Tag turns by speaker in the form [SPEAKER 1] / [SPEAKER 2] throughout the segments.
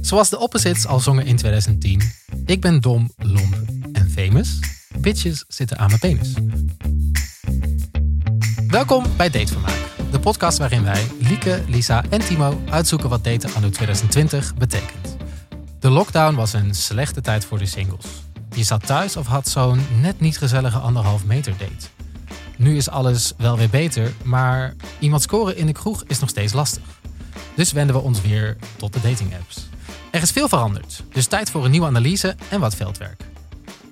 [SPEAKER 1] Zoals de Opposites al zongen in 2010. Ik ben dom, lomp en famous. Bitches zitten aan mijn penis. Welkom bij Datevermaak. De podcast waarin wij, Lieke, Lisa en Timo uitzoeken wat daten anno 2020 betekent. De lockdown was een slechte tijd voor de singles. Je zat thuis of had zo'n net niet gezellige anderhalf meter date. Nu is alles wel weer beter, maar iemand scoren in de kroeg is nog steeds lastig. Dus wenden we ons weer tot de dating apps. Er is veel veranderd, dus tijd voor een nieuwe analyse en wat veldwerk.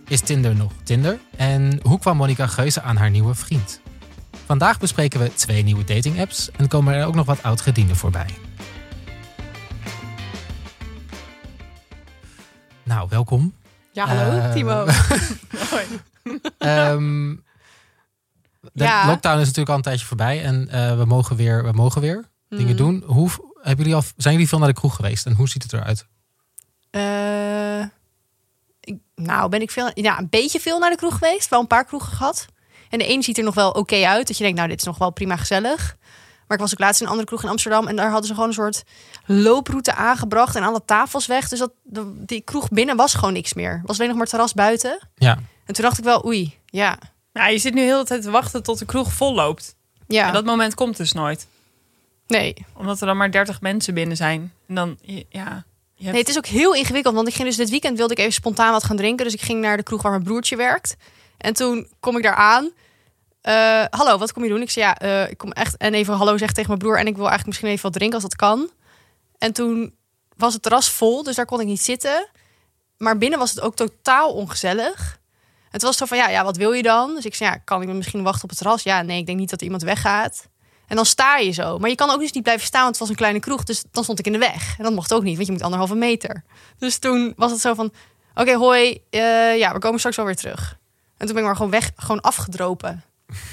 [SPEAKER 1] Is Tinder nog Tinder? En hoe kwam Monica Geuze aan haar nieuwe vriend? Vandaag bespreken we twee nieuwe dating apps en komen er ook nog wat oud gedienden voorbij. Nou, welkom.
[SPEAKER 2] Ja, hallo,
[SPEAKER 1] Eh,
[SPEAKER 2] Timo. Hoi.
[SPEAKER 1] Ehm, de
[SPEAKER 2] Ja.
[SPEAKER 1] lockdown is natuurlijk al een tijdje voorbij en eh, we mogen weer, we mogen weer dingen doen. Hoe, hebben jullie al, zijn jullie veel naar de kroeg geweest en hoe ziet het eruit?
[SPEAKER 2] Eh, ik- nou, ben ik veel, ja, een beetje veel naar de kroeg geweest. Wel een paar kroegen gehad. En de een ziet er nog wel oké uit. Dat je denkt, nou, dit is nog wel prima gezellig. Maar ik was ook laatst in een andere kroeg in Amsterdam. En daar hadden ze gewoon een soort looproute aangebracht. En alle tafels weg. Dus dat, de- die kroeg binnen was gewoon niks meer. Was alleen nog maar terras buiten.
[SPEAKER 1] Ja,
[SPEAKER 2] En toen dacht ik wel, oei, ja.
[SPEAKER 3] Ja, Nou, je zit nu heel de tijd te wachten tot de kroeg vol loopt.
[SPEAKER 2] Ja,
[SPEAKER 3] En dat moment komt dus nooit.
[SPEAKER 2] nee.
[SPEAKER 3] Omdat er dan maar 30 mensen binnen zijn. En dan, je- ja. Je hebt...
[SPEAKER 2] Nee, het is ook heel ingewikkeld. Want ik ging dus dit weekend wilde ik even spontaan wat gaan drinken. Dus ik ging naar de kroeg waar mijn broertje werkt. En toen kom ik daar aan. Eh, hallo, wat kom je doen? Ik zei ja, eh, ik kom echt en even hallo zeggen tegen mijn broer. En ik wil eigenlijk misschien even wat drinken als dat kan. En toen was het terras vol, dus daar kon ik niet zitten. Maar binnen was het ook totaal ongezellig. Het was zo van ja, ja, wat wil je dan? Dus ik zei ja, kan ik misschien wachten op het terras? Ja, nee, ik denk niet dat er iemand weggaat. En dan sta je zo. Maar je kan ook dus niet blijven staan, want het was een kleine kroeg. Dus dan stond ik in de weg. En dat mocht ook niet, want je moet anderhalve meter. Dus toen was het zo van... Oké, hoi. eh, ja, we komen straks wel weer terug. En toen ben ik maar gewoon weg, gewoon afgedropen.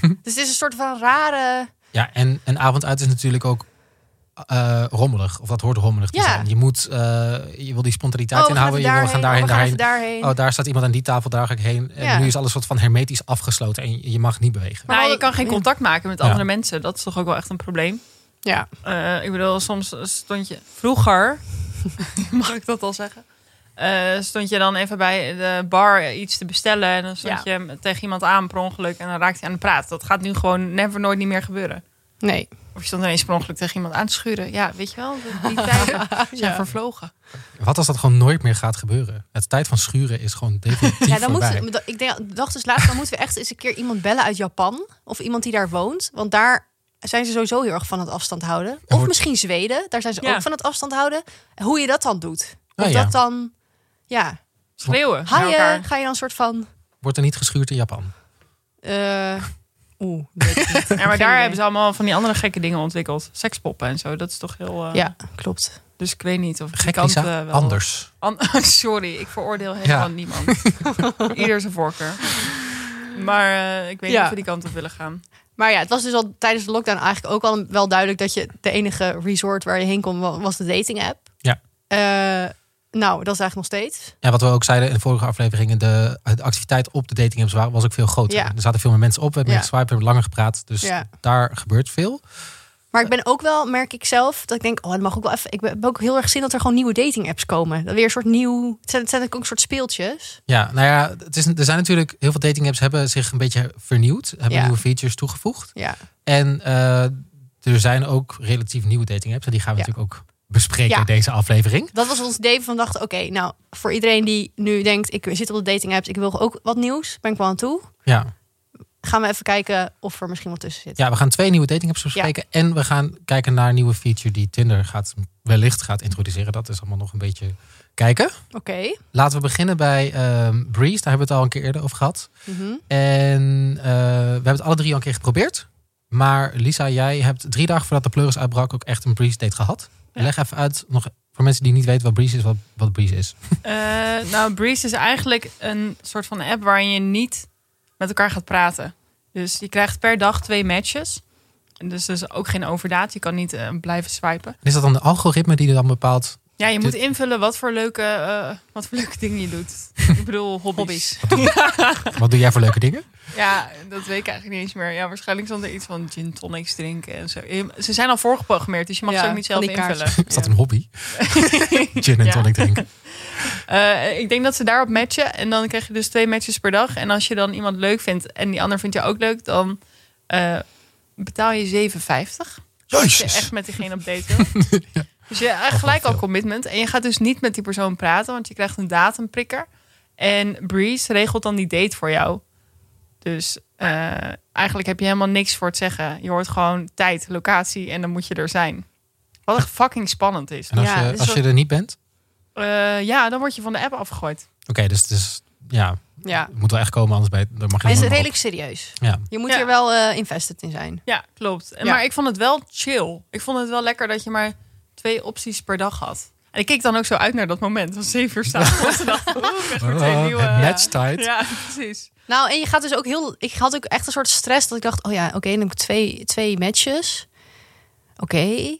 [SPEAKER 2] dus het is een soort van rare...
[SPEAKER 1] ja en een avond uit is natuurlijk ook eh, rommelig. Of dat hoort rommelig te
[SPEAKER 2] Ja.
[SPEAKER 1] zijn. Je, moet, eh, je wil die spontaniteit
[SPEAKER 2] oh, we gaan
[SPEAKER 1] inhouden. Je
[SPEAKER 2] even
[SPEAKER 1] wil we gaan daarheen,
[SPEAKER 2] oh, we
[SPEAKER 1] daarheen.
[SPEAKER 2] even daarheen.
[SPEAKER 1] Oh, daar staat iemand aan die tafel, daar ga ik heen. En
[SPEAKER 2] Ja.
[SPEAKER 1] nu is alles soort van hermetisch afgesloten en je mag niet bewegen.
[SPEAKER 3] Nou, je kan geen
[SPEAKER 2] Ja.
[SPEAKER 3] contact maken met
[SPEAKER 1] Ja.
[SPEAKER 3] andere mensen. Dat is toch ook wel echt een probleem.
[SPEAKER 2] Ja.
[SPEAKER 3] Eh, ik bedoel, soms stond je vroeger, mag ik dat al zeggen? Eh, stond je dan even bij de bar iets te bestellen en dan stond
[SPEAKER 2] Ja.
[SPEAKER 3] je tegen iemand aan per ongeluk en dan raakte je aan de praat. Dat gaat nu gewoon never nooit niet meer gebeuren.
[SPEAKER 2] Nee.
[SPEAKER 3] Of je stond ineens per ongeluk tegen iemand aan te schuren. Ja, weet je wel, die tijden zijn vervlogen.
[SPEAKER 1] Wat als dat gewoon nooit meer gaat gebeuren? Het tijd van schuren is gewoon definitief
[SPEAKER 2] Ja, dan
[SPEAKER 1] voorbij.
[SPEAKER 2] moeten, we- ik denk, dacht dus laatst, dan moeten we echt eens een keer iemand bellen uit Japan. Of iemand die daar woont. Want daar zijn ze sowieso heel erg van het afstand houden. Of
[SPEAKER 1] wordt-
[SPEAKER 2] misschien Zweden, daar zijn ze
[SPEAKER 3] Ja.
[SPEAKER 2] ook van het afstand houden. Hoe je dat dan doet. Of
[SPEAKER 1] Nou ja.
[SPEAKER 2] dat dan, ja.
[SPEAKER 3] Schreeuwen naar
[SPEAKER 2] Ga je,
[SPEAKER 3] elkaar.
[SPEAKER 2] ga je dan een soort van,
[SPEAKER 1] Wordt er niet geschuurd in Japan?
[SPEAKER 2] eh oeh, weet ik niet.
[SPEAKER 3] Ja,
[SPEAKER 2] Geen
[SPEAKER 3] maar daar
[SPEAKER 2] idee.
[SPEAKER 3] hebben ze allemaal van die andere gekke dingen ontwikkeld. Sekspoppen en zo. Dat is toch heel... eh,
[SPEAKER 2] Ja, klopt.
[SPEAKER 3] Dus ik weet niet of die
[SPEAKER 1] Gek,
[SPEAKER 3] kant,
[SPEAKER 1] Lisa.
[SPEAKER 3] eh, wel-
[SPEAKER 1] Anders.
[SPEAKER 3] An- Sorry, ik veroordeel helemaal
[SPEAKER 1] Ja.
[SPEAKER 3] niemand. Ieder zijn voorkeur. Maar eh, ik weet
[SPEAKER 2] Ja.
[SPEAKER 3] niet of we die kant op willen gaan.
[SPEAKER 2] Maar ja, het was dus al tijdens de lockdown eigenlijk ook al wel duidelijk dat je de enige resort waar je heen kon wa- was de dating app.
[SPEAKER 1] Ja.
[SPEAKER 2] Eh, nou, dat is eigenlijk nog steeds.
[SPEAKER 1] En wat we ook zeiden in de vorige afleveringen, de, de activiteit op de dating apps wa- was ook veel groter.
[SPEAKER 2] Ja.
[SPEAKER 1] Er zaten veel meer mensen op, we hebben
[SPEAKER 2] Ja.
[SPEAKER 1] geswiped, we hebben langer gepraat. Dus
[SPEAKER 2] Ja.
[SPEAKER 1] daar gebeurt veel.
[SPEAKER 2] Maar ik ben ook wel, merk ik zelf, dat ik denk, oh, dat mag ook wel even. Ik ben- heb ook heel erg zin dat er gewoon nieuwe dating apps komen. Dat weer een soort nieuw. Het zijn, het zijn ook een soort speeltjes.
[SPEAKER 1] Ja, nou ja, het is, er zijn natuurlijk heel veel dating apps hebben zich een beetje vernieuwd, hebben
[SPEAKER 2] Ja.
[SPEAKER 1] nieuwe features toegevoegd.
[SPEAKER 2] Ja.
[SPEAKER 1] En eh, er zijn ook relatief nieuwe dating apps en die gaan we
[SPEAKER 2] Ja.
[SPEAKER 1] natuurlijk ook bespreken
[SPEAKER 2] Ja.
[SPEAKER 1] in deze aflevering.
[SPEAKER 2] Dat was ons idee van dachten, oké, nou, voor iedereen die nu denkt, ik zit op de dating apps, ik wil ook wat nieuws, ben ik wel aan toe.
[SPEAKER 1] Ja.
[SPEAKER 2] Gaan we even kijken of er misschien wat tussen zit.
[SPEAKER 1] ja, we gaan twee nieuwe dating apps bespreken en we gaan kijken naar een nieuwe feature die Tinder gaat, wellicht gaat introduceren. Dat is allemaal nog een beetje kijken.
[SPEAKER 2] Oké.
[SPEAKER 1] Laten we beginnen bij ehm, Breeze, daar hebben we het al een keer eerder over gehad.
[SPEAKER 2] Mhm.
[SPEAKER 1] En eh, we hebben het alle drie al een keer geprobeerd. Maar Lisa, jij hebt drie dagen voordat de pleuris uitbrak ook echt een breeze date gehad.
[SPEAKER 3] Ja.
[SPEAKER 1] Leg even uit, nog voor mensen die niet weten wat breeze is, wat, wat breeze is.
[SPEAKER 3] Eh, nou, Breeze is eigenlijk een soort van app waarin je niet met elkaar gaat praten. Dus je krijgt per dag twee matches. En Dus dat is ook geen overdaad. Je kan niet eh, blijven swipen.
[SPEAKER 1] En is dat dan de algoritme die dan bepaalt
[SPEAKER 3] Ja, je moet
[SPEAKER 1] Dit-
[SPEAKER 3] invullen wat voor leuke, eh, wat voor leuke dingen je doet. Ik bedoel, hobby's.
[SPEAKER 1] Wat doe jij voor leuke dingen?
[SPEAKER 3] Ja, dat weet ik eigenlijk niet eens meer. Ja, waarschijnlijk stond er iets van gin tonics drinken en zo. Je- Ze zijn al voorgeprogrammeerd, dus je mag
[SPEAKER 2] Ja,
[SPEAKER 3] ze ook niet zelf
[SPEAKER 2] van die kaartjes.
[SPEAKER 3] invullen.
[SPEAKER 1] Is dat een hobby? Gin en
[SPEAKER 3] Ja.
[SPEAKER 1] tonic drinken.
[SPEAKER 3] Eh, ik denk dat ze daarop matchen. En dan krijg je dus twee matches per dag. En als je dan iemand leuk vindt en die ander vindt je ook leuk, dan eh, betaal je 7,50. Als je echt met diegene op date wil. Dus je hebt gelijk
[SPEAKER 1] veel.
[SPEAKER 3] al commitment. En je gaat dus niet met die persoon praten, want je krijgt een datumprikker. En Breeze regelt dan die date voor jou. Dus eh, eigenlijk heb je helemaal niks voor het zeggen. Je hoort gewoon tijd, locatie en dan moet je er zijn. Wat echt fucking spannend is.
[SPEAKER 1] En als,
[SPEAKER 2] Ja,
[SPEAKER 1] je,
[SPEAKER 2] dus
[SPEAKER 1] als je
[SPEAKER 2] dat-
[SPEAKER 1] er niet bent?
[SPEAKER 3] Eh, ja, dan word je van de app afgegooid.
[SPEAKER 1] Oké, dus, het is ja,
[SPEAKER 2] Ja.
[SPEAKER 1] het moet wel echt komen, anders bij, dan mag je
[SPEAKER 2] Hij Ah. is
[SPEAKER 1] helemaal niet
[SPEAKER 2] redelijk serieus.
[SPEAKER 1] op. Ja.
[SPEAKER 2] Je moet
[SPEAKER 3] Ja.
[SPEAKER 2] hier wel eh, invested in zijn.
[SPEAKER 3] Ja, klopt. En
[SPEAKER 2] Ja.
[SPEAKER 3] Maar ik vond het wel chill. Ik vond het wel lekker dat je maar twee opties per dag had. En ik keek dan ook zo uit naar dat moment. Van zeven uur s'avonds. was het dan. Oeh, ik heb weer twee nieuwe-
[SPEAKER 1] Oh, matchtijd.
[SPEAKER 3] Ja, precies.
[SPEAKER 2] Nou, en je gaat dus ook heel. Ik had ook echt een soort stress dat ik dacht: oh ja, oké, dan heb ik twee, twee matches. Oké.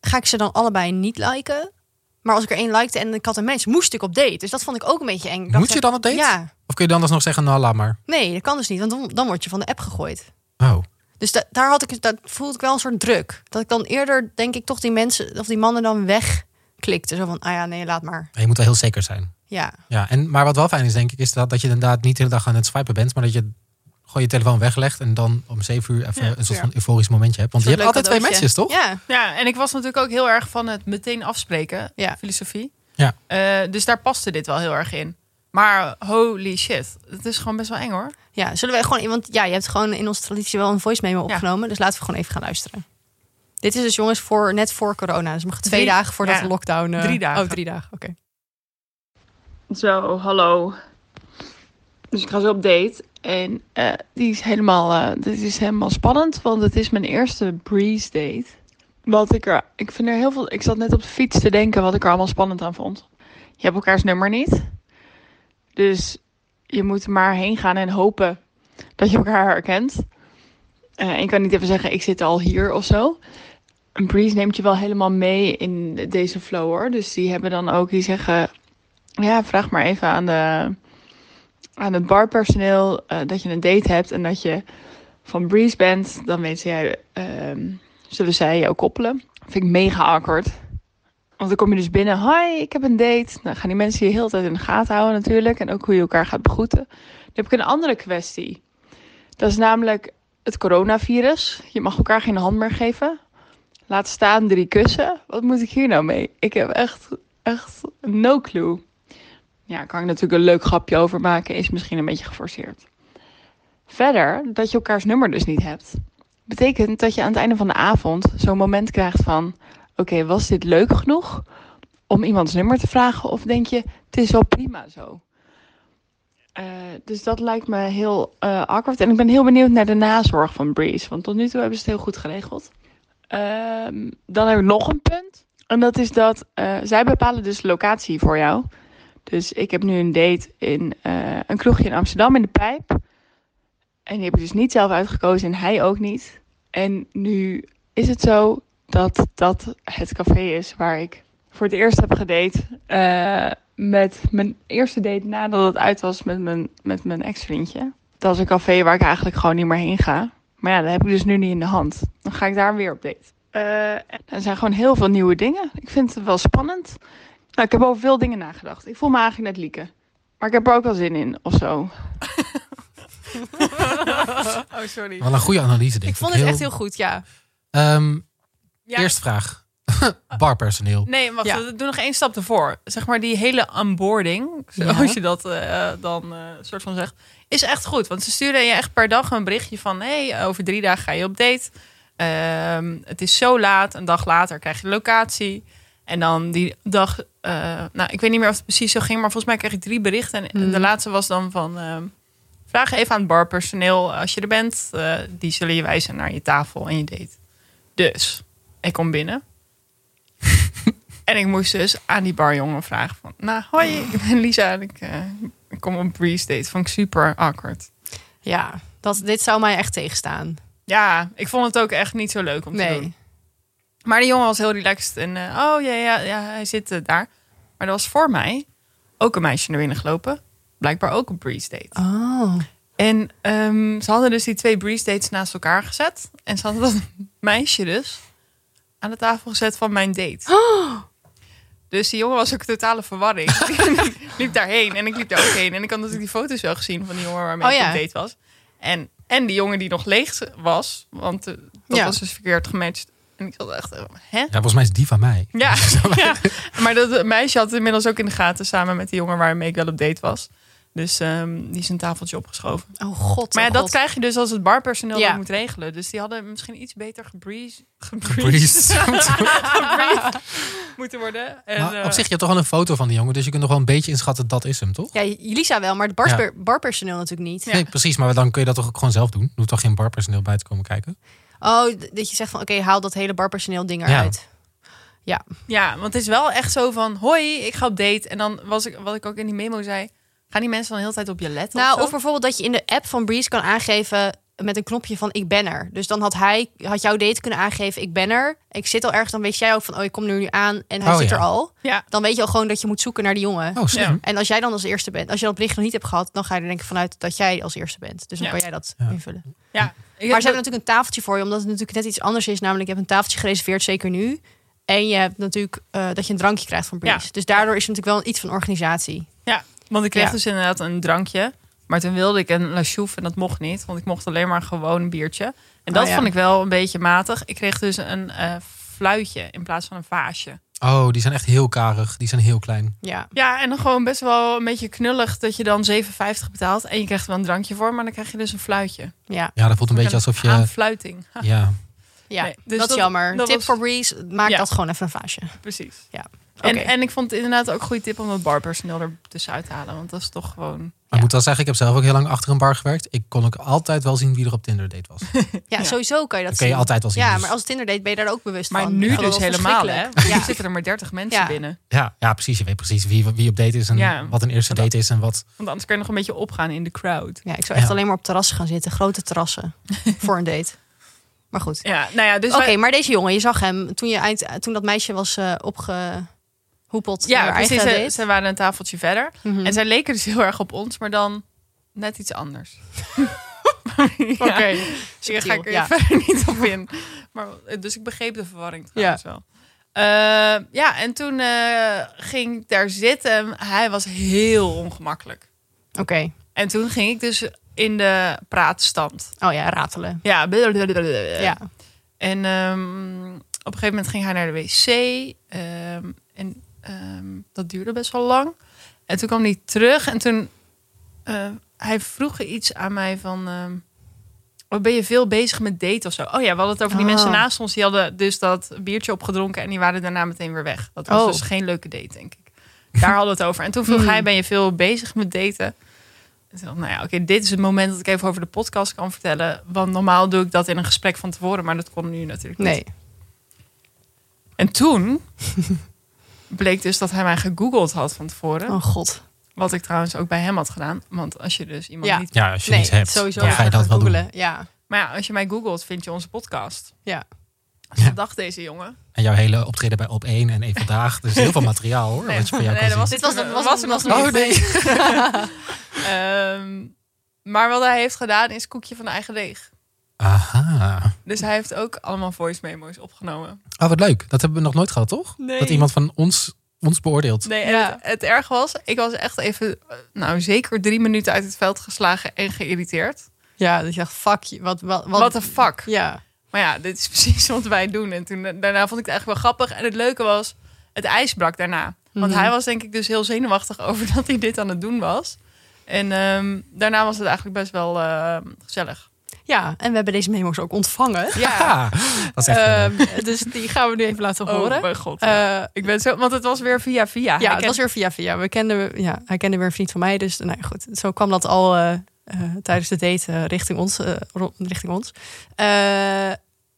[SPEAKER 2] Ga ik ze dan allebei niet liken? Maar als ik er één likte en ik had een match, moest ik op date. Dus dat vond ik ook een beetje eng. Ik dacht
[SPEAKER 1] Moet je dan op date?
[SPEAKER 2] Ja.
[SPEAKER 1] Of kun je dan alsnog zeggen, nou laat maar.
[SPEAKER 2] Nee, dat kan dus niet, want dan, dan word je van de app gegooid.
[SPEAKER 1] Oh,
[SPEAKER 2] Dus da- daar had ik, dat voelde ik wel een soort druk. Dat ik dan eerder, denk ik, toch die mensen of die mannen dan wegklikte. Zo van, ah ja, nee, laat maar.
[SPEAKER 1] je moet wel heel zeker zijn.
[SPEAKER 2] Ja,
[SPEAKER 1] Ja, en, maar wat wel fijn is, denk ik, is dat, dat je inderdaad niet de hele dag aan het swipen bent, maar dat je gewoon je telefoon weglegt en dan om zeven uur even
[SPEAKER 3] Ja,
[SPEAKER 1] een soort
[SPEAKER 2] ja.
[SPEAKER 1] van euforisch momentje hebt. Want je
[SPEAKER 2] Een
[SPEAKER 1] hebt
[SPEAKER 2] soort
[SPEAKER 1] altijd
[SPEAKER 2] leuk
[SPEAKER 1] twee matches,
[SPEAKER 2] cadeautje.
[SPEAKER 1] toch?
[SPEAKER 2] Ja,
[SPEAKER 3] Ja, en ik was natuurlijk ook heel erg van het meteen afspreken.
[SPEAKER 2] Ja.
[SPEAKER 3] Filosofie.
[SPEAKER 1] Ja.
[SPEAKER 3] Eh, dus daar paste dit wel heel erg in. Maar holy shit. Het is gewoon best wel eng hoor.
[SPEAKER 2] ja. Zullen we gewoon, want ja, je hebt gewoon in onze traditie wel een voice memo
[SPEAKER 3] Ja.
[SPEAKER 2] opgenomen. Dus laten we gewoon even gaan luisteren. Dit is dus jongens voor, net voor corona. Dus nog twee
[SPEAKER 3] Drie-
[SPEAKER 2] dagen voordat
[SPEAKER 3] ja.
[SPEAKER 2] de lockdown... eh,
[SPEAKER 3] Drie dagen.
[SPEAKER 2] Oh, drie dagen, oké.
[SPEAKER 3] Zo, hallo. Dus ik ga zo op date. En eh, die is helemaal, eh, dit is helemaal spannend, want het is mijn eerste breeze date. Wat ik er, ik vind er heel veel, ik zat net op de fiets te denken wat ik er allemaal spannend aan vond. Je hebt elkaars nummer niet. Dus je moet er maar heen gaan en hopen dat je elkaar herkent. Eh, ik kan niet even zeggen, ik zit al hier of zo. Een breeze neemt je wel helemaal mee in deze flow hoor. Dus die hebben dan ook, die zeggen, ja, vraag maar even aan, de, aan het barpersoneel eh, dat je een date hebt en dat je van Breeze bent. Dan weten jij, ehm, zullen zij jou koppelen. Vind ik mega awkward. Want dan kom je dus binnen, hi, ik heb een date. Dan gaan die mensen je heel de tijd in de gaten houden natuurlijk. En ook hoe je elkaar gaat begroeten. Dan heb ik een andere kwestie. Dat is namelijk het coronavirus. Je mag elkaar geen hand meer geven. Laat staan drie kussen. Wat moet ik hier nou mee? Ik heb echt echt no clue. Ja, kan ik natuurlijk een leuk grapje over maken, is misschien een beetje geforceerd. Verder, dat je elkaars nummer dus niet hebt, betekent dat je aan het einde van de avond zo'n moment krijgt van: oké, was dit leuk genoeg om iemands nummer te vragen? Of denk je, het is wel prima zo? Eh, dus dat lijkt me heel eh awkward. En ik ben heel benieuwd naar de nazorg van Breeze. Want tot nu toe hebben ze het heel goed geregeld. Ehm, dan heb ik nog een punt. En dat is dat eh, zij bepalen dus de locatie voor jou. Dus ik heb nu een date in eh, een kroegje in Amsterdam in de Pijp. En die heb ik dus niet zelf uitgekozen en hij ook niet. En nu is het zo dat dat het café is waar ik voor het eerst heb gedate. eh, met mijn eerste date nadat het uit was met mijn, met mijn ex-vriendje. Dat is een café waar ik eigenlijk gewoon niet meer heen ga. Maar ja, dat heb ik dus nu niet in de hand. Dan ga ik daar weer op date. Eh, er zijn gewoon heel veel nieuwe dingen. Ik vind het wel spannend. Nou, ik heb over veel dingen nagedacht. Ik voel me eigenlijk net Lieke. Maar ik heb er ook wel zin in, of zo. oh, sorry.
[SPEAKER 1] Wel een goede analyse, denk ik.
[SPEAKER 2] Ik vond het echt heel goed, ja.
[SPEAKER 1] Ehm,
[SPEAKER 3] Ja.
[SPEAKER 1] Eerste vraag. Barpersoneel.
[SPEAKER 3] Nee, wacht,
[SPEAKER 2] Ja.
[SPEAKER 3] we doen nog één stap ervoor. Zeg maar, die hele onboarding,
[SPEAKER 2] Ja.
[SPEAKER 3] zoals je dat eh, dan eh, soort van zegt, is echt goed. Want ze sturen je echt per dag een berichtje van... hey, over drie dagen ga je op date. Ehm, het is zo laat, een dag later krijg je de locatie. En dan die dag... eh, nou, ik weet niet meer of het precies zo ging... maar volgens mij kreeg ik drie berichten. En
[SPEAKER 2] Hmm.
[SPEAKER 3] de laatste was dan van... ehm, vraag even aan het barpersoneel als je er bent. eh, die zullen je wijzen naar je tafel en je date. Dus, ik kom binnen... En ik moest dus aan die barjongen vragen van... Nou, hoi, ik ben Lisa en ik, eh, ik kom op een breeze date. Vond ik super awkward.
[SPEAKER 2] Ja, dat, dit zou mij echt tegenstaan.
[SPEAKER 3] Ja, ik vond het ook echt niet zo leuk om te
[SPEAKER 2] Nee.
[SPEAKER 3] doen.
[SPEAKER 4] Maar de jongen was heel relaxed. En eh, oh ja, ja, ja, hij zit eh, daar. Maar er was voor mij ook een meisje naar binnen gelopen. Blijkbaar ook een breeze date.
[SPEAKER 2] Oh.
[SPEAKER 4] En ehm, ze hadden dus die twee breeze dates naast elkaar gezet. En ze hadden dat meisje dus aan de tafel gezet van mijn date.
[SPEAKER 2] Oh!
[SPEAKER 4] Dus die jongen was ook totale verwarring. ik liep daarheen en ik liep daar ook heen. En ik had natuurlijk die foto's wel gezien van die jongen waarmee
[SPEAKER 2] Oh
[SPEAKER 4] ik
[SPEAKER 2] ja.
[SPEAKER 4] op date was. En, en die jongen die nog leeg was. Want eh, dat
[SPEAKER 2] Ja.
[SPEAKER 4] was dus verkeerd gematcht. En ik zat echt, eh, hè?
[SPEAKER 1] Ja, volgens mij is die van mij.
[SPEAKER 4] Ja, ja. maar dat meisje had het inmiddels ook in de gaten samen met die jongen waarmee ik wel op date was. Dus ehm, die is een tafeltje opgeschoven.
[SPEAKER 2] Oh god.
[SPEAKER 4] Maar ja,
[SPEAKER 2] oh
[SPEAKER 4] dat
[SPEAKER 2] god.
[SPEAKER 4] krijg je dus als het barpersoneel
[SPEAKER 2] Ja.
[SPEAKER 4] dat moet regelen. Dus die hadden misschien iets beter gebreeze,
[SPEAKER 1] Breeze.
[SPEAKER 4] moeten worden. En,
[SPEAKER 1] Maar
[SPEAKER 4] eh,
[SPEAKER 1] op zich, je hebt toch wel een foto van die jongen, dus je kunt nog wel een beetje inschatten dat is hem, toch?
[SPEAKER 2] Ja, Lisa wel, maar het bars- barpersoneel natuurlijk niet.
[SPEAKER 4] Ja.
[SPEAKER 1] Nee, precies, maar dan kun je dat toch ook gewoon zelf doen? Je hoeft toch geen barpersoneel bij te komen kijken?
[SPEAKER 2] Oh, d- dat je zegt van oké, haal dat hele barpersoneel ding
[SPEAKER 1] Ja.
[SPEAKER 2] eruit.
[SPEAKER 4] Ja, want het is wel echt zo van, hoi, ik ga op date. En dan was ik, wat ik ook in die memo zei, gaan die mensen dan de hele tijd op je letten?
[SPEAKER 2] nou,
[SPEAKER 4] zo?
[SPEAKER 2] of bijvoorbeeld dat je in de app van Breeze kan aangeven met een knopje van ik ben er. Dus dan had hij, had jouw date kunnen aangeven ik ben er. Ik zit al ergens, dan weet jij ook van oh, ik kom er nu aan en hij
[SPEAKER 1] Oh,
[SPEAKER 2] zit
[SPEAKER 1] ja.
[SPEAKER 2] er al.
[SPEAKER 4] Ja.
[SPEAKER 2] Dan weet je al gewoon dat je moet zoeken naar die jongen.
[SPEAKER 1] Oh, slim.
[SPEAKER 2] En als jij dan als eerste bent, als je dat bericht nog niet hebt gehad, dan ga je er denk ik vanuit dat jij als eerste bent. Dus dan
[SPEAKER 4] Ja.
[SPEAKER 2] kan jij dat
[SPEAKER 1] Ja.
[SPEAKER 2] invullen.
[SPEAKER 4] ja. Ik-
[SPEAKER 2] Maar ze hebben natuurlijk een tafeltje voor je, omdat het natuurlijk net iets anders is. Namelijk, je hebt een tafeltje gereserveerd, zeker nu. En je hebt natuurlijk eh, dat je een drankje krijgt van Breeze.
[SPEAKER 4] Ja.
[SPEAKER 2] Dus daardoor is het natuurlijk wel iets van organisatie.
[SPEAKER 4] Ja, want ik kreeg
[SPEAKER 2] Ja.
[SPEAKER 4] dus inderdaad een drankje. Maar toen wilde ik een La Chouf en dat mocht niet. Want ik mocht alleen maar gewoon een biertje. En dat
[SPEAKER 2] Oh ja.
[SPEAKER 4] vond ik wel een beetje matig. Ik kreeg dus een eh, fluitje in plaats van een vaasje.
[SPEAKER 1] Oh, die zijn echt heel karig. Die zijn heel klein.
[SPEAKER 2] Ja.
[SPEAKER 4] Ja, en dan gewoon best wel een beetje knullig dat je dan 7,50 betaalt. En je krijgt er wel een drankje voor, maar dan krijg je dus een fluitje.
[SPEAKER 2] Ja,
[SPEAKER 1] Ja, dat voelt een beetje alsof
[SPEAKER 4] Aan
[SPEAKER 1] je...
[SPEAKER 4] fluiting.
[SPEAKER 1] Ja,
[SPEAKER 2] ja.
[SPEAKER 4] Nee, dus
[SPEAKER 2] dat is
[SPEAKER 4] dat-
[SPEAKER 2] jammer.
[SPEAKER 4] dat
[SPEAKER 2] Tip
[SPEAKER 4] was-
[SPEAKER 2] voor Breeze, maak
[SPEAKER 4] Ja.
[SPEAKER 2] dat gewoon even een vaasje.
[SPEAKER 4] Precies.
[SPEAKER 2] Ja.
[SPEAKER 4] En,
[SPEAKER 2] Oké.
[SPEAKER 4] en ik vond het inderdaad ook een goede tip om het barpersoneel er tussenuit te halen. Want dat is toch gewoon...
[SPEAKER 1] Maar ik moet wel zeggen, ik heb zelf ook heel lang achter een bar gewerkt. Ik kon ook altijd wel zien wie er op Tinder date was. Dat
[SPEAKER 2] Ja,
[SPEAKER 4] Ja.
[SPEAKER 2] sowieso kan je dat
[SPEAKER 1] kun je
[SPEAKER 2] zien.
[SPEAKER 1] altijd wel zien.
[SPEAKER 2] ja,
[SPEAKER 1] dus-
[SPEAKER 2] maar als Tinder date ben je daar ook bewust
[SPEAKER 4] Maar
[SPEAKER 2] van.
[SPEAKER 4] nu
[SPEAKER 2] Ik vond
[SPEAKER 4] dus
[SPEAKER 2] dat
[SPEAKER 4] helemaal, hè?
[SPEAKER 2] verschrikkelijk.
[SPEAKER 4] Want nu
[SPEAKER 2] Ja.
[SPEAKER 4] zitten er maar 30 mensen
[SPEAKER 2] Ja.
[SPEAKER 4] binnen.
[SPEAKER 1] ja, ja, precies. Je weet precies wie, wie op date is en
[SPEAKER 4] Ja.
[SPEAKER 1] wat een eerste date is en wat...
[SPEAKER 4] Want anders kun je nog een beetje opgaan in de crowd.
[SPEAKER 2] ja, ik zou echt
[SPEAKER 1] Ja.
[SPEAKER 2] alleen maar op terrassen gaan zitten. Grote terrassen voor een date. Maar goed.
[SPEAKER 4] Ja, nou ja, dus
[SPEAKER 2] Oké,
[SPEAKER 4] wij-
[SPEAKER 2] maar deze jongen, je zag hem toen, je eind, toen dat meisje was eh, opgehoepeld.
[SPEAKER 4] ja,
[SPEAKER 2] door haar
[SPEAKER 4] precies.
[SPEAKER 2] eigen
[SPEAKER 4] Ze,
[SPEAKER 2] date.
[SPEAKER 4] ze waren een tafeltje verder.
[SPEAKER 2] Mhm.
[SPEAKER 4] En zij leken dus heel erg op ons, maar dan net iets anders. Oké. Daar ga ik er
[SPEAKER 2] ja.
[SPEAKER 4] verder niet op in. Maar, dus ik begreep de verwarring trouwens wel. Eh, ja, en toen eh, ging ik daar zitten. Hij was heel ongemakkelijk.
[SPEAKER 2] Oké.
[SPEAKER 4] En toen ging ik dus in de praatstand.
[SPEAKER 2] Oh ja, ratelen.
[SPEAKER 4] Ja, Eh,
[SPEAKER 2] Ja.
[SPEAKER 4] En ehm, op een gegeven moment ging hij naar de wc. ehm, en ehm, dat duurde best wel lang. En toen kwam hij terug. En toen... eh, hij vroeg iets aan mij van... ehm, "Oh, ben je veel bezig met daten of zo? Oh ja, we hadden het over die
[SPEAKER 2] Oh.
[SPEAKER 4] mensen naast ons. Die hadden dus dat biertje opgedronken. En die waren daarna meteen weer weg. Dat was
[SPEAKER 2] Oh.
[SPEAKER 4] dus geen leuke date, denk ik. Daar hadden we het over. En toen vroeg
[SPEAKER 2] Hmm.
[SPEAKER 4] hij, ben je veel bezig met daten? En toen dacht ik, nou ja, oké, dit is het moment dat ik even over de podcast kan vertellen. Want normaal doe ik dat in een gesprek van tevoren. Maar dat kon nu natuurlijk niet.
[SPEAKER 2] Nee.
[SPEAKER 4] En toen bleek dus dat hij mij gegoogeld had van tevoren.
[SPEAKER 2] Oh god.
[SPEAKER 4] Wat ik trouwens ook bij hem had gedaan. Want als je dus iemand
[SPEAKER 2] Ja.
[SPEAKER 4] niet...
[SPEAKER 1] Ja, als je
[SPEAKER 2] nee,
[SPEAKER 1] iets hebt,
[SPEAKER 2] sowieso.
[SPEAKER 1] dan
[SPEAKER 2] ja,
[SPEAKER 1] ga je
[SPEAKER 2] gaan
[SPEAKER 1] dat wel
[SPEAKER 2] googlen.
[SPEAKER 1] doen.
[SPEAKER 2] Ja.
[SPEAKER 4] Maar ja, als je mij googelt, vind je onze podcast.
[SPEAKER 2] Ja.
[SPEAKER 4] Dus
[SPEAKER 1] Ja.
[SPEAKER 4] dat dacht deze jongen.
[SPEAKER 1] En jouw hele optreden bij Op 1 en één vandaag. Er is heel veel materiaal hoor, wat je van jou kan
[SPEAKER 4] dat was,
[SPEAKER 1] zien.
[SPEAKER 2] Dit was-
[SPEAKER 4] dat
[SPEAKER 2] was-
[SPEAKER 4] hem
[SPEAKER 2] was-
[SPEAKER 4] nog niet.
[SPEAKER 1] Oh nee.
[SPEAKER 4] Ehm, maar wat hij heeft gedaan is koekje van de eigen deeg.
[SPEAKER 1] Aha.
[SPEAKER 4] Dus hij heeft ook allemaal voice memo's opgenomen.
[SPEAKER 1] Oh, wat leuk. Dat hebben we nog nooit gehad, toch?
[SPEAKER 2] Nee.
[SPEAKER 1] Dat iemand van ons, ons beoordeelt.
[SPEAKER 4] Nee, en
[SPEAKER 2] Ja.
[SPEAKER 4] het, het erg was, ik was echt even, eh, nou zeker drie minuten uit het veld geslagen en geïrriteerd.
[SPEAKER 2] Ja, dat je dacht, fuck je. Wat, wat, wat,
[SPEAKER 4] What the fuck?
[SPEAKER 2] Ja.
[SPEAKER 4] Maar ja, dit is precies wat wij doen. En toen, eh, daarna vond ik het eigenlijk wel grappig. En het leuke was, het ijs brak daarna. Want
[SPEAKER 2] Mhm.
[SPEAKER 4] hij was denk ik dus heel zenuwachtig over dat hij dit aan het doen was. En ehm, daarna was het eigenlijk best wel ehm, gezellig.
[SPEAKER 2] Ja, en we hebben deze memo's ook ontvangen.
[SPEAKER 1] Ja. Dat is echt eh, heel leuk.
[SPEAKER 2] Ehm, dus die gaan we nu even laten
[SPEAKER 4] Oh
[SPEAKER 2] horen.
[SPEAKER 4] mijn god. ja.
[SPEAKER 2] Eh,
[SPEAKER 4] ik ben zo, want het was weer via via.
[SPEAKER 2] ja,
[SPEAKER 4] Hij
[SPEAKER 2] het
[SPEAKER 4] kent-
[SPEAKER 2] Ah, was weer via via. We kenden, ja, hij kende weer een vriend van mij. Dus nou ja, goed, zo kwam dat al eh, eh, tijdens de date eh, richting ons. eh, ro- richting ons. Eh,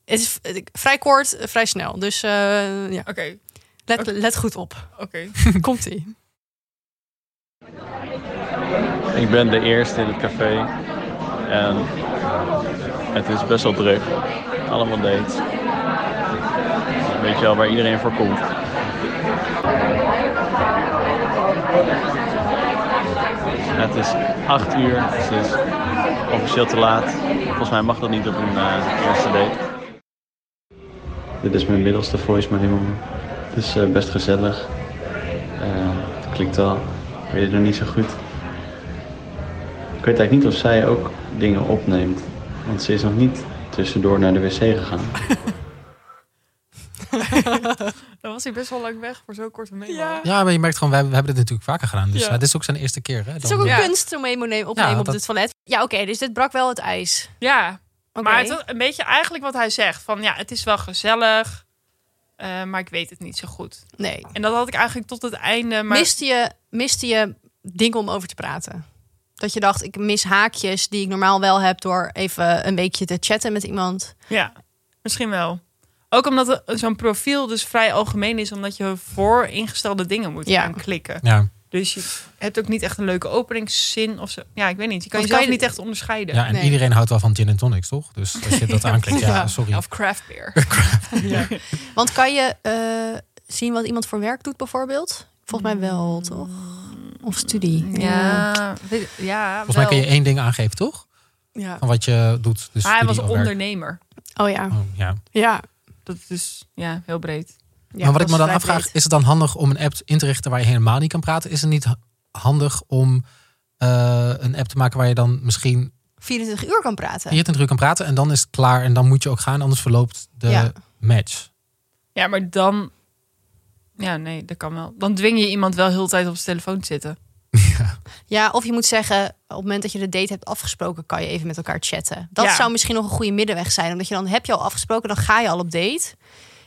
[SPEAKER 2] het is v- vrij kort, eh, vrij snel. Dus eh, ja,
[SPEAKER 4] Oké,
[SPEAKER 2] let, let goed op.
[SPEAKER 4] oké.
[SPEAKER 2] Komt-ie.
[SPEAKER 5] Ik ben de eerste in het café. En eh, het is best wel druk. Allemaal dates. Weet je wel, waar iedereen voor komt. Het is 8 uur, dus het is officieel te laat. Volgens mij mag dat niet op een eh, eerste date. Dit is mijn middelste voicemail nummer. Het is eh, best gezellig. Eh, het klinkt wel. Ik weet het nog niet zo goed. Ik weet eigenlijk niet of zij ook dingen opneemt. Want ze is nog niet tussendoor naar de wc gegaan.
[SPEAKER 4] Dan was hij best wel lang weg voor zo'n korte memo.
[SPEAKER 2] Ja.
[SPEAKER 1] Ja, maar je merkt gewoon, we hebben we hebben dit natuurlijk vaker gedaan. Dus
[SPEAKER 4] Ja.
[SPEAKER 1] eh, dit is ook zijn eerste keer. Hè?
[SPEAKER 2] Het is ook een
[SPEAKER 4] Ja.
[SPEAKER 2] kunst om memo nemen- opnemen
[SPEAKER 1] Ja,
[SPEAKER 2] op
[SPEAKER 1] dat-
[SPEAKER 2] dit toilet. Ja, oké, dus dit brak wel het ijs.
[SPEAKER 4] Ja,
[SPEAKER 2] Oké.
[SPEAKER 4] maar het was een beetje eigenlijk wat hij zegt. Van ja, het is wel gezellig, eh, maar ik weet het niet zo goed.
[SPEAKER 2] Nee.
[SPEAKER 4] En dat had ik eigenlijk tot het einde. Maar
[SPEAKER 2] Miste, je, miste je dingen om over te praten? Dat je dacht, ik mis haakjes die ik normaal wel heb door even een weekje te chatten met iemand.
[SPEAKER 4] ja, misschien wel. Ook omdat het- zo'n profiel dus vrij algemeen is, omdat je voor ingestelde dingen moet
[SPEAKER 2] Ja.
[SPEAKER 4] gaan klikken.
[SPEAKER 1] Ja,
[SPEAKER 4] Dus je hebt ook niet echt een leuke openingszin of zo. Ja, ik weet niet. Je kan
[SPEAKER 2] Want
[SPEAKER 4] jezelf
[SPEAKER 2] kan je-
[SPEAKER 4] niet echt onderscheiden.
[SPEAKER 1] ja en
[SPEAKER 2] Nee.
[SPEAKER 1] iedereen houdt wel van gin en tonics, toch? Dus als je dat aanklikt, ja,
[SPEAKER 2] Ja.
[SPEAKER 1] sorry.
[SPEAKER 4] Of craft beer.
[SPEAKER 2] Want kan je eh, zien wat iemand voor werk doet bijvoorbeeld? Volgens mij wel, toch? Of studie.
[SPEAKER 4] Ja, weet- ja
[SPEAKER 1] Volgens mij kun je
[SPEAKER 4] wel.
[SPEAKER 1] één ding aangeven, toch?
[SPEAKER 2] ja.
[SPEAKER 1] Van wat je doet. Dus
[SPEAKER 4] Maar hij was
[SPEAKER 1] studie of werk.
[SPEAKER 4] ondernemer.
[SPEAKER 2] Oh ja.
[SPEAKER 1] Oh, ja.
[SPEAKER 2] Ja.
[SPEAKER 4] Dat is dus, ja, heel breed.
[SPEAKER 2] Ja,
[SPEAKER 1] maar wat ik me
[SPEAKER 2] dat
[SPEAKER 1] dan
[SPEAKER 2] is vrij
[SPEAKER 1] afvraag,
[SPEAKER 2] breed.
[SPEAKER 1] is het dan handig om een app in te richten waar je helemaal niet kan praten? Is het niet ha- handig om eh, een app te maken waar je dan misschien
[SPEAKER 2] 24 uur kan praten.
[SPEAKER 1] 24 uur kan praten en dan is het klaar en dan moet je ook gaan, anders verloopt de
[SPEAKER 2] Ja.
[SPEAKER 1] match.
[SPEAKER 4] Ja, maar dan... Ja, nee, dat kan wel. Dan dwing je iemand wel heel de tijd op zijn telefoon te zitten.
[SPEAKER 2] Ja, of je moet zeggen, op het moment dat je de date hebt afgesproken, kan je even met elkaar chatten. Dat
[SPEAKER 4] Ja.
[SPEAKER 2] zou misschien nog een goede middenweg zijn. Omdat je dan heb je al afgesproken, dan ga je al op date.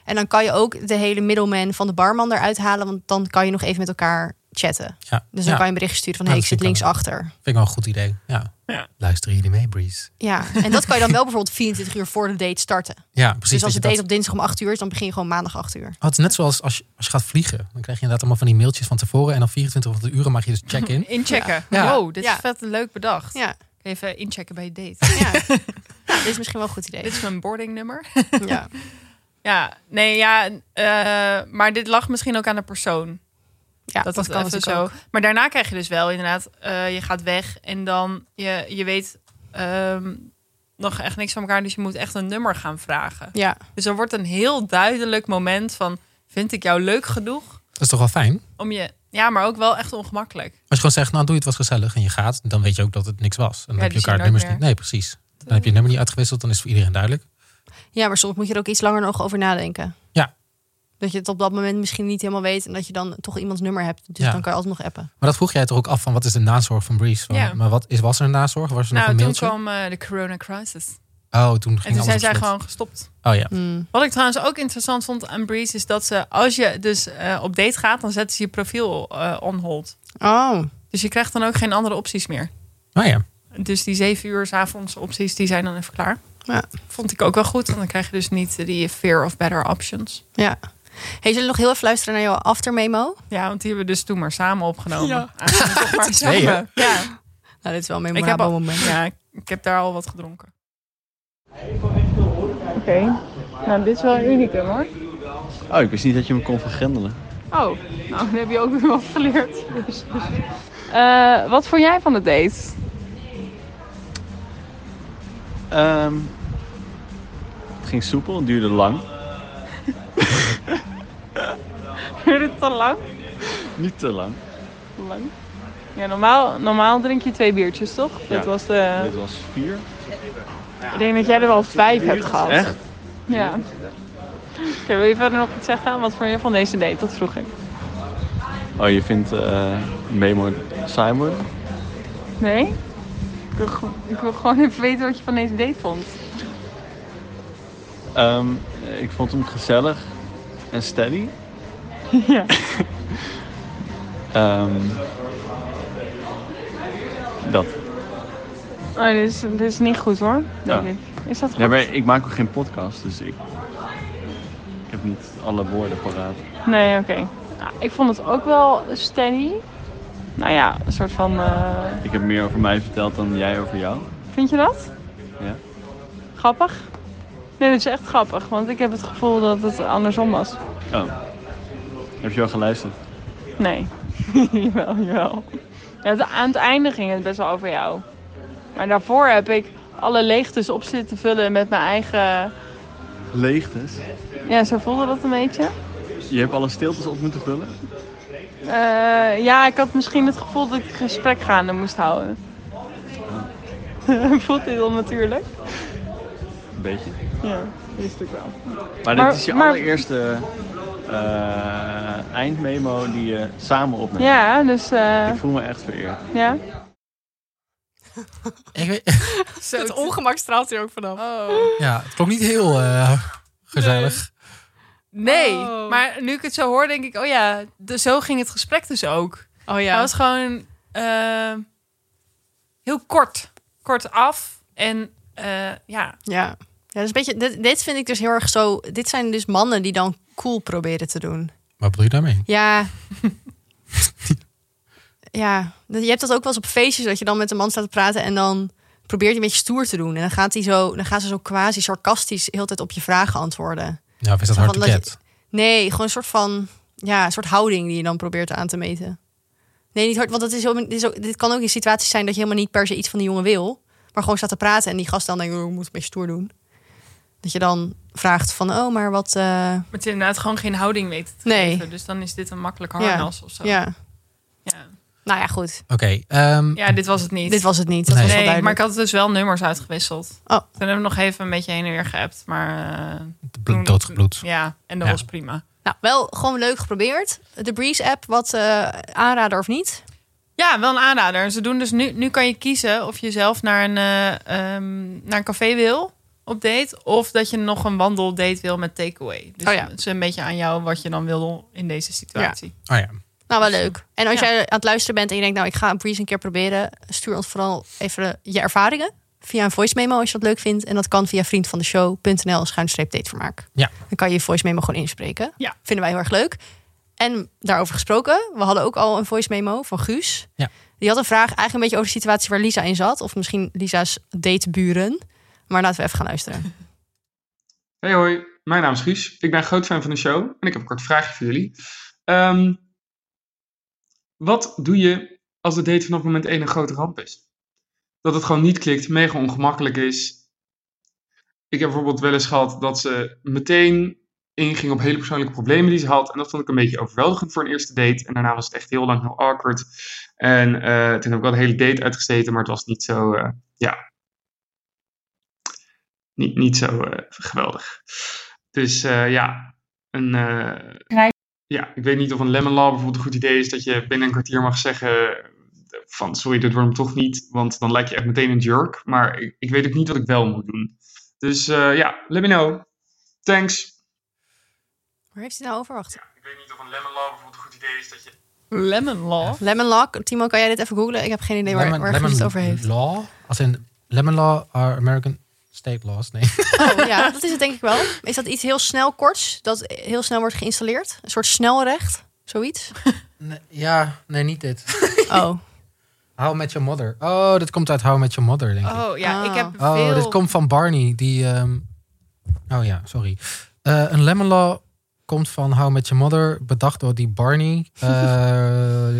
[SPEAKER 2] En dan kan je ook de hele middleman van de barman eruit halen. Want dan kan je nog even met elkaar chatten.
[SPEAKER 1] Ja,
[SPEAKER 2] Dus dan
[SPEAKER 1] ja.
[SPEAKER 2] kan je een berichtje sturen van,
[SPEAKER 1] Ja,
[SPEAKER 2] hey, ik
[SPEAKER 1] dat
[SPEAKER 2] zit
[SPEAKER 1] vind ik wel.
[SPEAKER 2] linksachter.
[SPEAKER 1] vind ik wel een goed idee. Ja.
[SPEAKER 4] Ja.
[SPEAKER 1] Luisteren jullie mee, Breeze?
[SPEAKER 2] Ja, en dat kan je dan wel bijvoorbeeld 24 uur voor de date starten.
[SPEAKER 1] Ja, precies.
[SPEAKER 2] dus
[SPEAKER 1] dat
[SPEAKER 2] als
[SPEAKER 1] je
[SPEAKER 2] de date
[SPEAKER 1] dat-
[SPEAKER 2] op dinsdag om 8 uur is, dan begin je gewoon maandag 8 uur.
[SPEAKER 1] Oh, het is net zoals als je, als je gaat vliegen. Dan krijg je inderdaad allemaal van die mailtjes van tevoren. En dan 24 van de uren mag je dus check-in.
[SPEAKER 4] Inchecken.
[SPEAKER 1] Ja.
[SPEAKER 4] Wow, dit
[SPEAKER 2] Ja.
[SPEAKER 4] is vet leuk bedacht.
[SPEAKER 2] Ja,
[SPEAKER 4] Even inchecken bij je date.
[SPEAKER 2] ja. ja dit is misschien wel een goed
[SPEAKER 4] dit
[SPEAKER 2] idee.
[SPEAKER 4] is mijn boardingnummer.
[SPEAKER 2] Ja.
[SPEAKER 4] Ja, nee, ja. eh, maar dit lag misschien ook aan de persoon.
[SPEAKER 2] Ja,
[SPEAKER 4] dat, dat
[SPEAKER 2] kan
[SPEAKER 4] even
[SPEAKER 2] natuurlijk
[SPEAKER 4] zo.
[SPEAKER 2] ook.
[SPEAKER 4] Maar daarna krijg je dus wel inderdaad, eh, je gaat weg en dan je, je weet ehm, nog echt niks van elkaar. Dus je moet echt een nummer gaan vragen.
[SPEAKER 2] Ja,
[SPEAKER 4] Dus er wordt een heel duidelijk moment van vind ik jou leuk genoeg
[SPEAKER 1] Dat is toch wel fijn?
[SPEAKER 4] om je. Ja, maar ook wel echt ongemakkelijk.
[SPEAKER 1] Als je gewoon zegt, nou doe je het was gezellig en je gaat, dan weet je ook dat het niks was. En dan
[SPEAKER 4] Ja,
[SPEAKER 1] heb je
[SPEAKER 4] die zie
[SPEAKER 1] elkaar
[SPEAKER 4] je nooit
[SPEAKER 1] nummers niet.
[SPEAKER 4] meer.
[SPEAKER 1] Nee, precies. Dan heb je het nummer niet uitgewisseld, dan is het voor iedereen duidelijk.
[SPEAKER 2] Ja, maar soms moet je er ook iets langer nog over nadenken.
[SPEAKER 1] Ja.
[SPEAKER 2] Dat je het op dat moment misschien niet helemaal weet en dat je dan toch iemands nummer hebt. Dus
[SPEAKER 1] Ja.
[SPEAKER 2] dan kan je altijd nog appen.
[SPEAKER 1] Maar dat vroeg jij toch ook af van wat is de nazorg van Breeze? Van,
[SPEAKER 4] Ja.
[SPEAKER 1] Maar wat is, was er een nazorg? Was er nog
[SPEAKER 4] nou,
[SPEAKER 1] een
[SPEAKER 4] toen
[SPEAKER 1] mailtje?
[SPEAKER 4] kwam eh, de corona crisis.
[SPEAKER 1] Oh, toen ging
[SPEAKER 4] En toen
[SPEAKER 1] alles
[SPEAKER 4] zijn
[SPEAKER 1] op
[SPEAKER 4] zij
[SPEAKER 1] slot.
[SPEAKER 4] gewoon Hmm. gestopt.
[SPEAKER 1] Oh ja.
[SPEAKER 4] Wat ik trouwens ook interessant vond aan Breeze is dat ze, als je dus eh, op date gaat, dan zetten ze je profiel eh on hold.
[SPEAKER 2] Oh.
[SPEAKER 4] Dus je krijgt dan ook geen andere opties meer.
[SPEAKER 1] Nou ja.
[SPEAKER 4] Dus die zeven uur 's avonds opties, die zijn dan even klaar.
[SPEAKER 2] Ja.
[SPEAKER 4] Vond ik ook wel goed, want dan krijg je dus niet die fear of better options.
[SPEAKER 2] Ja. Hey, zullen we nog heel even luisteren naar jouw aftermemo?
[SPEAKER 4] Ja, want die hebben we dus toen maar samen opgenomen.
[SPEAKER 2] Ja.
[SPEAKER 4] Aangezien we toch maar
[SPEAKER 1] twee, hè?
[SPEAKER 4] samen- ja.
[SPEAKER 2] Nou, dit is wel een
[SPEAKER 4] Ik heb
[SPEAKER 2] memorabel
[SPEAKER 4] al,
[SPEAKER 2] moment.
[SPEAKER 4] ja, ik heb daar al wat gedronken.
[SPEAKER 3] Oké, nou dit is wel een unicum hoor.
[SPEAKER 5] Oh, ik wist niet dat je me kon vergrendelen.
[SPEAKER 3] Oh, nou dat heb je ook weer wat geleerd. Dus- Eh, wat vond jij van de date?
[SPEAKER 5] Ehm, het ging soepel, het duurde lang.
[SPEAKER 3] Duurde het te lang?
[SPEAKER 5] Niet te lang.
[SPEAKER 3] lang. Ja, normaal, normaal drink je twee biertjes toch?
[SPEAKER 5] Ja.
[SPEAKER 3] Dat was eh, de...
[SPEAKER 5] Dit was eh, vier.
[SPEAKER 3] Ik denk dat jij er wel vijf hebt gehad.
[SPEAKER 5] Echt?
[SPEAKER 3] Ja. Oké, wil je verder nog iets zeggen? Wat vond je van deze date? Dat vroeg ik.
[SPEAKER 5] Oh, je vindt eh Memo Simon?
[SPEAKER 3] Nee? Ik wil, gewoon- ik wil gewoon even weten wat je van deze date vond.
[SPEAKER 5] Ehm, ik vond hem gezellig en steady.
[SPEAKER 3] Ja.
[SPEAKER 5] Ehm, dat.
[SPEAKER 3] Oh, dit, is, dit is niet goed hoor.
[SPEAKER 5] Ja.
[SPEAKER 3] Denk ik. Is dat goed?
[SPEAKER 5] Ja, maar ik maak ook geen podcast, dus ik, ik heb niet alle woorden paraat.
[SPEAKER 3] Nee, oké. Nou, ik vond het ook wel steady. Nou ja, een soort van... eh,
[SPEAKER 5] Ik heb meer over mij verteld dan jij over jou.
[SPEAKER 3] Vind je dat?
[SPEAKER 5] Ja.
[SPEAKER 3] Grappig? Nee, dat is echt grappig, want ik heb het gevoel dat het andersom was.
[SPEAKER 5] Oh. Heb je wel geluisterd?
[SPEAKER 3] Nee. jawel, jawel. Ja, het- aan het einde ging het best wel over jou. Maar daarvoor heb ik alle leegtes op zitten vullen met mijn eigen...
[SPEAKER 5] Leegtes.
[SPEAKER 3] Ja, zo voelde dat een beetje.
[SPEAKER 5] Je hebt alle stiltes op moeten vullen.
[SPEAKER 3] Eh, ja, ik had misschien het gevoel dat ik het gesprek gaande moest houden. Voelt dit onnatuurlijk?
[SPEAKER 5] Een beetje.
[SPEAKER 3] Ja, dat is natuurlijk wel.
[SPEAKER 5] Maar,
[SPEAKER 3] Maar-
[SPEAKER 5] dit is je
[SPEAKER 3] maar-
[SPEAKER 5] allereerste eh, eindmemo die je samen opneemt.
[SPEAKER 3] Ja, dus... eh,
[SPEAKER 5] Ik voel me echt vereerd.
[SPEAKER 3] ja.
[SPEAKER 1] Ik weet,
[SPEAKER 4] Zo,
[SPEAKER 2] Het
[SPEAKER 4] t-
[SPEAKER 2] ongemak straalt er ook vanaf.
[SPEAKER 4] Oh.
[SPEAKER 1] ja, het klonk niet heel eh, gezellig.
[SPEAKER 4] Nee,
[SPEAKER 2] Oh.
[SPEAKER 4] maar nu ik het zo hoor, denk ik, oh ja, de, zo ging het gesprek dus ook.
[SPEAKER 2] Oh
[SPEAKER 4] Hij was gewoon eh, heel kort, kort af. En eh, ja,
[SPEAKER 2] Ja. ja dat is een beetje, dit, dit vind ik dus heel erg zo... Dit zijn dus mannen die dan cool proberen te doen.
[SPEAKER 1] Wat bedoel je daarmee?
[SPEAKER 2] Ja. ja. dat- Je hebt dat ook wel eens op feestjes dat je dan met een man staat te praten en dan probeert hij een beetje stoer te doen. En dan gaat hij zo, dan gaan ze zo quasi sarcastisch heel de tijd op je vragen antwoorden.
[SPEAKER 1] Ja, Nou, of is dat
[SPEAKER 2] Zo
[SPEAKER 1] hard
[SPEAKER 2] van
[SPEAKER 1] to
[SPEAKER 2] dat je-
[SPEAKER 1] get?
[SPEAKER 2] Nee, gewoon een soort van, ja, een soort houding die je dan probeert aan te meten. Nee, niet hard, want dat is, heel- dit, is ook- dit kan ook in situaties zijn dat je helemaal niet per se iets van die jongen wil, maar gewoon staat te praten en die gast dan denkt, oh, ik moet een beetje stoer doen. Dat je dan vraagt van, oh, maar wat, eh,
[SPEAKER 4] met inderdaad gewoon geen houding weten te
[SPEAKER 2] Nee.
[SPEAKER 4] geven. Dus dan is dit een makkelijk
[SPEAKER 2] Ja.
[SPEAKER 4] harnas of zo.
[SPEAKER 2] ja.
[SPEAKER 4] Ja.
[SPEAKER 2] Nou ja, goed.
[SPEAKER 1] Oké, ehm,
[SPEAKER 4] Ja, dit was het niet.
[SPEAKER 2] Dit was het niet. Dat
[SPEAKER 1] Nee.
[SPEAKER 2] was wel
[SPEAKER 4] nee,
[SPEAKER 2] duidelijk.
[SPEAKER 4] maar ik had dus wel nummers uitgewisseld.
[SPEAKER 2] Oh.
[SPEAKER 4] Toen hebben we nog even een beetje heen en weer geappt, maar... eh,
[SPEAKER 1] bl- doodgebloed.
[SPEAKER 4] Ja, en dat
[SPEAKER 1] Ja.
[SPEAKER 4] was prima.
[SPEAKER 2] Nou, wel gewoon leuk geprobeerd. De Breeze app, wat eh, aanrader of niet?
[SPEAKER 4] Ja, wel een aanrader. En Ze doen dus nu, nu kan je kiezen of je zelf naar een, eh, ehm, naar een café wil op date. Of dat je nog een wandeldate wil met takeaway. Dus
[SPEAKER 2] Oh ja.
[SPEAKER 4] het is een beetje aan jou wat je dan wil in deze situatie.
[SPEAKER 1] Oh ja,
[SPEAKER 2] Nou, wel leuk. En als
[SPEAKER 4] Ja.
[SPEAKER 2] jij aan het luisteren bent en je denkt, nou, ik ga Breeze een keer proberen, stuur ons vooral even eh, je ervaringen via een voice memo als je dat leuk vindt. En dat kan via vriendvandeshow.nl schuinstreep datevermaak.
[SPEAKER 1] Ja.
[SPEAKER 2] Dan kan je je voice memo gewoon inspreken.
[SPEAKER 4] Ja.
[SPEAKER 2] Vinden wij heel erg leuk. En daarover gesproken, we hadden ook al een voice memo van Guus.
[SPEAKER 1] Ja.
[SPEAKER 2] Die had een vraag eigenlijk een beetje over de situatie waar Lisa in zat. Of misschien Lisa's dateburen. Maar laten we even gaan luisteren.
[SPEAKER 6] Hey hoi, mijn naam is Guus. Ik ben groot fan van de show en ik heb een kort vraagje voor jullie. Ehm, wat doe je als de date vanaf moment 1 een grote ramp is? Dat het gewoon niet klikt, mega ongemakkelijk is. Ik heb bijvoorbeeld wel eens gehad dat ze meteen inging op hele persoonlijke problemen die ze had. En dat vond ik een beetje overweldigend voor een eerste date. En daarna was het echt heel lang heel awkward. En eh, toen heb ik wel de hele date uitgesteten, maar het was niet zo, eh, ja. Niet, niet zo eh, geweldig. Dus eh, ja, een, eh, ja, ik weet niet of een lemon law bijvoorbeeld een goed idee is dat je binnen een kwartier mag zeggen eh, van sorry, dit wordt hem toch niet, want dan lijk je echt meteen een jerk. Maar ik, ik weet ook niet wat ik wel moet doen. Dus eh, ja, let me know. Thanks.
[SPEAKER 2] Waar heeft hij nou over? Wacht.
[SPEAKER 6] Ik weet niet of een lemon law bijvoorbeeld een goed idee is dat je
[SPEAKER 4] Lemon law.
[SPEAKER 2] Lemon Law. Timo, kan jij dit even googlen? Ik heb geen idee waar, waar Guus het over heeft.
[SPEAKER 1] law, als in lemon law are American state laws. Nee,
[SPEAKER 2] Oh, ja, dat is het denk ik wel. Is dat iets heel snel korts? Dat heel snel wordt geïnstalleerd? Een soort snelrecht? Zoiets?
[SPEAKER 1] nee ja, nee, niet dit.
[SPEAKER 2] Oh,
[SPEAKER 1] How met Your Mother. Oh, dit komt uit How met Your Mother, denk ik.
[SPEAKER 4] Oh ja,
[SPEAKER 2] Ah.
[SPEAKER 4] ik heb
[SPEAKER 1] Oh,
[SPEAKER 4] veel...
[SPEAKER 1] dit komt van Barney. Die, ehm, Oh ja, sorry. Eh, een lemon law komt van How Met Your Mother, bedacht door die Barney. Eh,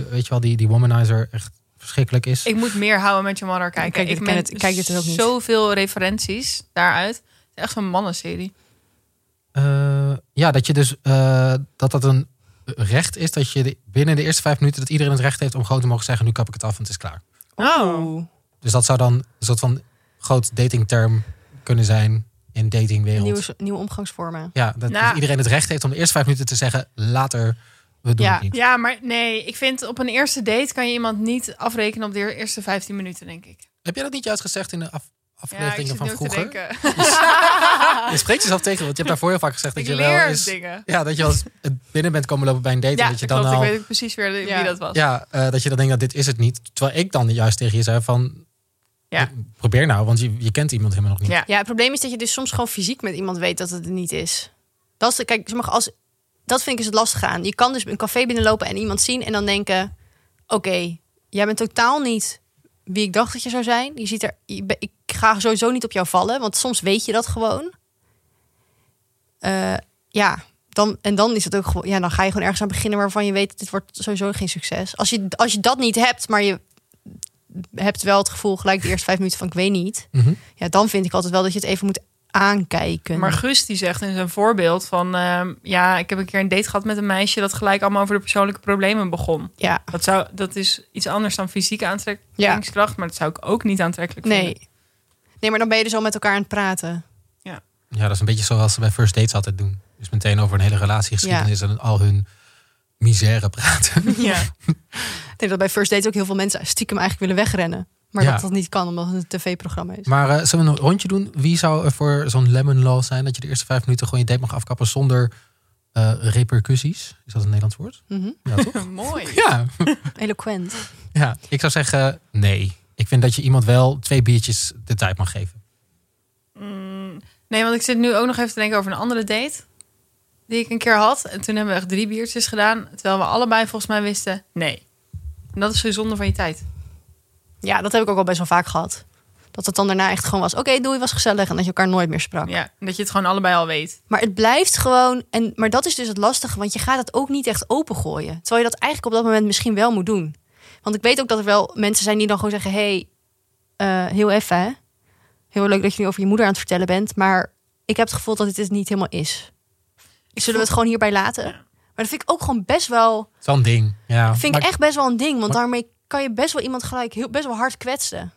[SPEAKER 1] weet je wel, die, die womanizer echt verschrikkelijk is.
[SPEAKER 4] Ik moet meer houden met je mother kijken.
[SPEAKER 2] Kijk, dit
[SPEAKER 4] ik
[SPEAKER 2] ken
[SPEAKER 4] ben
[SPEAKER 2] het- ik kijk dit dus ook niet.
[SPEAKER 4] zoveel referenties daaruit. Het is echt zo'n mannenserie.
[SPEAKER 1] Eh, ja, dat je dus eh, dat dat een recht is dat je de- binnen de eerste vijf minuten dat iedereen het recht heeft om gewoon te mogen zeggen: nu kap ik het af en het is klaar.
[SPEAKER 2] Oh.
[SPEAKER 1] Dus dat zou dan een soort van groot datingterm kunnen zijn in datingwereld.
[SPEAKER 2] Nieuwe, nieuwe omgangsvormen.
[SPEAKER 1] Ja, dat
[SPEAKER 4] Nou.
[SPEAKER 1] dus iedereen het recht heeft om de eerste vijf minuten te zeggen: later, we doen
[SPEAKER 2] Ja.
[SPEAKER 1] het niet.
[SPEAKER 4] Ja, maar nee, ik vind op een eerste date kan je iemand niet afrekenen op de eerste 15 minuten, denk ik.
[SPEAKER 1] Heb jij dat niet juist gezegd in de af-
[SPEAKER 4] Ja, ik
[SPEAKER 1] afleveringen
[SPEAKER 4] zit
[SPEAKER 1] van
[SPEAKER 4] nu ook te
[SPEAKER 1] vroeger?
[SPEAKER 4] denken.
[SPEAKER 1] Je spreekt jezelf tegen, want je hebt daarvoor heel vaak gezegd
[SPEAKER 4] Ik
[SPEAKER 1] dat je wel
[SPEAKER 4] leer
[SPEAKER 1] eens.
[SPEAKER 4] dingen.
[SPEAKER 1] Ja, dat je als binnen bent komen lopen bij een date. en
[SPEAKER 4] Ja,
[SPEAKER 1] dat je
[SPEAKER 4] dat
[SPEAKER 1] dan
[SPEAKER 4] klopt.
[SPEAKER 1] al.
[SPEAKER 4] Ik weet ook precies weer wie
[SPEAKER 2] Ja.
[SPEAKER 4] dat was.
[SPEAKER 1] Ja, eh, dat je dan denkt dat dit is het niet. Terwijl ik dan juist tegen je zei van...
[SPEAKER 4] Ja.
[SPEAKER 1] Probeer nou, want je, je kent iemand helemaal nog niet.
[SPEAKER 4] Ja.
[SPEAKER 2] Ja, het probleem is dat je dus soms gewoon fysiek met iemand weet dat het er niet is. Dat is de, kijk, sommige als, dat vind ik is het lastig aan. Je kan dus een café binnenlopen en iemand zien en dan denken... Oké, jij bent totaal niet wie ik dacht dat je zou zijn. Je ziet er, je be- ik ga sowieso niet op jou vallen, want soms weet je dat gewoon. eh, ja, dan, en dan is het ook gewoon, ja, dan ga je gewoon ergens aan beginnen waarvan je weet, dit wordt sowieso geen succes. Als je, als je dat niet hebt, maar je hebt wel het gevoel gelijk de eerste vijf minuten van ik weet niet,
[SPEAKER 1] Mhm.
[SPEAKER 2] ja, dan vind ik altijd wel dat je het even moet aankijken.
[SPEAKER 4] Maar Guus die zegt in zijn voorbeeld van... ehm, ja, ik heb een keer een date gehad met een meisje... dat gelijk allemaal over de persoonlijke problemen begon.
[SPEAKER 2] ja,
[SPEAKER 4] Dat, zou, dat is iets anders dan fysieke aantrekkingskracht... maar dat zou ik ook niet aantrekkelijk vinden.
[SPEAKER 2] nee. Nee, maar dan ben je dus al met elkaar aan het praten.
[SPEAKER 1] Ja, dat is een beetje zoals ze bij first dates altijd doen. Dus meteen over een hele relatiegeschiedenis en al hun misère praten.
[SPEAKER 4] Ja.
[SPEAKER 2] Ik denk dat bij first dates ook heel veel mensen stiekem eigenlijk willen wegrennen. Maar
[SPEAKER 1] Ja.
[SPEAKER 2] dat dat niet kan, omdat het een tv-programma is.
[SPEAKER 1] maar eh, zullen we een rondje doen? Wie zou er voor zo'n lemon law zijn dat je de eerste vijf minuten gewoon je date mag afkappen zonder eh, repercussies? Is dat een Nederlands woord?
[SPEAKER 2] Mhm.
[SPEAKER 1] Ja, toch?
[SPEAKER 4] Mooi.
[SPEAKER 1] ja.
[SPEAKER 2] Eloquent.
[SPEAKER 1] ja, ik zou zeggen nee. Ik vind dat je iemand wel twee biertjes de tijd mag geven.
[SPEAKER 4] Mm, nee, want ik zit nu ook nog even te denken over een andere date. Die ik een keer had. En toen hebben we echt drie biertjes gedaan. Terwijl we allebei volgens mij wisten, nee. En dat is geen zonde van je tijd.
[SPEAKER 2] Ja, dat heb ik ook al best wel vaak gehad. Dat het dan daarna echt gewoon was, oké, doei, was gezellig. En dat je elkaar nooit meer sprak.
[SPEAKER 4] Ja, en dat je het gewoon allebei al weet.
[SPEAKER 2] Maar het blijft gewoon, en, maar dat is dus het lastige. Want je gaat het ook niet echt opengooien. Terwijl je dat eigenlijk op dat moment misschien wel moet doen. Want ik weet ook dat er wel mensen zijn die dan gewoon zeggen... hey, eh, heel even hè. Heel leuk dat je nu over je moeder aan het vertellen bent. Maar ik heb het gevoel dat dit het niet helemaal is. Zullen we het gewoon hierbij laten? Maar dat vind ik ook gewoon best wel...
[SPEAKER 1] Zo'n ding. Ja.
[SPEAKER 2] vind
[SPEAKER 1] Maar-
[SPEAKER 2] ik echt best wel een ding. Want
[SPEAKER 1] maar-
[SPEAKER 2] daarmee kan je best wel iemand gelijk heel, best wel hard kwetsen.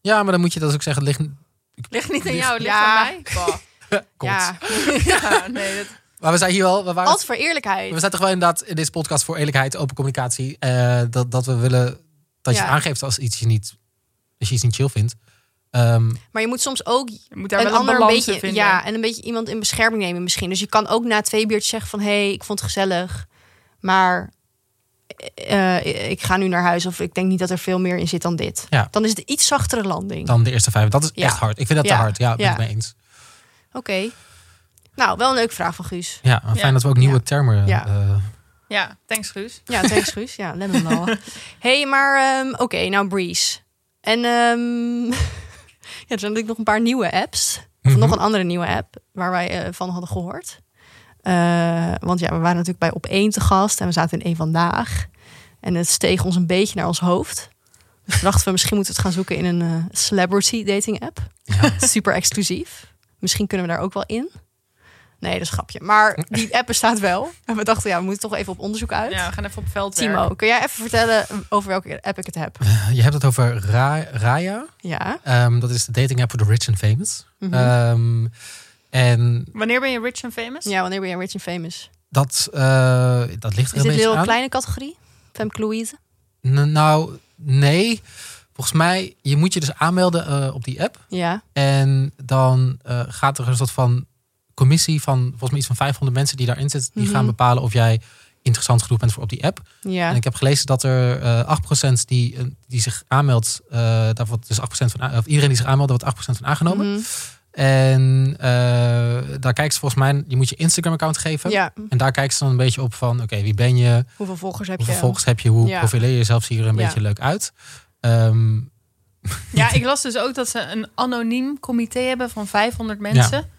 [SPEAKER 1] ja, maar dan moet je dat ook zeggen. Het ligt
[SPEAKER 4] Ligt niet aan jou, het ligt
[SPEAKER 2] Ja.
[SPEAKER 4] aan mij. Bah.
[SPEAKER 1] Kot.
[SPEAKER 2] Ja,
[SPEAKER 4] Ja, nee, dat...
[SPEAKER 1] Maar we zijn hier wel. We waren
[SPEAKER 2] altijd voor eerlijkheid.
[SPEAKER 1] We zijn toch wel inderdaad in deze podcast voor eerlijkheid, open communicatie. eh, dat, dat we willen dat je
[SPEAKER 2] Ja.
[SPEAKER 1] aangeeft als iets je niet, als je iets niet chill vindt. Ehm,
[SPEAKER 2] Maar je moet soms ook
[SPEAKER 4] Je moet daar
[SPEAKER 2] een
[SPEAKER 4] wel een
[SPEAKER 2] ander een
[SPEAKER 4] balans
[SPEAKER 2] beetje,
[SPEAKER 4] in vinden.
[SPEAKER 2] ja, en een beetje iemand in bescherming nemen misschien. Dus je kan ook na twee biertjes zeggen van, hé, hey, ik vond het gezellig, maar eh, ik ga nu naar huis of ik denk niet dat er veel meer in zit dan dit.
[SPEAKER 1] Ja.
[SPEAKER 2] Dan is het een iets zachtere landing.
[SPEAKER 1] dan de eerste vijf. Dat is
[SPEAKER 2] Ja.
[SPEAKER 1] echt hard. Ik vind dat
[SPEAKER 2] Ja.
[SPEAKER 1] te hard. Ja, ben
[SPEAKER 2] Ja.
[SPEAKER 1] ik mee eens.
[SPEAKER 2] Oké. Nou, wel een leuke vraag van Guus.
[SPEAKER 1] Ja, maar fijn
[SPEAKER 4] Ja.
[SPEAKER 1] dat we ook nieuwe
[SPEAKER 2] Ja.
[SPEAKER 1] termen.
[SPEAKER 2] Ja.
[SPEAKER 1] eh,
[SPEAKER 4] Ja, thanks Guus.
[SPEAKER 2] Ja, thanks Guus. Ja, lemon law. hey, maar ehm, oké, nou Breeze. En ehm, ja, er zijn natuurlijk nog een paar nieuwe apps. Of
[SPEAKER 1] Mhm.
[SPEAKER 2] nog een andere nieuwe app waar wij eh, van hadden gehoord. Eh, want ja, we waren natuurlijk bij Op één te gast en we zaten in één vandaag. En het steeg ons een beetje naar ons hoofd. Dus toen dachten we, misschien moeten we het gaan zoeken in een eh, celebrity dating app.
[SPEAKER 1] ja.
[SPEAKER 2] Super exclusief. Misschien kunnen we daar ook wel in. Nee, dat is een grapje. Maar die app bestaat wel. En we dachten, ja, we moeten toch even op onderzoek uit.
[SPEAKER 4] Ja, we gaan even op veld
[SPEAKER 2] Timo, kun jij even vertellen eh, over welke app ik het heb?
[SPEAKER 1] Je hebt het over Ra- Raya.
[SPEAKER 2] Ja.
[SPEAKER 1] Ehm, dat is de dating app voor de rich and famous.
[SPEAKER 2] Mhm.
[SPEAKER 1] Ehm, en
[SPEAKER 4] Wanneer ben je rich and famous?
[SPEAKER 2] ja, wanneer ben je rich and famous?
[SPEAKER 1] dat, eh, dat ligt er
[SPEAKER 2] Is
[SPEAKER 1] een
[SPEAKER 2] dit een
[SPEAKER 1] beetje
[SPEAKER 2] heel
[SPEAKER 1] aan.
[SPEAKER 2] kleine categorie? Femke Louise?
[SPEAKER 1] N- nou, nee. Volgens mij, je moet je dus aanmelden eh, op die app.
[SPEAKER 2] Ja.
[SPEAKER 1] En dan eh, gaat er een soort van commissie van volgens mij iets van 500 mensen die daarin zitten. Die
[SPEAKER 2] Mhm.
[SPEAKER 1] gaan bepalen of jij interessant genoeg bent voor op die app. En
[SPEAKER 2] Ja.
[SPEAKER 1] ik heb gelezen dat er eh 8% die, eh, die zich aanmeldt, eh, daar wordt dus 8% van, a- of iedereen die zich aanmeldt, daar wordt 8% van aangenomen.
[SPEAKER 2] Mhm.
[SPEAKER 1] En eh, daar kijken ze volgens mij, je moet je Instagram account geven.
[SPEAKER 2] Ja.
[SPEAKER 1] En daar kijken ze dan een beetje op van, oké, wie ben je?
[SPEAKER 2] Hoeveel volgers heb
[SPEAKER 1] Hoeveel
[SPEAKER 2] je?
[SPEAKER 1] volgers heb je? Hoe
[SPEAKER 2] Ja.
[SPEAKER 1] profileer je jezelf? Zie je er een
[SPEAKER 2] Ja.
[SPEAKER 1] beetje leuk uit? Ehm,
[SPEAKER 4] Ja, ik las dus ook dat ze een anoniem comité hebben van 500 mensen.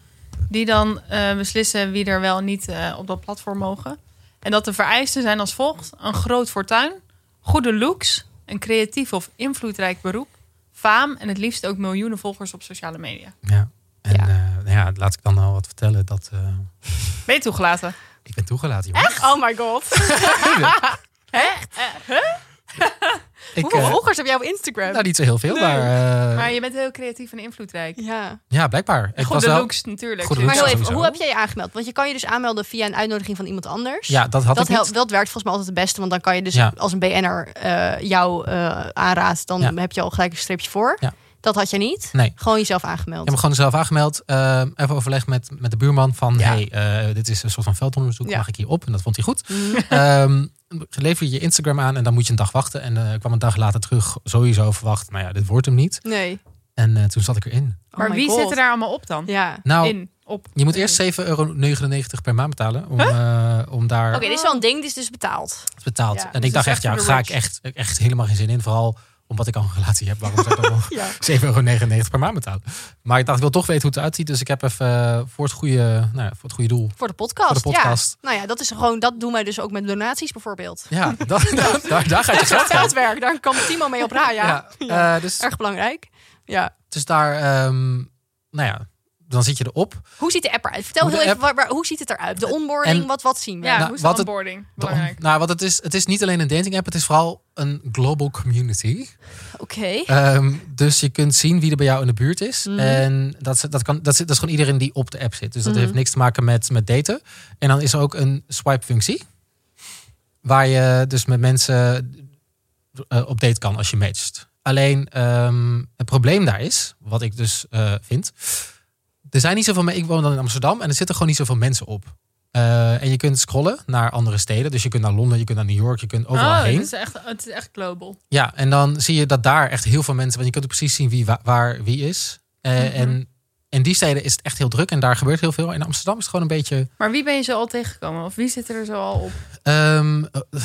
[SPEAKER 4] Die dan eh, beslissen wie er wel en niet eh, op dat platform mogen. En dat de vereisten zijn als volgt. Een groot fortuin, goede looks, een creatief of invloedrijk beroep, faam en het liefst ook miljoenen volgers op sociale media.
[SPEAKER 1] ja. En
[SPEAKER 2] Ja.
[SPEAKER 1] ja. ja, laat ik dan al wat vertellen. Dat, eh,
[SPEAKER 4] Ben je toegelaten?
[SPEAKER 1] ik ben toegelaten, jongen.
[SPEAKER 2] Oh my god.
[SPEAKER 1] Ik,
[SPEAKER 2] Hoeveel
[SPEAKER 1] eh,
[SPEAKER 2] volgers heb jij op Instagram?
[SPEAKER 1] nou, niet zo heel veel,
[SPEAKER 4] Nee.
[SPEAKER 1] maar, eh,
[SPEAKER 4] Maar je bent heel creatief en invloedrijk.
[SPEAKER 2] ja.
[SPEAKER 1] ja, blijkbaar. Ik was
[SPEAKER 4] Goede
[SPEAKER 1] wel,
[SPEAKER 4] looks natuurlijk.
[SPEAKER 1] Goede
[SPEAKER 2] Maar
[SPEAKER 1] looks.
[SPEAKER 2] heel even,
[SPEAKER 1] sowieso.
[SPEAKER 2] hoe heb jij je aangemeld? Want je kan je dus aanmelden via een uitnodiging van iemand anders.
[SPEAKER 1] Ja, dat had
[SPEAKER 2] dat,
[SPEAKER 1] ik niet.
[SPEAKER 2] helpt, dat werkt volgens mij altijd het beste. Want dan kan je dus
[SPEAKER 1] Ja.
[SPEAKER 2] als een BN'er eh, jou eh aanraadt. Dan
[SPEAKER 1] Ja.
[SPEAKER 2] heb je al gelijk een streepje voor.
[SPEAKER 1] Ja.
[SPEAKER 2] Dat had je niet.
[SPEAKER 1] Nee.
[SPEAKER 2] Gewoon jezelf aangemeld.
[SPEAKER 1] Ik heb me gewoon zelf aangemeld. eh, even overleg met, met de buurman van...
[SPEAKER 2] Ja.
[SPEAKER 1] hey, eh, dit is een soort van veldonderzoek.
[SPEAKER 2] Ja.
[SPEAKER 1] Mag ik hier op? En dat vond hij goed.
[SPEAKER 2] Mhm.
[SPEAKER 1] Ehm, lever je je Instagram aan en dan moet je een dag wachten. En eh, ik kwam een dag later terug. Sowieso verwacht, nou ja, dit wordt hem niet.
[SPEAKER 2] Nee.
[SPEAKER 1] En eh, toen zat ik erin.
[SPEAKER 4] Maar wie zit er daar allemaal op dan?
[SPEAKER 2] Ja.
[SPEAKER 1] Nou,
[SPEAKER 4] In, op.
[SPEAKER 1] je moet eerst 7,99 euro per maand betalen. Om, eh, om daar...
[SPEAKER 2] Oké, dit is wel een ding, dit is dus betaald.
[SPEAKER 1] betaald.
[SPEAKER 2] Oh, Ja,
[SPEAKER 1] en
[SPEAKER 4] dus
[SPEAKER 1] ik dacht
[SPEAKER 4] dat is
[SPEAKER 1] echt,
[SPEAKER 4] echt
[SPEAKER 1] ja,
[SPEAKER 4] voor de
[SPEAKER 1] ga ik
[SPEAKER 4] rich.
[SPEAKER 1] echt, echt helemaal geen zin in. Vooral Omdat ik al een relatie heb, waarom zou ik dan nog
[SPEAKER 2] Ja.
[SPEAKER 1] 7,99 euro per maand betalen? Maar ik dacht, ik wil toch weten hoe het eruit ziet. Dus ik heb even eh, voor het goede, nou, ja, voor het goede doel.
[SPEAKER 2] Voor de podcast.
[SPEAKER 1] Voor de podcast.
[SPEAKER 2] Ja. Nou ja, dat is gewoon, dat doen wij dus ook met donaties bijvoorbeeld.
[SPEAKER 1] Ja, dat, dat- daar, daar gaat je
[SPEAKER 2] Dat
[SPEAKER 1] geld
[SPEAKER 2] is
[SPEAKER 1] van.
[SPEAKER 2] geldwerk, daar kan Timo mee op raaien. Ja.
[SPEAKER 1] Ja, eh, dus,
[SPEAKER 2] Erg belangrijk. Ja.
[SPEAKER 1] dus daar, ehm, nou ja, dan zit je erop.
[SPEAKER 2] Hoe ziet de app eruit? Vertel
[SPEAKER 1] Hoe
[SPEAKER 2] heel
[SPEAKER 1] de
[SPEAKER 2] even, waar, waar- hoe ziet het eruit? De onboarding,
[SPEAKER 1] En-
[SPEAKER 2] wat, wat zien we?
[SPEAKER 4] Ja,
[SPEAKER 1] Nou,
[SPEAKER 4] hoe is
[SPEAKER 1] wat
[SPEAKER 4] de
[SPEAKER 1] het-
[SPEAKER 4] onboarding?
[SPEAKER 1] De on-
[SPEAKER 4] Belangrijk.
[SPEAKER 1] nou, want het is, het is niet alleen een dating app, het is vooral een global community.
[SPEAKER 2] Oké.
[SPEAKER 1] Ehm, dus je kunt zien wie er bij jou in de buurt is.
[SPEAKER 2] Mhm.
[SPEAKER 1] En dat, is- dat, kan, dat, is, dat is gewoon iedereen die op de app zit. Dus dat
[SPEAKER 2] Mhm.
[SPEAKER 1] heeft niks te maken met, met daten. En dan is er ook een swipe functie. Waar je dus met mensen eh, op date kan als je matcht. Alleen ehm, het probleem daar is, wat ik dus eh, vind. Er zijn niet zoveel mensen. Ik woon dan in Amsterdam en er zitten gewoon niet zoveel mensen op. Eh, en je kunt scrollen naar andere steden. Dus je kunt naar Londen, je kunt naar New York, je kunt overal
[SPEAKER 2] Ah,
[SPEAKER 4] Oh,
[SPEAKER 1] heen.
[SPEAKER 4] het is echt, het is echt global.
[SPEAKER 1] Ja, en dan zie je dat daar echt heel veel mensen... want je kunt ook precies zien wie wa- waar wie is. Eh,
[SPEAKER 2] Mhm.
[SPEAKER 1] En in die steden is het echt heel druk en daar gebeurt heel veel. In Amsterdam is het gewoon een beetje...
[SPEAKER 4] Maar wie ben je zo al tegengekomen? Of wie zit er zo al op?
[SPEAKER 1] ehm, eh,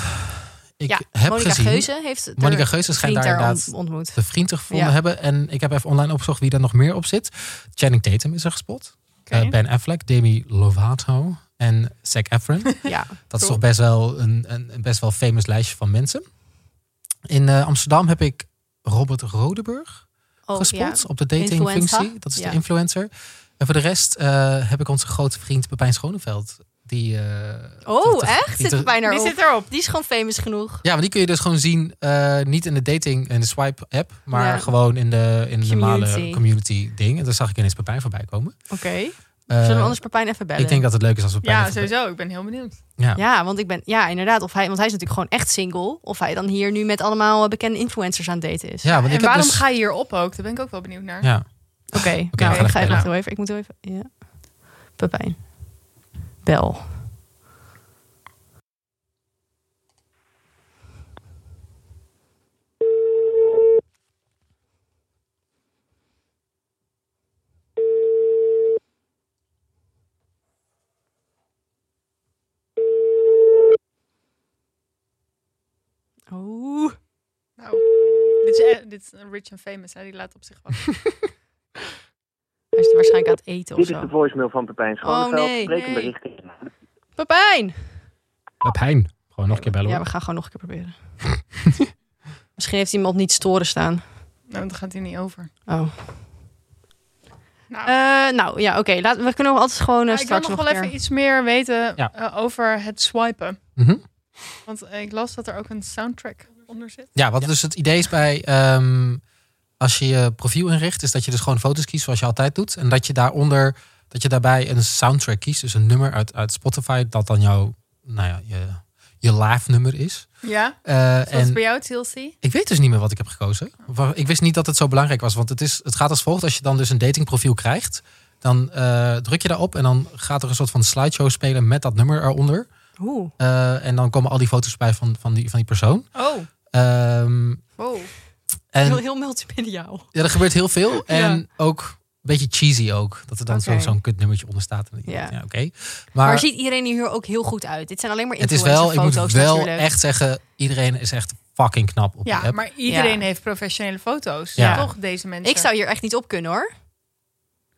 [SPEAKER 1] ik
[SPEAKER 2] ja,
[SPEAKER 1] heb
[SPEAKER 2] Monica
[SPEAKER 1] gezien...
[SPEAKER 2] Geuze heeft er
[SPEAKER 1] Monica Geuze schijnt
[SPEAKER 2] vriend
[SPEAKER 1] daar
[SPEAKER 2] daar
[SPEAKER 1] inderdaad
[SPEAKER 2] ont- ontmoet.
[SPEAKER 1] de vrienden gevonden
[SPEAKER 2] Ja.
[SPEAKER 1] hebben. En ik heb even online opgezocht wie daar nog meer op zit. Channing Tatum is er gespot.
[SPEAKER 4] Oké.
[SPEAKER 1] Eh, ben Affleck, Demi Lovato en Zac Efron.
[SPEAKER 2] Ja.
[SPEAKER 1] Dat is
[SPEAKER 4] Cool.
[SPEAKER 1] toch best wel een, een, een best wel famous lijstje van mensen. In eh, Amsterdam heb ik Robert Rodeburg.
[SPEAKER 2] Oh,
[SPEAKER 1] gespot
[SPEAKER 2] ja.
[SPEAKER 1] op de datingfunctie.
[SPEAKER 2] Influencer.
[SPEAKER 1] Dat is
[SPEAKER 2] Ja.
[SPEAKER 1] de influencer. En voor de rest eh, heb ik onze grote vriend Pepijn Schoneveld. Die, eh, dat-
[SPEAKER 2] Oh,
[SPEAKER 1] dat-
[SPEAKER 2] echt?
[SPEAKER 1] die
[SPEAKER 2] Zit er
[SPEAKER 1] te-
[SPEAKER 2] bijna
[SPEAKER 4] Wie
[SPEAKER 2] op?
[SPEAKER 4] zit erop?
[SPEAKER 2] Die is gewoon famous genoeg.
[SPEAKER 1] ja, maar die kun je dus gewoon zien, eh, niet in de dating en de swipe app, maar
[SPEAKER 2] Ja.
[SPEAKER 1] gewoon in de, in de normale
[SPEAKER 2] Community.
[SPEAKER 1] community ding. En daar zag ik ineens Pepijn voorbij komen.
[SPEAKER 2] Oké.
[SPEAKER 1] Eh,
[SPEAKER 2] Zullen we anders Pepijn even bellen?
[SPEAKER 1] ik denk dat het leuk is als we Pepijn
[SPEAKER 4] Ja,
[SPEAKER 1] even-
[SPEAKER 4] sowieso. Ik ben heel benieuwd.
[SPEAKER 1] Ja.
[SPEAKER 2] Ja, want ik ben, ja, inderdaad. Of hij, want hij is natuurlijk gewoon echt single. Of hij dan hier nu met allemaal eh, bekende influencers aan het daten is.
[SPEAKER 1] Ja, want ik
[SPEAKER 4] en
[SPEAKER 1] heb
[SPEAKER 4] waarom
[SPEAKER 1] dus-
[SPEAKER 4] ga je hier op ook? Daar ben ik ook wel benieuwd naar.
[SPEAKER 1] Ja.
[SPEAKER 2] Oké,
[SPEAKER 1] we gaan
[SPEAKER 2] nou, ik
[SPEAKER 1] even
[SPEAKER 2] ga even,
[SPEAKER 1] bellen.
[SPEAKER 2] wacht heel even. Ik moet heel even. Ja. Pepijn. Bel. Oeh.
[SPEAKER 4] Nou, dit, is, eh, dit is een rich and famous. Hè? Die laat op zich wachten.
[SPEAKER 2] Hij is waarschijnlijk aan het eten of
[SPEAKER 7] Dit is de
[SPEAKER 2] zo. Oh,
[SPEAKER 7] voicemail van Pepijn Schoneveld.
[SPEAKER 2] nee,
[SPEAKER 7] Spreek een
[SPEAKER 4] nee.
[SPEAKER 7] bericht in.
[SPEAKER 2] Pepijn!
[SPEAKER 1] Pepijn. Gewoon nog een keer bellen.
[SPEAKER 2] Ja,
[SPEAKER 1] hoor.
[SPEAKER 2] we gaan gewoon nog een keer proberen. Misschien heeft iemand niet storen staan.
[SPEAKER 4] nou, dan gaat hij niet over.
[SPEAKER 2] Oh.
[SPEAKER 4] Nou,
[SPEAKER 2] Eh, nou ja, oké. laten we kunnen altijd gewoon eh,
[SPEAKER 4] nou, ik wil
[SPEAKER 2] straks
[SPEAKER 4] nog
[SPEAKER 2] nog,
[SPEAKER 4] wel
[SPEAKER 2] een
[SPEAKER 4] even
[SPEAKER 2] keer-
[SPEAKER 4] iets meer weten
[SPEAKER 1] Ja.
[SPEAKER 4] eh, over het swipen.
[SPEAKER 1] Mhm.
[SPEAKER 4] Want eh, ik las dat er ook een soundtrack onder zit.
[SPEAKER 1] Ja, wat dus het idee is bij ehm, als je je profiel inricht, is dat je dus gewoon foto's kiest zoals je altijd doet. En dat je daaronder dat je daarbij een soundtrack kiest, dus een nummer uit, uit Spotify, dat dan jouw, nou ja, je, je live nummer is.
[SPEAKER 4] Ja,
[SPEAKER 1] Eh,
[SPEAKER 4] zoals
[SPEAKER 1] en
[SPEAKER 4] bij jou, TLC.
[SPEAKER 1] ik weet dus niet meer wat ik heb gekozen. Wa- Ik wist niet dat het zo belangrijk was. Want het, is, het gaat als volgt. Als je dan dus een datingprofiel krijgt, dan eh, druk je daarop en dan gaat er een soort van slideshow spelen met dat nummer eronder.
[SPEAKER 2] Oeh.
[SPEAKER 1] Eh, en dan komen al die foto's bij van, van, die, van die persoon.
[SPEAKER 4] Oh,
[SPEAKER 1] Ehm,
[SPEAKER 4] wow.
[SPEAKER 1] en
[SPEAKER 2] Oh. Heel, heel multimediaal.
[SPEAKER 1] Ja, er gebeurt heel veel. En ook een beetje cheesy ook. Dat er dan zo-
[SPEAKER 2] Oké.
[SPEAKER 1] zo'n kut nummertje onder staat. En dan denk ik,
[SPEAKER 2] Ja.
[SPEAKER 1] ja, oké.
[SPEAKER 2] Maar,
[SPEAKER 1] Maar
[SPEAKER 2] ziet iedereen hier ook heel goed uit? Dit zijn alleen maar
[SPEAKER 1] het is wel, ik moet
[SPEAKER 2] influencerfoto's dus
[SPEAKER 1] wel
[SPEAKER 2] natuurlijk.
[SPEAKER 1] echt zeggen, iedereen is echt fucking knap op de
[SPEAKER 4] Ja,
[SPEAKER 1] app.
[SPEAKER 4] maar iedereen heeft professionele foto's.
[SPEAKER 1] Ja.
[SPEAKER 4] Toch, deze mensen?
[SPEAKER 2] Ik zou hier echt niet op kunnen hoor.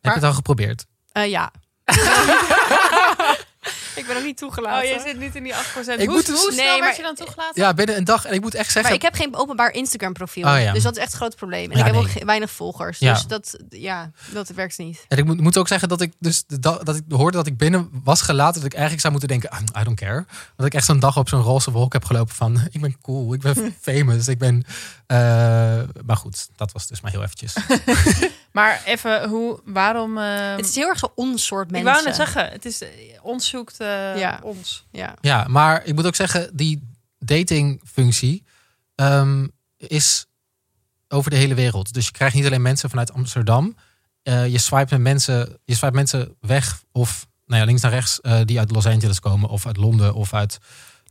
[SPEAKER 1] Heb je het al geprobeerd?
[SPEAKER 2] Eh, ja. ik ben ook niet toegelaten.
[SPEAKER 4] Oh, jij zit niet in die 8%.
[SPEAKER 1] Ik
[SPEAKER 4] hoe
[SPEAKER 1] moet dus-
[SPEAKER 4] hoe snel
[SPEAKER 2] Nee,
[SPEAKER 4] werd
[SPEAKER 2] maar-
[SPEAKER 4] je dan toegelaten?
[SPEAKER 1] Ja, binnen een dag. En ik moet echt
[SPEAKER 2] maar
[SPEAKER 1] zeggen,
[SPEAKER 2] ik heb geen openbaar Instagram profiel.
[SPEAKER 1] Oh, ja.
[SPEAKER 2] Dus dat is echt een groot probleem.
[SPEAKER 1] Ja,
[SPEAKER 2] En ik heb
[SPEAKER 1] nee.
[SPEAKER 2] ook ge- weinig volgers.
[SPEAKER 1] Ja.
[SPEAKER 2] Dus dat, ja, dat werkt niet.
[SPEAKER 1] en ik moet, moet ook zeggen dat ik dus de dag- dat ik hoorde dat ik binnen was gelaten. Dat ik eigenlijk zou moeten denken, ah, I don't care. Dat ik echt zo'n dag op zo'n roze wolk heb gelopen van, ik ben cool, ik ben famous, ik ben... eh, maar goed, dat was dus maar heel eventjes.
[SPEAKER 4] Maar even, hoe, waarom... eh,
[SPEAKER 2] het is heel erg zo ons soort
[SPEAKER 4] ik
[SPEAKER 2] mensen.
[SPEAKER 4] wou net zeggen, het is, eh, ons zoekt eh,
[SPEAKER 2] Ja.
[SPEAKER 4] ons.
[SPEAKER 2] Ja.
[SPEAKER 1] Ja, maar ik moet ook zeggen, die datingfunctie ehm, is over de hele wereld. Dus je krijgt niet alleen mensen vanuit Amsterdam. Eh, je, swipe met mensen, je swipe mensen weg of nou ja, links naar rechts eh, die uit Los Angeles komen of uit Londen of uit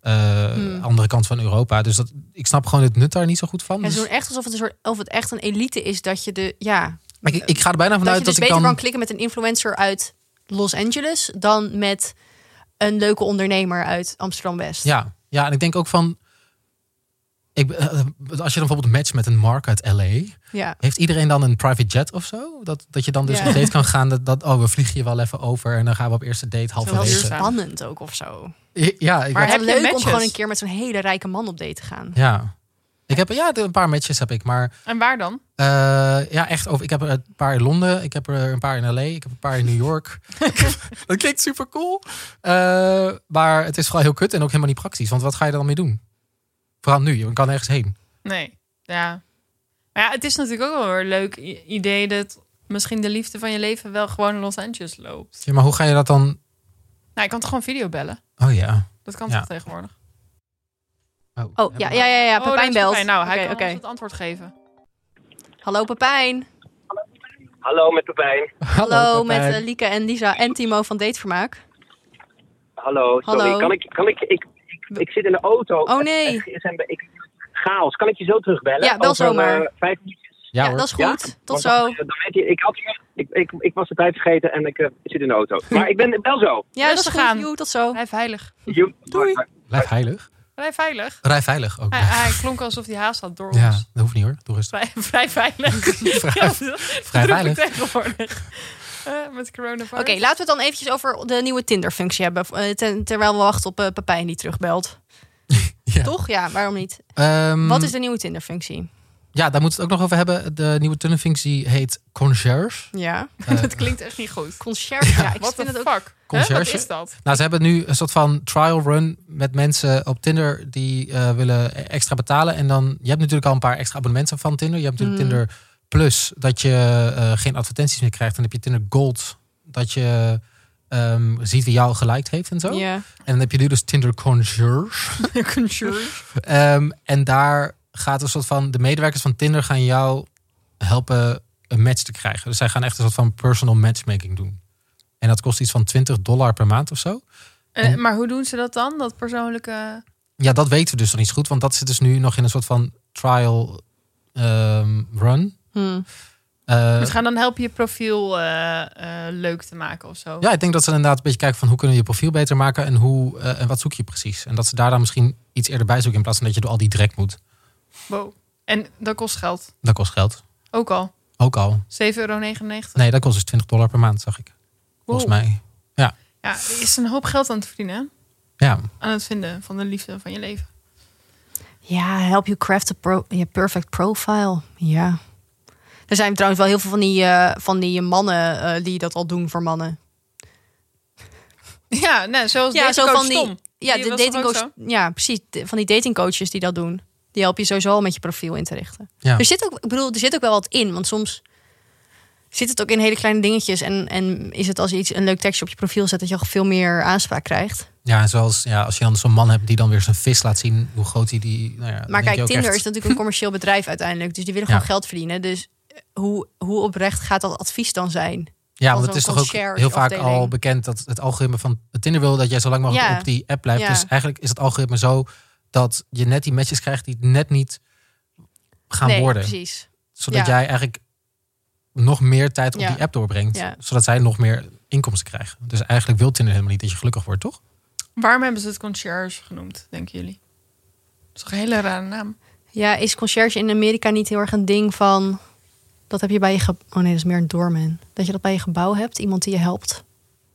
[SPEAKER 1] eh
[SPEAKER 2] Hmm.
[SPEAKER 1] andere kant van Europa. Dus dat, ik snap gewoon het nut daar niet zo goed van.
[SPEAKER 2] En
[SPEAKER 1] Dus
[SPEAKER 2] ze doen echt alsof het, een soort, of het echt een elite is dat je de... Ja,
[SPEAKER 1] ik, ik ga er bijna
[SPEAKER 2] dat
[SPEAKER 1] vanuit
[SPEAKER 2] je dus
[SPEAKER 1] Nou, dat, ik
[SPEAKER 2] beter
[SPEAKER 1] dan...
[SPEAKER 2] kan klikken met een influencer uit Los Angeles dan met een leuke ondernemer uit Amsterdam West.
[SPEAKER 1] Ja, ja, en ik denk ook van. Ik, eh, als je dan bijvoorbeeld matcht met een mark uit LA,
[SPEAKER 2] Ja.
[SPEAKER 1] heeft iedereen dan een private jet of zo? Dat, dat je dan dus
[SPEAKER 2] Ja.
[SPEAKER 1] op date kan gaan, dat, dat, oh, we vliegen je wel even over en dan gaan we op eerste date
[SPEAKER 2] Het is wel
[SPEAKER 1] halverwege.
[SPEAKER 4] duurzaam.
[SPEAKER 2] spannend ook of zo.
[SPEAKER 1] Ja, ik
[SPEAKER 4] Maar
[SPEAKER 1] had-
[SPEAKER 2] Maar het
[SPEAKER 4] heb
[SPEAKER 2] is
[SPEAKER 4] je
[SPEAKER 2] leuk om
[SPEAKER 4] matches?
[SPEAKER 2] gewoon een keer met zo'n hele rijke man op date te gaan.
[SPEAKER 1] ja. Ik heb ja, een paar matches heb ik, maar
[SPEAKER 4] En waar dan?
[SPEAKER 1] eh, ja, echt over. Ik heb er een paar in Londen, ik heb er een paar in LA, ik heb een paar in New York. dat klinkt super cool. eh, maar het is vooral heel kut en ook helemaal niet praktisch, want wat ga je er dan mee doen? Vooral nu, je kan ergens heen.
[SPEAKER 4] Nee, ja. Maar ja, het is natuurlijk ook wel weer een leuk i- idee dat misschien de liefde van je leven wel gewoon in Los Angeles loopt.
[SPEAKER 1] Ja, maar hoe ga je dat dan?
[SPEAKER 4] Nou, je kan toch gewoon videobellen?
[SPEAKER 1] Oh ja.
[SPEAKER 4] Dat kan
[SPEAKER 1] Ja.
[SPEAKER 4] toch tegenwoordig?
[SPEAKER 2] Oh, ja, ja, ja, ja.
[SPEAKER 4] Oh, daar
[SPEAKER 2] Pepijn
[SPEAKER 4] is
[SPEAKER 2] belt.
[SPEAKER 4] Pepijn. Nou,
[SPEAKER 2] Oké,
[SPEAKER 4] hij kan
[SPEAKER 2] oké.
[SPEAKER 4] ons het antwoord geven.
[SPEAKER 2] Hallo Pepijn.
[SPEAKER 7] Hallo met Pepijn.
[SPEAKER 2] Hallo, met eh, Lieke en Lisa en Timo van Datevermaak.
[SPEAKER 7] Hallo, sorry.
[SPEAKER 2] Hallo.
[SPEAKER 7] Kan ik, kan ik, ik, ik, ik zit in de auto.
[SPEAKER 2] Oh, nee.
[SPEAKER 7] Het- het is een- ik, chaos. Kan ik je zo terugbellen?
[SPEAKER 2] Ja, bel
[SPEAKER 7] Over,
[SPEAKER 2] zomaar.
[SPEAKER 7] eh, vijf minuutjes.
[SPEAKER 1] ja,
[SPEAKER 2] Ja,
[SPEAKER 1] hoor.
[SPEAKER 2] dat is goed.
[SPEAKER 7] Ja?
[SPEAKER 2] Tot
[SPEAKER 7] Want
[SPEAKER 2] zo.
[SPEAKER 7] dan- dan weet je, ik, had, ik, ik, ik was de tijd vergeten en ik eh, zit in de auto. Maar ik ben bel zo.
[SPEAKER 2] Ja, dat is
[SPEAKER 4] Rustig
[SPEAKER 2] goed.
[SPEAKER 4] aan.
[SPEAKER 2] Joe, tot zo.
[SPEAKER 4] Blijf veilig.
[SPEAKER 7] Joe.
[SPEAKER 2] Doei.
[SPEAKER 1] Blijf heilig.
[SPEAKER 4] Blijf veilig.
[SPEAKER 1] Rij veilig ook.
[SPEAKER 4] Hij, hij klonk alsof hij haast had door
[SPEAKER 1] Ja,
[SPEAKER 4] ons.
[SPEAKER 1] dat hoeft niet hoor. Doe rustig.
[SPEAKER 4] Vrij, vrij veilig.
[SPEAKER 1] Vrij-
[SPEAKER 4] Ja, dat- dat
[SPEAKER 1] vrij
[SPEAKER 4] roep ik
[SPEAKER 1] veilig.
[SPEAKER 4] tegenwoordig. Eh, met coronavirus.
[SPEAKER 2] Oké, laten we het dan eventjes over de nieuwe Tinder-functie hebben. eh, ten- terwijl we wachten op eh, Pepijn die terugbelt.
[SPEAKER 1] Ja.
[SPEAKER 2] Toch? Ja, waarom niet?
[SPEAKER 1] Ehm,
[SPEAKER 2] Wat is de nieuwe Tinder-functie?
[SPEAKER 1] Ja, daar moeten we het ook nog over hebben. De nieuwe tunnelfunctie heet concierge.
[SPEAKER 2] Ja.
[SPEAKER 1] Eh,
[SPEAKER 4] Dat klinkt echt niet goed.
[SPEAKER 2] Concierge. Ja, ik
[SPEAKER 4] What the
[SPEAKER 2] vind het ook...
[SPEAKER 4] fuck? Hè, Wat
[SPEAKER 1] Conciërge?
[SPEAKER 4] is dat?
[SPEAKER 1] nou, ze hebben nu een soort van trial run met mensen op Tinder die eh, willen extra betalen. En dan, je hebt natuurlijk al een paar extra abonnementen van Tinder. Je hebt natuurlijk
[SPEAKER 2] Mm.
[SPEAKER 1] Tinder Plus, dat je eh, geen advertenties meer krijgt. En dan heb je Tinder Gold, dat je ehm, ziet wie jou geliked heeft en zo.
[SPEAKER 2] Ja.
[SPEAKER 1] En dan heb je nu dus Tinder Concierge. Ehm, en daar gaat een soort van. De medewerkers van Tinder gaan jou helpen een match te krijgen. Dus zij gaan echt een soort van personal matchmaking doen. En dat kost iets van 20 dollar per maand of zo.
[SPEAKER 4] Eh, maar hoe doen ze dat dan? Dat persoonlijke...
[SPEAKER 1] Ja, dat weten we dus nog niet zo goed. Want dat zit dus nu nog in een soort van trial ehm, run.
[SPEAKER 2] Hm.
[SPEAKER 1] Eh,
[SPEAKER 4] Ze gaan dan helpen je profiel eh, eh, leuk te maken of zo.
[SPEAKER 1] ja, ik denk dat ze inderdaad een beetje kijken van hoe kunnen we je profiel beter maken en, hoe, eh, en wat zoek je precies. En dat ze daar dan misschien iets eerder bij zoeken in plaats van dat je door al die drek moet.
[SPEAKER 4] Wow. En dat kost geld.
[SPEAKER 1] Dat kost geld.
[SPEAKER 4] Ook al.
[SPEAKER 1] Ook al.
[SPEAKER 4] 7,99 euro. Nee,
[SPEAKER 1] Nee, dat kost dus 20 dollar per maand, zag ik. Volgens mij.
[SPEAKER 4] Ja, er is een hoop geld aan het verdienen. hè?
[SPEAKER 1] Ja.
[SPEAKER 4] Aan het vinden van de liefde van je leven.
[SPEAKER 2] Ja, help you craft a pro- je perfect profile. Ja. Er zijn trouwens wel heel veel van die, eh, van die mannen eh, die dat al doen voor mannen.
[SPEAKER 4] Ja, nou, zoals
[SPEAKER 2] Ja,
[SPEAKER 4] deze
[SPEAKER 2] zo
[SPEAKER 4] coach
[SPEAKER 2] van die-
[SPEAKER 4] Tom.
[SPEAKER 2] Ja,
[SPEAKER 4] Die
[SPEAKER 2] de
[SPEAKER 4] was toch ook
[SPEAKER 2] datingcoach. Ja, precies. de- Van die datingcoaches die dat doen. Die helpen je sowieso al met je profiel in te richten.
[SPEAKER 1] Ja.
[SPEAKER 2] Er zit ook, ik bedoel, er zit ook wel wat in. Want soms zit het ook in hele kleine dingetjes. En, en is het als je iets, een leuk tekstje op je profiel zet, dat je al veel meer aanspraak krijgt.
[SPEAKER 1] Ja, en zoals ja, als je dan zo'n man hebt die dan weer zijn vis laat zien, hoe groot hij die. Nou ja, dan
[SPEAKER 2] Maar
[SPEAKER 1] denk je
[SPEAKER 2] kijk,
[SPEAKER 1] ook
[SPEAKER 2] Tinder
[SPEAKER 1] echt-
[SPEAKER 2] is natuurlijk een commercieel bedrijf uiteindelijk. Dus die willen
[SPEAKER 1] Ja.
[SPEAKER 2] gewoon geld verdienen. Dus eh, hoe, hoe oprecht gaat dat advies dan zijn?
[SPEAKER 1] Ja,
[SPEAKER 2] van
[SPEAKER 1] want het is
[SPEAKER 2] zo'n
[SPEAKER 1] toch ook
[SPEAKER 2] concierge
[SPEAKER 1] heel vaak
[SPEAKER 2] afdeling.
[SPEAKER 1] al bekend dat het algoritme van Tinder wil dat jij zo lang mogelijk
[SPEAKER 2] Ja.
[SPEAKER 1] op die app blijft.
[SPEAKER 2] Ja.
[SPEAKER 1] Dus eigenlijk is het algoritme zo dat je net die matches krijgt die net niet gaan
[SPEAKER 2] nee,
[SPEAKER 1] worden.
[SPEAKER 2] precies.
[SPEAKER 1] Zodat
[SPEAKER 2] Ja.
[SPEAKER 1] jij eigenlijk nog meer tijd op
[SPEAKER 2] Ja.
[SPEAKER 1] die app doorbrengt.
[SPEAKER 2] Ja.
[SPEAKER 1] Zodat zij nog meer inkomsten krijgen. Dus eigenlijk wil Tinder helemaal niet dat je gelukkig wordt, toch?
[SPEAKER 4] Waarom hebben ze het concierge genoemd, denken jullie? Dat is toch een hele rare naam.
[SPEAKER 2] Ja, is concierge in Amerika niet heel erg een ding van... Dat heb je bij je... ge- Oh nee, dat is meer een doorman. Dat je dat bij je gebouw hebt. Iemand die je helpt.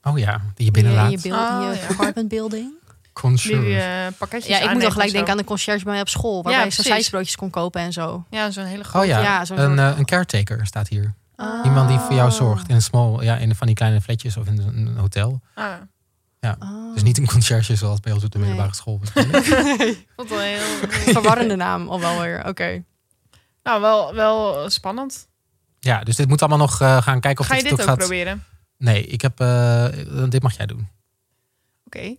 [SPEAKER 1] Oh ja, die je binnenlaat.
[SPEAKER 2] In je, build,
[SPEAKER 4] Oh,
[SPEAKER 2] in je
[SPEAKER 4] ja.
[SPEAKER 2] apartment building.
[SPEAKER 4] Die
[SPEAKER 1] Concierge.
[SPEAKER 4] eh, pakketjes
[SPEAKER 2] Ja, ik moet
[SPEAKER 4] aanneemt
[SPEAKER 2] dan gelijk
[SPEAKER 4] en
[SPEAKER 2] denken
[SPEAKER 4] zo.
[SPEAKER 2] aan de concierge bij mij op school. Waarbij ik zo'n
[SPEAKER 4] precies.
[SPEAKER 2] zijsbroodjes kon kopen en zo.
[SPEAKER 4] Ja, zo'n hele
[SPEAKER 1] Oh
[SPEAKER 4] grote.
[SPEAKER 1] ja,
[SPEAKER 2] Ja, zo'n
[SPEAKER 1] een,
[SPEAKER 2] soort-
[SPEAKER 1] eh, een caretaker staat hier. Ah. Iemand die voor jou
[SPEAKER 4] Ah.
[SPEAKER 1] zorgt in een small, ja, in een van die kleine flatjes of in een een hotel.
[SPEAKER 4] Ah, ik
[SPEAKER 2] Oh.
[SPEAKER 1] Dus niet een conciërge zoals bij ons op de
[SPEAKER 2] Nee.
[SPEAKER 1] middelbare school. waarschijnlijk.
[SPEAKER 4] vond het wel heel...
[SPEAKER 2] Verwarrende naam al wel weer. Oké.
[SPEAKER 4] nou, wel, wel spannend.
[SPEAKER 1] ja, dus dit moet allemaal nog eh, gaan kijken of
[SPEAKER 4] Ga je
[SPEAKER 1] dit
[SPEAKER 4] dit
[SPEAKER 1] het
[SPEAKER 4] ook
[SPEAKER 1] ook gaat.
[SPEAKER 4] proberen?
[SPEAKER 1] Nee, ik heb eh, dit mag jij doen.
[SPEAKER 4] Oké.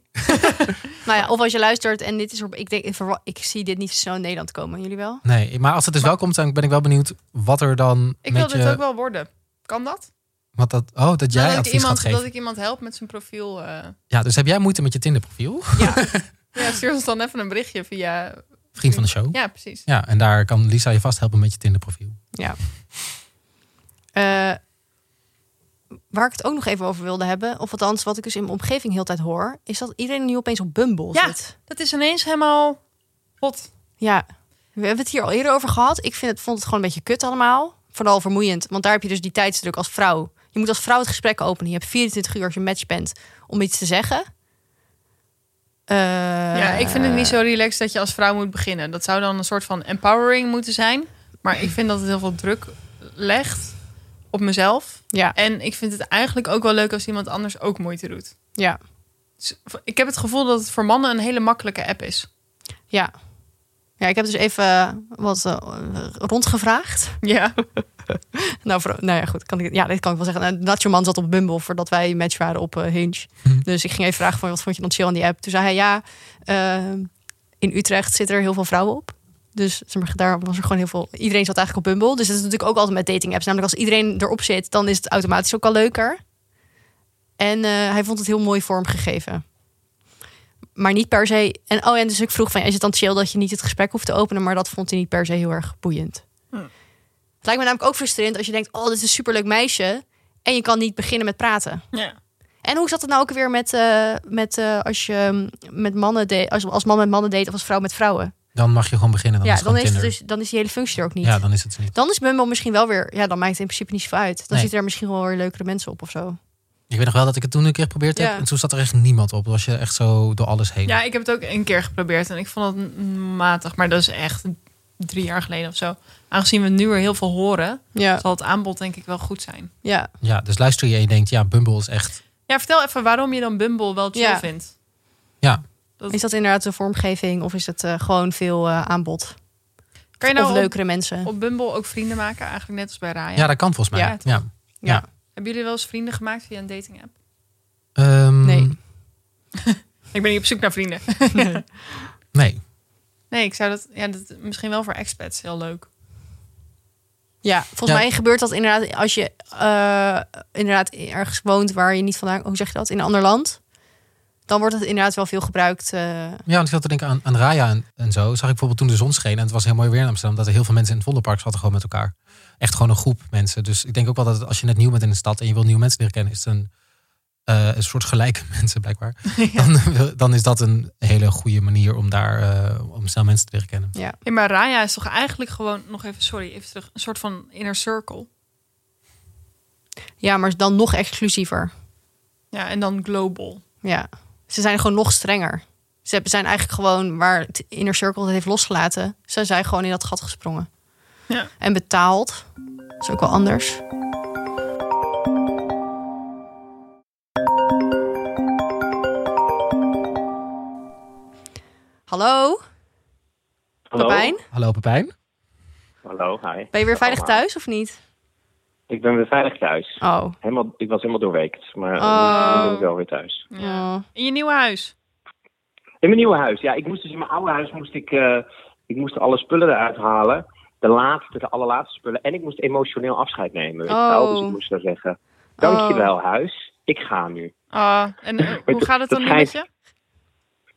[SPEAKER 2] Nou ja, of als je luistert en dit is... op- Ik, denk, ik, verwa- ik zie dit niet zo snel in Nederland komen. Jullie wel?
[SPEAKER 1] Nee, maar als het dus wel komt, dan ben ik wel benieuwd wat er dan
[SPEAKER 4] Ik wil
[SPEAKER 1] met
[SPEAKER 4] dit
[SPEAKER 1] je,
[SPEAKER 4] ook wel worden. Kan dat?
[SPEAKER 1] wat dat, oh, dat
[SPEAKER 4] Nou,
[SPEAKER 1] jij
[SPEAKER 4] dat, ik
[SPEAKER 1] advies gaat
[SPEAKER 4] iemand,
[SPEAKER 1] geven.
[SPEAKER 4] dat ik iemand help met zijn profiel. eh.
[SPEAKER 1] Ja, dus heb jij moeite met je Tinder profiel?
[SPEAKER 4] Ja, stuur ons dan even een berichtje via...
[SPEAKER 1] Vriend van de show. Ja.
[SPEAKER 4] Ja, precies.
[SPEAKER 1] en daar kan Lisa je vast helpen met je Tinder profiel.
[SPEAKER 2] Ja. Eh, waar ik het ook nog even over wilde hebben, of althans wat ik dus in mijn omgeving heel de tijd hoor, is dat iedereen nu opeens op Bumble
[SPEAKER 4] Ja.
[SPEAKER 2] zit.
[SPEAKER 4] Dat is ineens helemaal hot.
[SPEAKER 2] Ja. We hebben het hier al eerder over gehad. Ik vind het, vond het gewoon een beetje kut allemaal. Vooral vermoeiend. Want daar heb je dus die tijdsdruk als vrouw. Je moet als vrouw het gesprek openen. Je hebt 24 uur als je match bent om iets te zeggen. Eh,
[SPEAKER 4] Ja, ik vind het niet zo relaxed dat je als vrouw moet beginnen. Dat zou dan een soort van empowering moeten zijn. Maar ik vind dat het heel veel druk legt op mezelf.
[SPEAKER 2] Ja,
[SPEAKER 4] En ik vind het eigenlijk ook wel leuk als iemand anders ook moeite doet.
[SPEAKER 2] ja,
[SPEAKER 4] Dus ik heb het gevoel dat het voor mannen een hele makkelijke app is.
[SPEAKER 2] ja. Ja, ik heb dus even eh, wat eh, rondgevraagd.
[SPEAKER 4] Ja.
[SPEAKER 2] Nou, voor- nou ja, goed. Kan ik, ja, dit kan ik wel zeggen. Nou, Nacho Man zat op Bumble voordat wij match waren op eh, Hinge. Dus ik ging even vragen van, wat vond je dan chill aan die app? Toen zei hij, ja, ehm, in Utrecht zitten er heel veel vrouwen op. Dus zeg maar, daar was er gewoon heel veel... Iedereen zat eigenlijk op Bumble. Dus dat is natuurlijk ook altijd met dating apps. Namelijk als iedereen erop zit, dan is het automatisch ook al leuker. En eh, hij vond het heel mooi vormgegeven. Maar niet per se... En, oh, en dus ik vroeg van, ja, is het dan chill dat je niet het gesprek hoeft te openen? Maar dat vond hij niet per se heel erg boeiend. Het lijkt me namelijk ook frustrerend als je denkt: oh, dit is een superleuk meisje. En je kan niet beginnen met praten.
[SPEAKER 4] ja.
[SPEAKER 2] En hoe zat het nou ook weer met, eh, met eh, als je ehm, met mannen deed, als, als man met mannen deed of als vrouw met vrouwen?
[SPEAKER 1] Dan mag je gewoon beginnen. Dan
[SPEAKER 2] ja,
[SPEAKER 1] is het
[SPEAKER 2] dan
[SPEAKER 1] gewoon
[SPEAKER 2] is, het
[SPEAKER 1] Tinder.
[SPEAKER 2] dus, dan is die hele functie er ook
[SPEAKER 4] dus
[SPEAKER 2] niet.
[SPEAKER 1] Ja, dan is het dus niet.
[SPEAKER 2] Dan is Bumble misschien wel weer, ja, dan maakt het in principe niet zoveel uit. Dan
[SPEAKER 1] Nee.
[SPEAKER 2] zitten er misschien wel weer leukere mensen op of zo.
[SPEAKER 1] Ik weet nog wel dat ik het toen een keer geprobeerd heb.
[SPEAKER 2] Ja.
[SPEAKER 1] En toen zat er echt niemand op. Dan was je echt zo door alles heen.
[SPEAKER 4] ja, ik heb het ook een keer geprobeerd en ik vond het matig. Maar dat is echt drie jaar geleden of zo. Aangezien we nu weer heel veel horen,
[SPEAKER 2] Ja,
[SPEAKER 4] zal het aanbod denk ik wel goed zijn.
[SPEAKER 2] ja.
[SPEAKER 1] Ja, dus luister je en je denkt, ja, Bumble is echt...
[SPEAKER 4] Ja, vertel even waarom je dan Bumble wel chill
[SPEAKER 2] Ja.
[SPEAKER 4] vindt.
[SPEAKER 1] Ja,
[SPEAKER 2] Is dat inderdaad de vormgeving of is het eh, gewoon veel eh, aanbod?
[SPEAKER 4] Kan je
[SPEAKER 2] of
[SPEAKER 4] nou op,
[SPEAKER 2] leukere mensen?
[SPEAKER 4] op Bumble ook vrienden maken? Eigenlijk net als bij Raya.
[SPEAKER 1] ja dat kan volgens mij.
[SPEAKER 2] Ja,
[SPEAKER 1] Ja,
[SPEAKER 2] toch? ja.
[SPEAKER 4] Hebben jullie wel eens vrienden gemaakt via een dating app?
[SPEAKER 1] Ehm,
[SPEAKER 2] Nee.
[SPEAKER 4] Ik ben niet op zoek naar vrienden.
[SPEAKER 1] Nee.
[SPEAKER 4] Nee, ik zou dat, ja, dat misschien wel voor expats heel leuk.
[SPEAKER 2] Ja, volgens
[SPEAKER 1] Ja.
[SPEAKER 2] mij gebeurt dat inderdaad als je eh, inderdaad ergens woont waar je niet vandaan, hoe zeg je dat, in een ander land. Dan wordt het inderdaad wel veel gebruikt. eh,
[SPEAKER 1] Ja, want ik zat te denken aan, aan Raya en, en zo. Zag ik bijvoorbeeld toen de zon scheen en het was heel mooi weer in Amsterdam. Dat er heel veel mensen in het Vondelpark zaten gewoon met elkaar. Echt gewoon een groep mensen. Dus ik denk ook wel dat als je net nieuw bent in de stad en je wil nieuwe mensen leren kennen, is het een, eh, een soort gelijke mensen blijkbaar. Dan, wil- dan is dat een hele goede manier om daar eh, om snel mensen te leren kennen.
[SPEAKER 4] Ja, maar Raya is toch eigenlijk gewoon, nog even, sorry, even terug, een soort van inner circle.
[SPEAKER 2] ja, maar dan nog exclusiever.
[SPEAKER 4] Ja, en dan global.
[SPEAKER 2] Ja. Ze zijn gewoon nog strenger. Ze hebben- zijn eigenlijk gewoon waar het inner circle het heeft losgelaten. Ze zijn gewoon in dat gat gesprongen.
[SPEAKER 4] Ja.
[SPEAKER 2] En betaald. Dat is ook wel anders. Hallo?
[SPEAKER 7] Hallo.
[SPEAKER 2] Pepijn,
[SPEAKER 1] Hallo Pepijn.
[SPEAKER 7] Hallo, hi.
[SPEAKER 2] ben je weer veilig
[SPEAKER 7] Allemaal.
[SPEAKER 2] thuis of niet?
[SPEAKER 7] Ik ben weer veilig thuis.
[SPEAKER 2] Oh.
[SPEAKER 7] Helemaal, ik was helemaal doorweekt, maar eh,
[SPEAKER 2] Oh.
[SPEAKER 7] nu ben ik wel weer thuis.
[SPEAKER 4] Ja.
[SPEAKER 2] Oh.
[SPEAKER 4] In je nieuwe huis.
[SPEAKER 7] In mijn nieuwe huis. Ja, ik moest dus in mijn oude huis moest ik, eh, ik moest alle spullen eruit halen. De laatste, de allerlaatste spullen. En ik moest emotioneel afscheid nemen. weet je wel.
[SPEAKER 2] Oh.
[SPEAKER 7] Dus ik moest dan zeggen, dankjewel huis, ik ga nu.
[SPEAKER 4] Ah, en eh, hoe
[SPEAKER 7] dat-
[SPEAKER 4] gaat het dan
[SPEAKER 7] dat
[SPEAKER 4] nu met
[SPEAKER 7] schijnt-
[SPEAKER 4] je?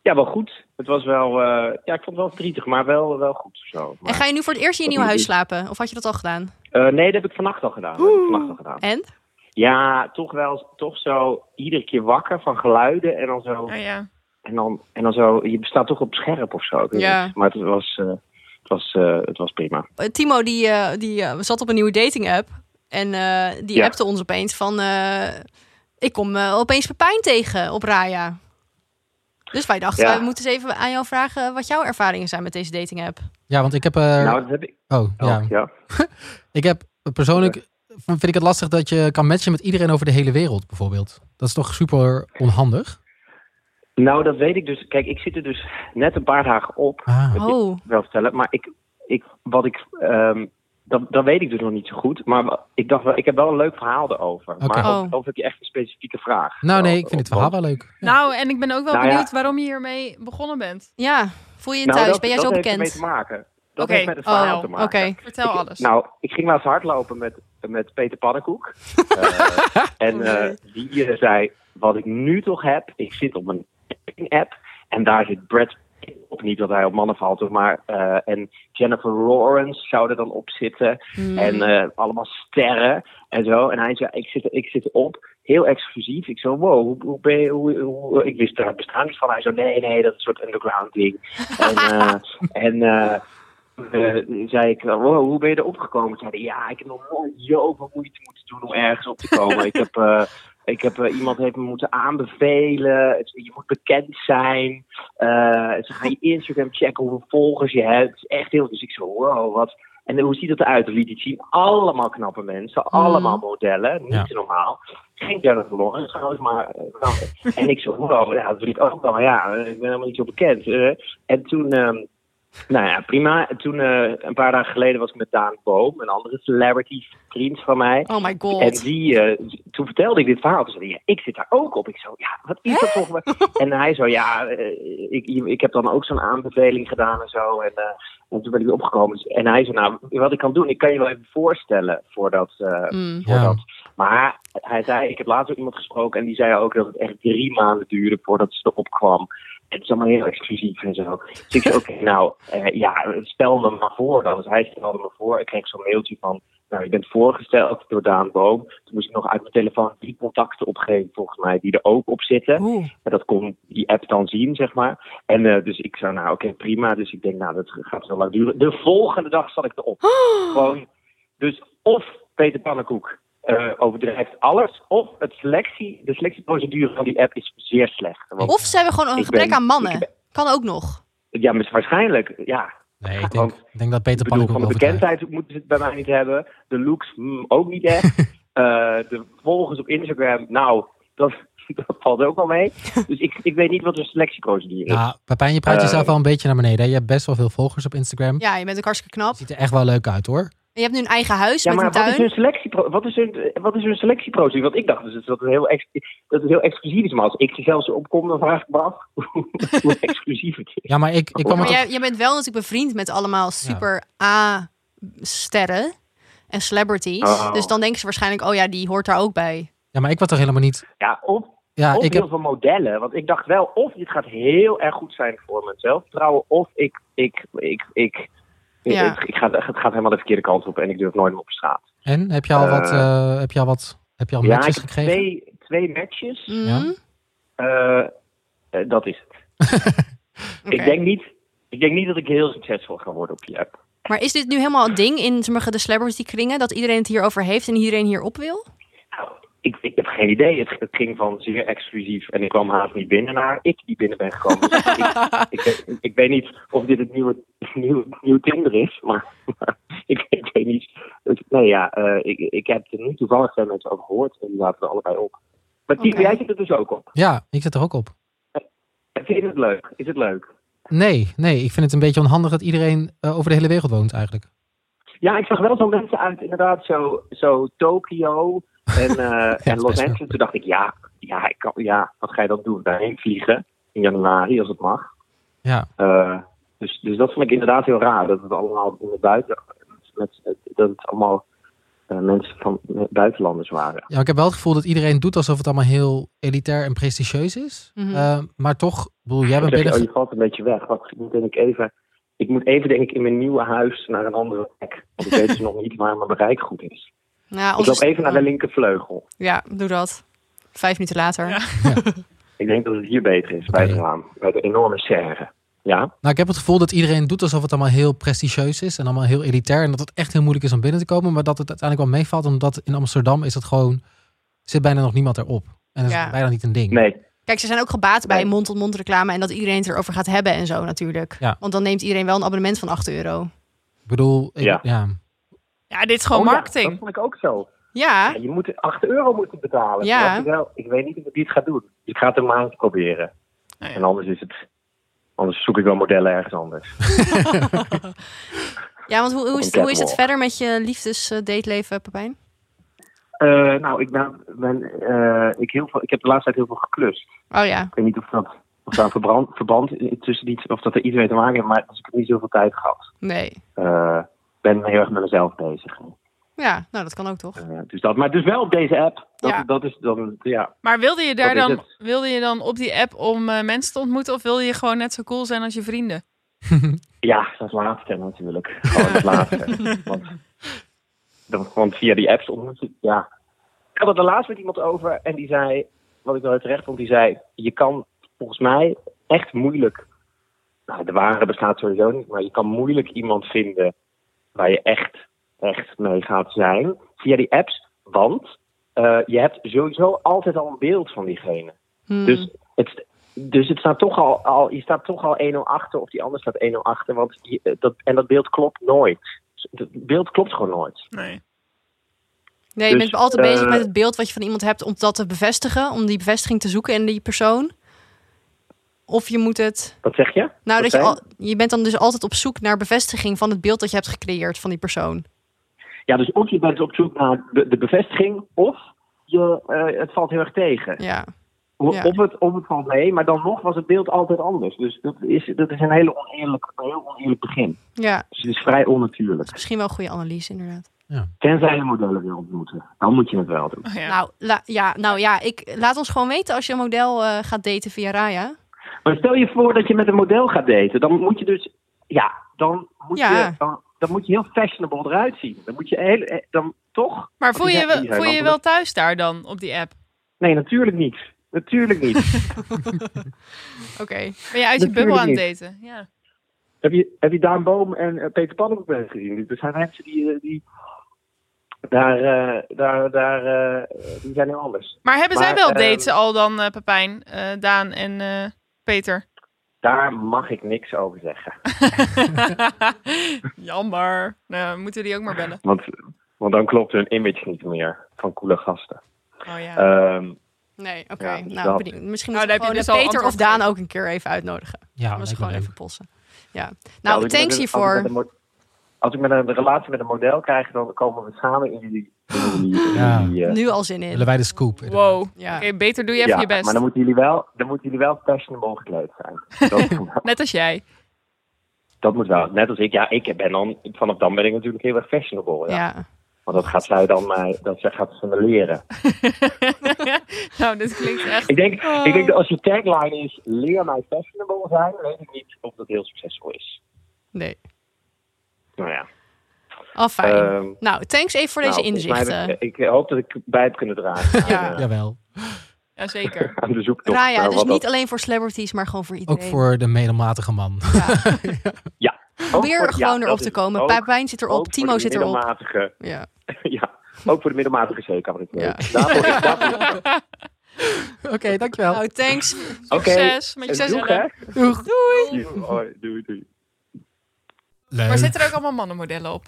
[SPEAKER 7] Ja, wel goed. Het was wel, eh, ja, ik vond het wel verdrietig, maar wel, wel goed. Zo. Maar,
[SPEAKER 2] En ga je nu voor het eerst in je nieuwe huis slapen? Of had je dat al gedaan?
[SPEAKER 7] eh, nee, dat heb ik vannacht al gedaan. Dat heb ik vannacht al gedaan.
[SPEAKER 2] En?
[SPEAKER 7] Ja, toch wel, toch zo iedere keer wakker van geluiden en dan zo.
[SPEAKER 4] Oh, ja.
[SPEAKER 7] En dan, en dan zo, je staat toch op scherp of zo. ik weet
[SPEAKER 2] Ja.
[SPEAKER 7] niet. Maar het was, eh, het was, eh, het was prima.
[SPEAKER 2] Eh, Timo die, eh, die eh, zat op een nieuwe dating app. En eh, die
[SPEAKER 7] Ja.
[SPEAKER 2] appte ons opeens van... eh, ik kom eh, opeens Pepijn tegen op Raya. Dus wij dachten,
[SPEAKER 7] Ja.
[SPEAKER 2] we moeten eens even aan jou vragen... eh, wat jouw ervaringen zijn met deze dating app.
[SPEAKER 1] Ja, want ik heb. eh,
[SPEAKER 7] Nou, dat heb ik
[SPEAKER 1] oh,
[SPEAKER 7] ook,
[SPEAKER 1] ja.
[SPEAKER 7] ja.
[SPEAKER 1] Ik heb persoonlijk. Vind ik het lastig dat je kan matchen met iedereen over de hele wereld, bijvoorbeeld. Dat is toch super onhandig?
[SPEAKER 7] Nou, dat weet ik dus. Kijk, ik zit er dus net een paar dagen op,
[SPEAKER 1] Ah.
[SPEAKER 7] Dat
[SPEAKER 2] Oh,
[SPEAKER 7] wel vertellen. Maar ik, ik, wat ik, ehm, dat, dat weet ik dus nog niet zo goed. Maar wa- ik dacht wel, ik heb wel een leuk verhaal erover. Maar
[SPEAKER 1] Oké.
[SPEAKER 7] of,
[SPEAKER 2] Oh.
[SPEAKER 7] of heb je echt een specifieke vraag?
[SPEAKER 1] Nou nee,
[SPEAKER 7] Wel,
[SPEAKER 1] ik vind het
[SPEAKER 7] want-
[SPEAKER 1] verhaal wel leuk.
[SPEAKER 4] Nou, en ik ben ook wel
[SPEAKER 7] Nou ja.
[SPEAKER 4] benieuwd waarom je hiermee begonnen bent.
[SPEAKER 2] ja. Voel je je
[SPEAKER 7] Nou,
[SPEAKER 2] thuis?
[SPEAKER 7] dat-
[SPEAKER 2] ben jij
[SPEAKER 7] dat
[SPEAKER 2] zo
[SPEAKER 7] heeft ermee
[SPEAKER 2] bekend?
[SPEAKER 7] te maken. Dat
[SPEAKER 4] Oké.
[SPEAKER 7] heeft met het
[SPEAKER 2] Oh,
[SPEAKER 7] verhaal te
[SPEAKER 2] oké.
[SPEAKER 7] maken.
[SPEAKER 4] Vertel
[SPEAKER 7] Ik-
[SPEAKER 4] alles.
[SPEAKER 7] Nou, ik ging laatst hardlopen met, met Peter Pannenkoek. Eh, en eh, die eh, zei, wat ik nu toch heb, ik zit op een app en daar zit Brad Pitt op. Niet dat hij op mannen valt, maar eh, en Jennifer Lawrence zou er dan op zitten.
[SPEAKER 4] Hmm.
[SPEAKER 7] En eh, allemaal sterren en zo. En hij zei, ik zit, ik zit op. Heel exclusief. Ik zo, wow, hoe, hoe ben je, hoe, hoe- ik wist daar bestaan niet van. Hij zo, nee, nee, dat is een soort underground ding. En, eh, en eh, eh, zei ik, wow, hoe ben je erop gekomen? Zeiden, ja, ik heb nog nooit zoveel moeite moeten doen om ergens op te komen. ik heb, eh, ik heb eh, iemand heeft me moeten aanbevelen. Het- Je moet bekend zijn. Eh, ze gaan je Instagram checken hoeveel volgers je hebt. Het is echt heel... Dus ik zo, wow, wat... En hoe ziet dat eruit? Liet het zien. Allemaal knappe mensen. Allemaal modellen. Niet
[SPEAKER 1] Ja.
[SPEAKER 7] te normaal. Geen Jennifer Lawrence trouwens, maar... eh, nou, en ik zo, wow, ja, dat wil ik ook wel. Maar ja, eh, ik ben helemaal niet zo bekend. Eh, en toen... ehm, nou ja, prima. En toen, eh, een paar dagen geleden was ik met Daan Boom, een andere celebrity vriend van mij.
[SPEAKER 2] Oh my
[SPEAKER 7] En
[SPEAKER 2] god.
[SPEAKER 7] die, eh, toen vertelde ik dit verhaal. Toen zei hij, ja, ik zit daar ook op. Ik zo, ja, wat is dat toch? en hij zo, ja, eh, ik, ik heb dan ook zo'n aanbeveling gedaan en zo. En, eh, en toen ben ik weer opgekomen. En hij zo, nou, wat ik kan doen, ik kan je wel even voorstellen voordat... eh
[SPEAKER 2] Mm.
[SPEAKER 7] voordat. Maar hij zei, ik heb laatst ook iemand gesproken en die zei ook dat het echt drie maanden duurde voordat ze erop kwam. Het is allemaal heel exclusief en zo. Dus ik zei, oké, nou, eh, ja, stel me maar voor dan. Dus hij stelde me voor. Ik kreeg zo'n mailtje van, nou, je bent voorgesteld door Daan Boom. Toen moest ik nog uit mijn telefoon drie contacten opgeven, volgens mij, die er ook op zitten.
[SPEAKER 2] Oeh.
[SPEAKER 7] En dat kon die app dan zien, zeg maar. En eh, dus ik zei, nou oké, prima. Dus ik denk, nou, dat gaat zo lang duren. De volgende dag zat ik erop.
[SPEAKER 1] Oh.
[SPEAKER 7] Gewoon, dus of Peter Pannenkoek eh, overdrijft alles, of het selectie, de selectieprocedure van die app is zeer slecht. Want,
[SPEAKER 2] Of ze hebben gewoon een
[SPEAKER 7] Ik
[SPEAKER 2] gebrek
[SPEAKER 7] ben-
[SPEAKER 2] aan
[SPEAKER 7] ik
[SPEAKER 2] mannen. Kan ook nog.
[SPEAKER 7] ja, maar waarschijnlijk, ja.
[SPEAKER 1] Nee, ik denk,
[SPEAKER 7] Want-
[SPEAKER 1] ik denk dat Peter
[SPEAKER 7] Ik bedoel,
[SPEAKER 1] Pannenkoek
[SPEAKER 7] van de
[SPEAKER 1] overdrijft.
[SPEAKER 7] bekendheid moeten ze het bij mij niet hebben. De looks hmm, ook niet echt. Eh, de volgers op Instagram, nou, dat, dat valt ook wel mee. Dus ik, ik weet niet wat de selectieprocedure is.
[SPEAKER 1] Ja, Pepijn, je praat
[SPEAKER 7] Eh,
[SPEAKER 1] jezelf wel een beetje naar beneden. hè? Je hebt best wel veel volgers op Instagram.
[SPEAKER 2] Ja, je bent ook hartstikke knap.
[SPEAKER 1] Ziet er echt wel leuk uit hoor.
[SPEAKER 2] En je hebt nu een eigen huis
[SPEAKER 7] Ja,
[SPEAKER 2] met
[SPEAKER 7] maar
[SPEAKER 2] een
[SPEAKER 7] wat is, dus-
[SPEAKER 2] tuin.
[SPEAKER 7] hun selectiepro- wat, is hun, wat is hun selectieprocedure? Want ik dacht dus dat het heel, ex- dat het heel exclusief is. Maar als ik er zelfs op kom, dan vraag ik me af hoe hoe exclusief het is.
[SPEAKER 1] Ja, maar ik, ik kwam
[SPEAKER 2] Maar
[SPEAKER 1] er toch...
[SPEAKER 2] jij, jij bent wel natuurlijk bevriend met allemaal super A-sterren en celebrities.
[SPEAKER 7] Oh.
[SPEAKER 2] Dus dan denken ze waarschijnlijk, oh ja, die hoort daar ook bij.
[SPEAKER 1] Ja, maar ik was toch helemaal niet...
[SPEAKER 7] Ja, of,
[SPEAKER 1] Ja,
[SPEAKER 7] of
[SPEAKER 1] ik
[SPEAKER 7] heel
[SPEAKER 1] heb...
[SPEAKER 7] veel modellen. Want ik dacht wel, of dit gaat heel erg goed zijn voor mijn zelfvertrouwen. Of ik, ik, ik, ik, ik,
[SPEAKER 2] Ja.
[SPEAKER 7] ik- ik ga, het gaat helemaal de verkeerde kant op en ik durf nooit meer op straat.
[SPEAKER 1] En? Heb je al wat...
[SPEAKER 7] Eh,
[SPEAKER 1] eh, heb je al wat... Heb je al
[SPEAKER 7] Ja, ik
[SPEAKER 1] matches
[SPEAKER 7] heb
[SPEAKER 1] gekregen?
[SPEAKER 7] twee, Mhm. twee matches.
[SPEAKER 2] Mm,
[SPEAKER 1] Ja.
[SPEAKER 7] Eh, eh, dat is het.
[SPEAKER 2] oké.
[SPEAKER 7] Ik, denk niet, ik denk niet dat ik heel succesvol ga worden op die app.
[SPEAKER 2] Maar is dit nu helemaal een ding in sommige de celebrity kringen? Dat iedereen het hierover heeft en iedereen hierop wil?
[SPEAKER 7] Nou, ik, ik heb geen idee. Het, het ging van zeer exclusief en ik kwam haast niet binnen naar ik die binnen ben gekomen. Dus ik, ik, weet- ik weet niet of dit het nieuwe, nieuwe, nieuwe Tinder is, maar, maar ik, ik weet niet. Het- nee ja, eh, ik, ik heb er nu toevallig twee mensen over gehoord en die zaten er allebei op. Maar Tim,
[SPEAKER 2] Oké.
[SPEAKER 7] jij zit er dus ook op.
[SPEAKER 1] ja, ik zit er ook op.
[SPEAKER 7] Vind je het leuk? Is het leuk?
[SPEAKER 1] Nee, nee. Ik vind het een beetje onhandig dat iedereen eh, over de hele wereld woont eigenlijk.
[SPEAKER 7] Ja, ik zag wel zo'n mensen uit, inderdaad, zo, zo Tokio en, eh, en
[SPEAKER 1] best
[SPEAKER 7] Los
[SPEAKER 1] wel.
[SPEAKER 7] Angeles. Toen dacht ik, ja, ja, ik kan, ja, wat ga je dan doen? Daarheen vliegen in januari, als het mag.
[SPEAKER 1] Ja.
[SPEAKER 7] Eh, dus, dus dat vond ik inderdaad heel raar. Dat het allemaal in het buiten, met, dat het allemaal eh, mensen van eh, buitenlanders waren.
[SPEAKER 1] Ja, maar ik heb wel het gevoel dat iedereen doet alsof het allemaal heel elitair en prestigieus is.
[SPEAKER 2] Mhm.
[SPEAKER 1] Eh, maar toch, ik bedoel, jij bent
[SPEAKER 7] Dan zeg je,
[SPEAKER 1] binnen...
[SPEAKER 7] oh, je valt een beetje weg. Wacht, ik moet denk ik even... Ik moet even denk ik in mijn nieuwe huis naar een andere plek. Want ik weet dus nog niet waar mijn bereik goed is.
[SPEAKER 2] Ja,
[SPEAKER 7] Ik
[SPEAKER 2] onze-
[SPEAKER 7] loop even naar de linkervleugel.
[SPEAKER 2] Ja, doe dat. Vijf minuten later.
[SPEAKER 4] Ja.
[SPEAKER 7] Ik denk dat het hier beter is, bij het raam. Bij de enorme serre. Ja?
[SPEAKER 1] Nou, ik heb het gevoel dat iedereen doet alsof het allemaal heel prestigieus is en allemaal heel elitair. En dat het echt heel moeilijk is om binnen te komen. Maar dat het uiteindelijk wel meevalt, omdat in Amsterdam is het gewoon. zit bijna nog niemand erop. En dat
[SPEAKER 2] Ja.
[SPEAKER 1] is bijna niet een ding.
[SPEAKER 7] Nee.
[SPEAKER 2] Kijk, ze zijn ook gebaat bij mond-tot-mond reclame en dat iedereen het erover gaat hebben en zo natuurlijk.
[SPEAKER 1] Ja.
[SPEAKER 2] Want dan neemt iedereen wel een abonnement van 8 euro.
[SPEAKER 1] Ik bedoel, ik, ja.
[SPEAKER 7] Ja.
[SPEAKER 4] Ja, dit is gewoon
[SPEAKER 7] Oh ja,
[SPEAKER 4] marketing.
[SPEAKER 7] dat vond ik ook zo.
[SPEAKER 2] Ja,
[SPEAKER 7] Ja, je moet 8 euro moeten betalen.
[SPEAKER 2] Ja.
[SPEAKER 7] Toen dacht Ik, wel, ik weet niet of ik dit ga doen. Ik ga het een maand proberen.
[SPEAKER 4] Nou ja.
[SPEAKER 7] En anders is het... Anders zoek ik wel modellen ergens anders.
[SPEAKER 2] ja want hoe, hoe, is het, hoe is het
[SPEAKER 7] Catwalk.
[SPEAKER 2] verder met je liefdes-dateleven, Pepijn?
[SPEAKER 7] Eh, nou, ik, ben, ben, eh, ik, heel veel, ik heb de laatste tijd heel veel geklust.
[SPEAKER 2] Oh ja,
[SPEAKER 7] Ik weet niet of, dat, of daar een verbrand, verband tussen niet, of dat er iets mee te maken heeft, maar dus ik heb niet zoveel tijd gehad.
[SPEAKER 2] nee.
[SPEAKER 7] Eh, Ik ben heel erg met mezelf bezig.
[SPEAKER 2] Ja, nou dat kan ook toch?
[SPEAKER 7] Eh, dus dat, maar dus wel op deze app. Dat,
[SPEAKER 4] Ja.
[SPEAKER 7] dat is dan, ja.
[SPEAKER 4] Maar wilde je daar
[SPEAKER 7] Dat is
[SPEAKER 4] dan, wilde je dan op die app om eh, mensen te ontmoeten? Of wilde je gewoon net zo cool zijn als je vrienden?
[SPEAKER 7] ja, dat laatste natuurlijk. Gewoon het laatste. Want, dan, want via die apps ontmoet je, ja. Ik had het er laatst met iemand over en die zei, wat ik wel heel terecht vond, die zei, je kan volgens mij echt moeilijk nou, de ware bestaat sowieso niet, maar je kan moeilijk iemand vinden waar je echt, echt mee gaat zijn via die apps. Want eh, je hebt sowieso altijd al een beeld van diegene.
[SPEAKER 2] Hmm.
[SPEAKER 7] Dus het, dus het staat toch al, al, je staat toch al 1-0 achter of die ander staat 1-0 achter. Want je- eh, dat, en dat beeld klopt nooit. Het beeld klopt gewoon nooit.
[SPEAKER 4] Nee.
[SPEAKER 2] nee, je
[SPEAKER 7] dus,
[SPEAKER 2] bent altijd
[SPEAKER 7] eh,
[SPEAKER 2] bezig met het beeld wat je van iemand hebt om dat te bevestigen, om die bevestiging te zoeken in die persoon. Of je moet het.
[SPEAKER 7] Wat zeg je?
[SPEAKER 2] Nou,
[SPEAKER 7] Wat
[SPEAKER 2] dat je,
[SPEAKER 7] zei
[SPEAKER 2] al, je bent dan dus altijd op zoek naar bevestiging van het beeld dat je hebt gecreëerd van die persoon.
[SPEAKER 7] Ja, dus of je bent op zoek naar de, de bevestiging, of je, eh, het valt heel erg tegen.
[SPEAKER 2] Ja.
[SPEAKER 7] O-
[SPEAKER 2] ja.
[SPEAKER 7] Of, het, of het valt mee, maar dan nog was het beeld altijd anders. Dus dat is, dat is een, hele oneerlijk, een heel oneerlijk begin.
[SPEAKER 2] Ja,
[SPEAKER 7] Dus het is vrij onnatuurlijk.
[SPEAKER 2] misschien wel een goede analyse, inderdaad.
[SPEAKER 7] Tenzij je modellen wil ontmoeten, dan moet je het wel doen.
[SPEAKER 4] Oh, ja.
[SPEAKER 2] Nou, la- ja, nou ja, ik, laat ons gewoon weten als je een model eh, gaat daten via Raya.
[SPEAKER 7] Maar stel je voor dat je met een model gaat daten, dan moet je dus, ja, dan moet,
[SPEAKER 2] Ja.
[SPEAKER 7] Je, dan, dan moet je heel fashionable eruit zien. Dan moet je heel, eh, dan toch?
[SPEAKER 4] maar voel je,
[SPEAKER 7] Ja,
[SPEAKER 4] wel-
[SPEAKER 7] die zijn
[SPEAKER 4] voel je je
[SPEAKER 7] wel-
[SPEAKER 4] wel thuis daar dan op die app?
[SPEAKER 7] Nee, natuurlijk niet. Natuurlijk niet.
[SPEAKER 2] Oké.
[SPEAKER 4] Ben je uit je
[SPEAKER 7] Natuurlijk
[SPEAKER 4] bubbel aan het
[SPEAKER 7] niet.
[SPEAKER 4] daten? Ja.
[SPEAKER 7] heb, je, heb je Daan Boom en eh, Peter Pannenkoek wel eens gezien? Er zijn mensen die, eh, die daar, eh, daar, daar eh, die zijn heel anders.
[SPEAKER 4] Maar hebben zij
[SPEAKER 7] Maar,
[SPEAKER 4] wel
[SPEAKER 7] ehm,
[SPEAKER 4] daten al dan, eh, Pepijn, eh, Daan en eh, Peter?
[SPEAKER 7] Daar mag ik niks over zeggen.
[SPEAKER 4] Jammer. Nou, moeten we die ook maar bellen.
[SPEAKER 7] Want, want dan klopt hun image niet meer van coole gasten.
[SPEAKER 4] Oh ja.
[SPEAKER 7] Ehm,
[SPEAKER 2] Nee, oké.
[SPEAKER 7] Ja, dus
[SPEAKER 2] nou,
[SPEAKER 7] dat.
[SPEAKER 2] benieuwd. misschien
[SPEAKER 4] Nou,
[SPEAKER 2] moeten we
[SPEAKER 4] daar heb je
[SPEAKER 2] gewoon
[SPEAKER 4] dus al
[SPEAKER 2] Peter of
[SPEAKER 4] antwoord
[SPEAKER 2] Daan
[SPEAKER 4] gegeven.
[SPEAKER 2] ook een keer even uitnodigen.
[SPEAKER 1] Ja,
[SPEAKER 2] dat
[SPEAKER 1] lijkt
[SPEAKER 2] is
[SPEAKER 1] me
[SPEAKER 2] gewoon
[SPEAKER 1] leuk.
[SPEAKER 2] even polsen. Ja.
[SPEAKER 7] als
[SPEAKER 2] Nou,
[SPEAKER 7] ik
[SPEAKER 2] thanks
[SPEAKER 7] met een- Als ik,
[SPEAKER 2] hiervoor.
[SPEAKER 7] met een mo- als ik met een relatie met een model krijg, dan komen we samen in jullie. in jullie- in
[SPEAKER 1] Ja.
[SPEAKER 7] jullie, eh,
[SPEAKER 2] Nu al zin
[SPEAKER 1] Willen
[SPEAKER 2] in.
[SPEAKER 1] wij de scoop? inderdaad.
[SPEAKER 4] wow.
[SPEAKER 2] Ja.
[SPEAKER 4] Oké, beter doe je even
[SPEAKER 7] ja,
[SPEAKER 4] je best.
[SPEAKER 7] Maar dan moeten jullie wel, dan moeten jullie wel fashionable gekleed zijn. Dat,
[SPEAKER 4] Net als jij.
[SPEAKER 7] dat moet wel. Net als ik. Ja, ik ben dan, vanaf dan ben ik natuurlijk heel erg fashionable. Ja.
[SPEAKER 2] Ja.
[SPEAKER 7] Want dat gaat zij dan mij, dat zij gaat van me leren.
[SPEAKER 4] nou, dit klinkt echt...
[SPEAKER 7] Ik denk,
[SPEAKER 4] Oh.
[SPEAKER 7] ik denk dat als je tagline is, leer mij fashionable zijn, weet ik niet of dat heel succesvol is.
[SPEAKER 2] Nee.
[SPEAKER 7] Nou ja.
[SPEAKER 2] Al fijn.
[SPEAKER 7] Ehm,
[SPEAKER 2] nou, thanks even voor deze
[SPEAKER 7] Nou, volgens mij
[SPEAKER 2] inzichten.
[SPEAKER 7] heb Ik, ik hoop dat ik bij heb kunnen dragen aan,
[SPEAKER 4] Ja.
[SPEAKER 7] eh,
[SPEAKER 1] Jawel.
[SPEAKER 4] Jazeker.
[SPEAKER 7] aan de zoektocht.
[SPEAKER 2] Raya, dus
[SPEAKER 7] naar eh, nou, wat
[SPEAKER 2] niet
[SPEAKER 7] dat-
[SPEAKER 2] alleen voor celebrities, maar gewoon voor
[SPEAKER 1] Ook
[SPEAKER 2] iedereen.
[SPEAKER 1] voor de middelmatige man.
[SPEAKER 7] ook
[SPEAKER 2] Probeer
[SPEAKER 7] voor-
[SPEAKER 2] er
[SPEAKER 7] ja,
[SPEAKER 2] gewoon
[SPEAKER 7] dat
[SPEAKER 2] erop
[SPEAKER 7] is
[SPEAKER 2] te
[SPEAKER 7] het.
[SPEAKER 2] komen.
[SPEAKER 7] Ook-
[SPEAKER 2] Pepijn zit
[SPEAKER 7] ook
[SPEAKER 2] erop.
[SPEAKER 7] voor
[SPEAKER 2] Timo
[SPEAKER 7] de
[SPEAKER 2] zit erop.
[SPEAKER 7] middelmatige-
[SPEAKER 2] Ja.
[SPEAKER 7] Ja, ook voor de middelmatige zeker.
[SPEAKER 2] Ja.
[SPEAKER 1] Oké, dankjewel.
[SPEAKER 2] Nou, thanks.
[SPEAKER 4] Succes met je zes
[SPEAKER 7] Doei.
[SPEAKER 1] Doeg.
[SPEAKER 7] Doei, doei, doei.
[SPEAKER 1] Leuk.
[SPEAKER 4] Maar zitten er ook allemaal mannenmodellen op?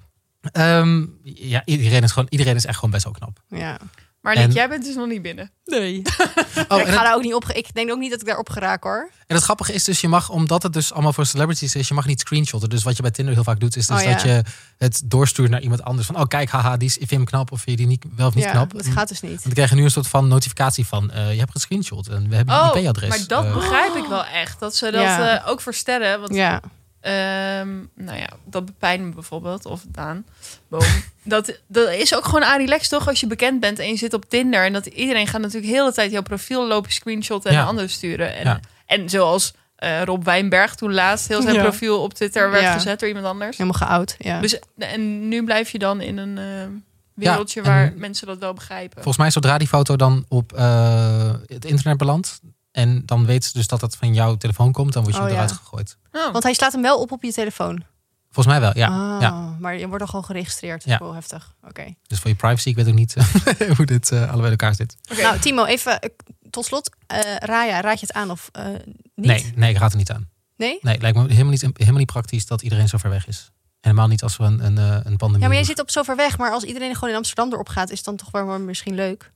[SPEAKER 1] Ehm, ja, iedereen is, gewoon, iedereen is echt gewoon best wel knap.
[SPEAKER 2] Ja.
[SPEAKER 4] Maar Nick,
[SPEAKER 1] En-
[SPEAKER 4] jij bent dus nog niet binnen.
[SPEAKER 2] Nee.
[SPEAKER 1] Oh,
[SPEAKER 2] ik
[SPEAKER 1] en,
[SPEAKER 2] ga
[SPEAKER 1] het,
[SPEAKER 2] daar ook niet op. Ik denk ook niet dat ik daarop geraak hoor.
[SPEAKER 1] en het grappige is dus, je mag, omdat het dus allemaal voor celebrities is, je mag niet screenshotten. Dus wat je bij Tinder heel vaak doet, is dus
[SPEAKER 2] Oh, ja.
[SPEAKER 1] dat je het doorstuurt naar iemand anders. Van, oh kijk, haha, die is, vind je hem knap of vind je die niet, wel of niet
[SPEAKER 2] ja,
[SPEAKER 1] knap.
[SPEAKER 2] dat gaat dus niet.
[SPEAKER 1] Want ik krijg nu een soort van notificatie van, eh, je hebt gescreenshot en we hebben je
[SPEAKER 4] Oh,
[SPEAKER 1] IP-adres.
[SPEAKER 4] maar dat
[SPEAKER 1] Eh,
[SPEAKER 4] begrijp ik wel echt. Dat ze dat
[SPEAKER 2] Ja.
[SPEAKER 4] eh, ook voor sterren...
[SPEAKER 1] Mm.
[SPEAKER 4] Want
[SPEAKER 2] Ja.
[SPEAKER 4] Ehm, nou ja, dat bepijn me bijvoorbeeld, of Daan Boom. dat, dat is ook gewoon Arilex toch, als je bekend bent en je zit op Tinder. En dat iedereen gaat natuurlijk heel de tijd jouw profiel lopen screenshotten en
[SPEAKER 1] Ja.
[SPEAKER 4] naar anderen sturen. En,
[SPEAKER 1] Ja.
[SPEAKER 4] en zoals eh, Rob Wijnberg toen laatst heel zijn
[SPEAKER 2] Ja.
[SPEAKER 4] profiel op Twitter werd
[SPEAKER 2] Ja.
[SPEAKER 4] gezet door iemand anders.
[SPEAKER 2] Helemaal geout. Ja.
[SPEAKER 4] Dus, en nu blijf je dan in een eh, wereldje
[SPEAKER 1] Ja, en-
[SPEAKER 4] waar mensen dat wel begrijpen.
[SPEAKER 1] Volgens mij zodra die foto dan op eh, het internet belandt en dan weet ze dus dat dat van jouw telefoon komt, dan word je
[SPEAKER 2] Oh,
[SPEAKER 1] eruit
[SPEAKER 2] ja.
[SPEAKER 1] gegooid.
[SPEAKER 4] Oh.
[SPEAKER 2] Want hij slaat hem wel op op je telefoon.
[SPEAKER 1] Volgens mij wel, ja.
[SPEAKER 2] Ah,
[SPEAKER 1] ja.
[SPEAKER 2] Maar je wordt al gewoon geregistreerd.
[SPEAKER 1] Ja.
[SPEAKER 2] Wel heftig. Oké.
[SPEAKER 1] Dus voor je privacy, ik weet ook niet eh, hoe dit eh, allebei in elkaar zit.
[SPEAKER 4] Oké.
[SPEAKER 2] Nou, Timo, even eh, tot slot. Eh Raya, raad je het aan of eh, niet?
[SPEAKER 1] Nee, nee, ik raad er niet aan.
[SPEAKER 2] Nee?
[SPEAKER 1] Nee, het lijkt me helemaal niet, helemaal niet praktisch dat iedereen zo ver weg is. En helemaal niet als we een, een, eh, een pandemie
[SPEAKER 2] Ja, maar jij
[SPEAKER 1] hebben.
[SPEAKER 2] zit op zo ver weg. Maar als iedereen gewoon in Amsterdam erop gaat, is het dan toch wel weer misschien leuk.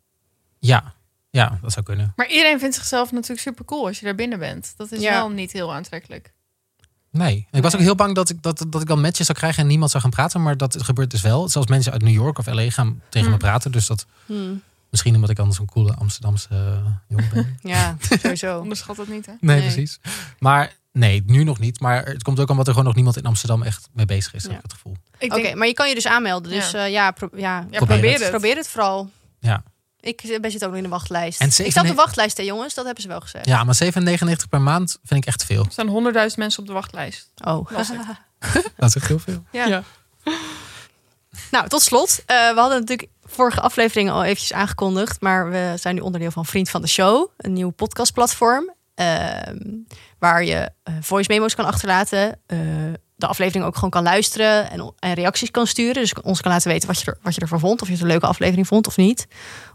[SPEAKER 1] Ja, ja, dat zou kunnen.
[SPEAKER 4] Maar iedereen vindt zichzelf natuurlijk super cool als je daar binnen bent. Dat is
[SPEAKER 2] Ja.
[SPEAKER 4] wel niet heel aantrekkelijk.
[SPEAKER 1] Nee. En ik was ook heel bang dat ik, dat, dat ik dan matches zou krijgen en niemand zou gaan praten. Maar dat gebeurt dus wel. Zelfs mensen uit New York of LA gaan tegen
[SPEAKER 2] Hm.
[SPEAKER 1] me praten. Dus dat
[SPEAKER 2] Hmm,
[SPEAKER 1] misschien omdat ik dan zo'n coole Amsterdamse eh, jongen ben.
[SPEAKER 2] Ja, sowieso.
[SPEAKER 4] Onderschat dat niet, hè?
[SPEAKER 1] Nee,
[SPEAKER 2] Nee.
[SPEAKER 1] precies. Maar nee, nu nog niet. Maar het komt ook omdat er gewoon nog niemand in Amsterdam echt mee bezig is, heb
[SPEAKER 2] Ja.
[SPEAKER 1] ik het gevoel.
[SPEAKER 4] Ik
[SPEAKER 2] Oké,
[SPEAKER 4] denk,
[SPEAKER 2] maar je kan je dus aanmelden. Dus
[SPEAKER 4] Ja.
[SPEAKER 2] ja, ja, pro- ja.
[SPEAKER 4] ja,
[SPEAKER 1] probeer
[SPEAKER 4] probeer
[SPEAKER 1] het.
[SPEAKER 4] het.
[SPEAKER 2] probeer het vooral.
[SPEAKER 1] Ja.
[SPEAKER 2] Ik eh, ben zit ook nog in de wachtlijst.
[SPEAKER 1] En
[SPEAKER 2] ik
[SPEAKER 1] zeven-
[SPEAKER 2] sta op de wachtlijst, hè jongens. Dat hebben ze wel gezegd.
[SPEAKER 1] Ja, maar 7,99 per maand vind ik echt veel.
[SPEAKER 4] Er staan honderdduizend mensen op de wachtlijst.
[SPEAKER 2] Oh.
[SPEAKER 1] Dat is echt heel veel.
[SPEAKER 4] Ja.
[SPEAKER 2] Nou, tot slot. eh, we hadden natuurlijk vorige aflevering al eventjes aangekondigd. Maar we zijn nu onderdeel van Vriend van de Show. Een nieuw podcastplatform. ehm, waar je eh, voice memo's kan achterlaten. eh, de aflevering ook gewoon kan luisteren en, en reacties kan sturen. Dus ons kan laten weten wat je, er, wat je ervan vond. Of je het een leuke aflevering vond of niet.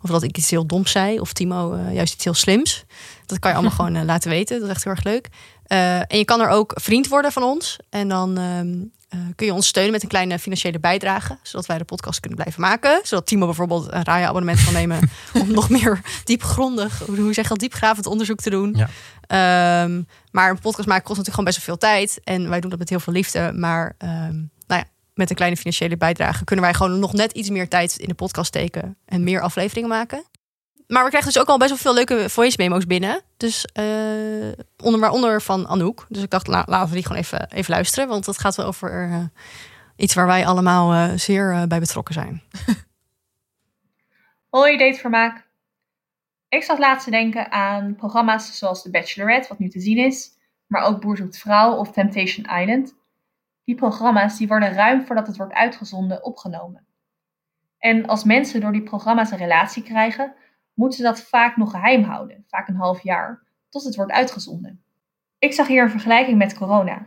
[SPEAKER 2] Of dat ik iets heel doms zei. Of Timo eh, juist iets heel slims. Dat kan je allemaal gewoon eh, laten weten. Dat is echt heel erg leuk. Eh, en je kan er ook vriend worden van ons. En dan ehm, eh, kun je ons steunen met een kleine financiële bijdrage. Zodat wij de podcast kunnen blijven maken. Zodat Timo bijvoorbeeld een Raya-abonnement kan nemen. om nog meer diepgrondig, hoe hoe zeg je dat, diepgravend onderzoek te doen.
[SPEAKER 1] Ja.
[SPEAKER 2] Ehm, maar een podcast maken kost natuurlijk gewoon best wel veel tijd. En wij doen dat met heel veel liefde. Maar ehm, nou ja, met een kleine financiële bijdrage kunnen wij gewoon nog net iets meer tijd in de podcast steken. En meer afleveringen maken. Maar we krijgen dus ook al best wel veel leuke voice memo's binnen. Dus eh, onder, waaronder van Anouk. Dus ik dacht, nou, laten we die gewoon even, even luisteren. Want dat gaat wel over eh, iets waar wij allemaal eh, zeer eh, bij betrokken zijn.
[SPEAKER 8] Hoi, datevermaak. Ik zat laatst te denken aan programma's zoals The Bachelorette, wat nu te zien is, maar ook Boer zoekt vrouw of Temptation Island. Die programma's die worden ruim voordat het wordt uitgezonden opgenomen. En als mensen door die programma's een relatie krijgen, moeten ze dat vaak nog geheim houden, vaak een half jaar, tot het wordt uitgezonden. Ik zag hier een vergelijking met corona.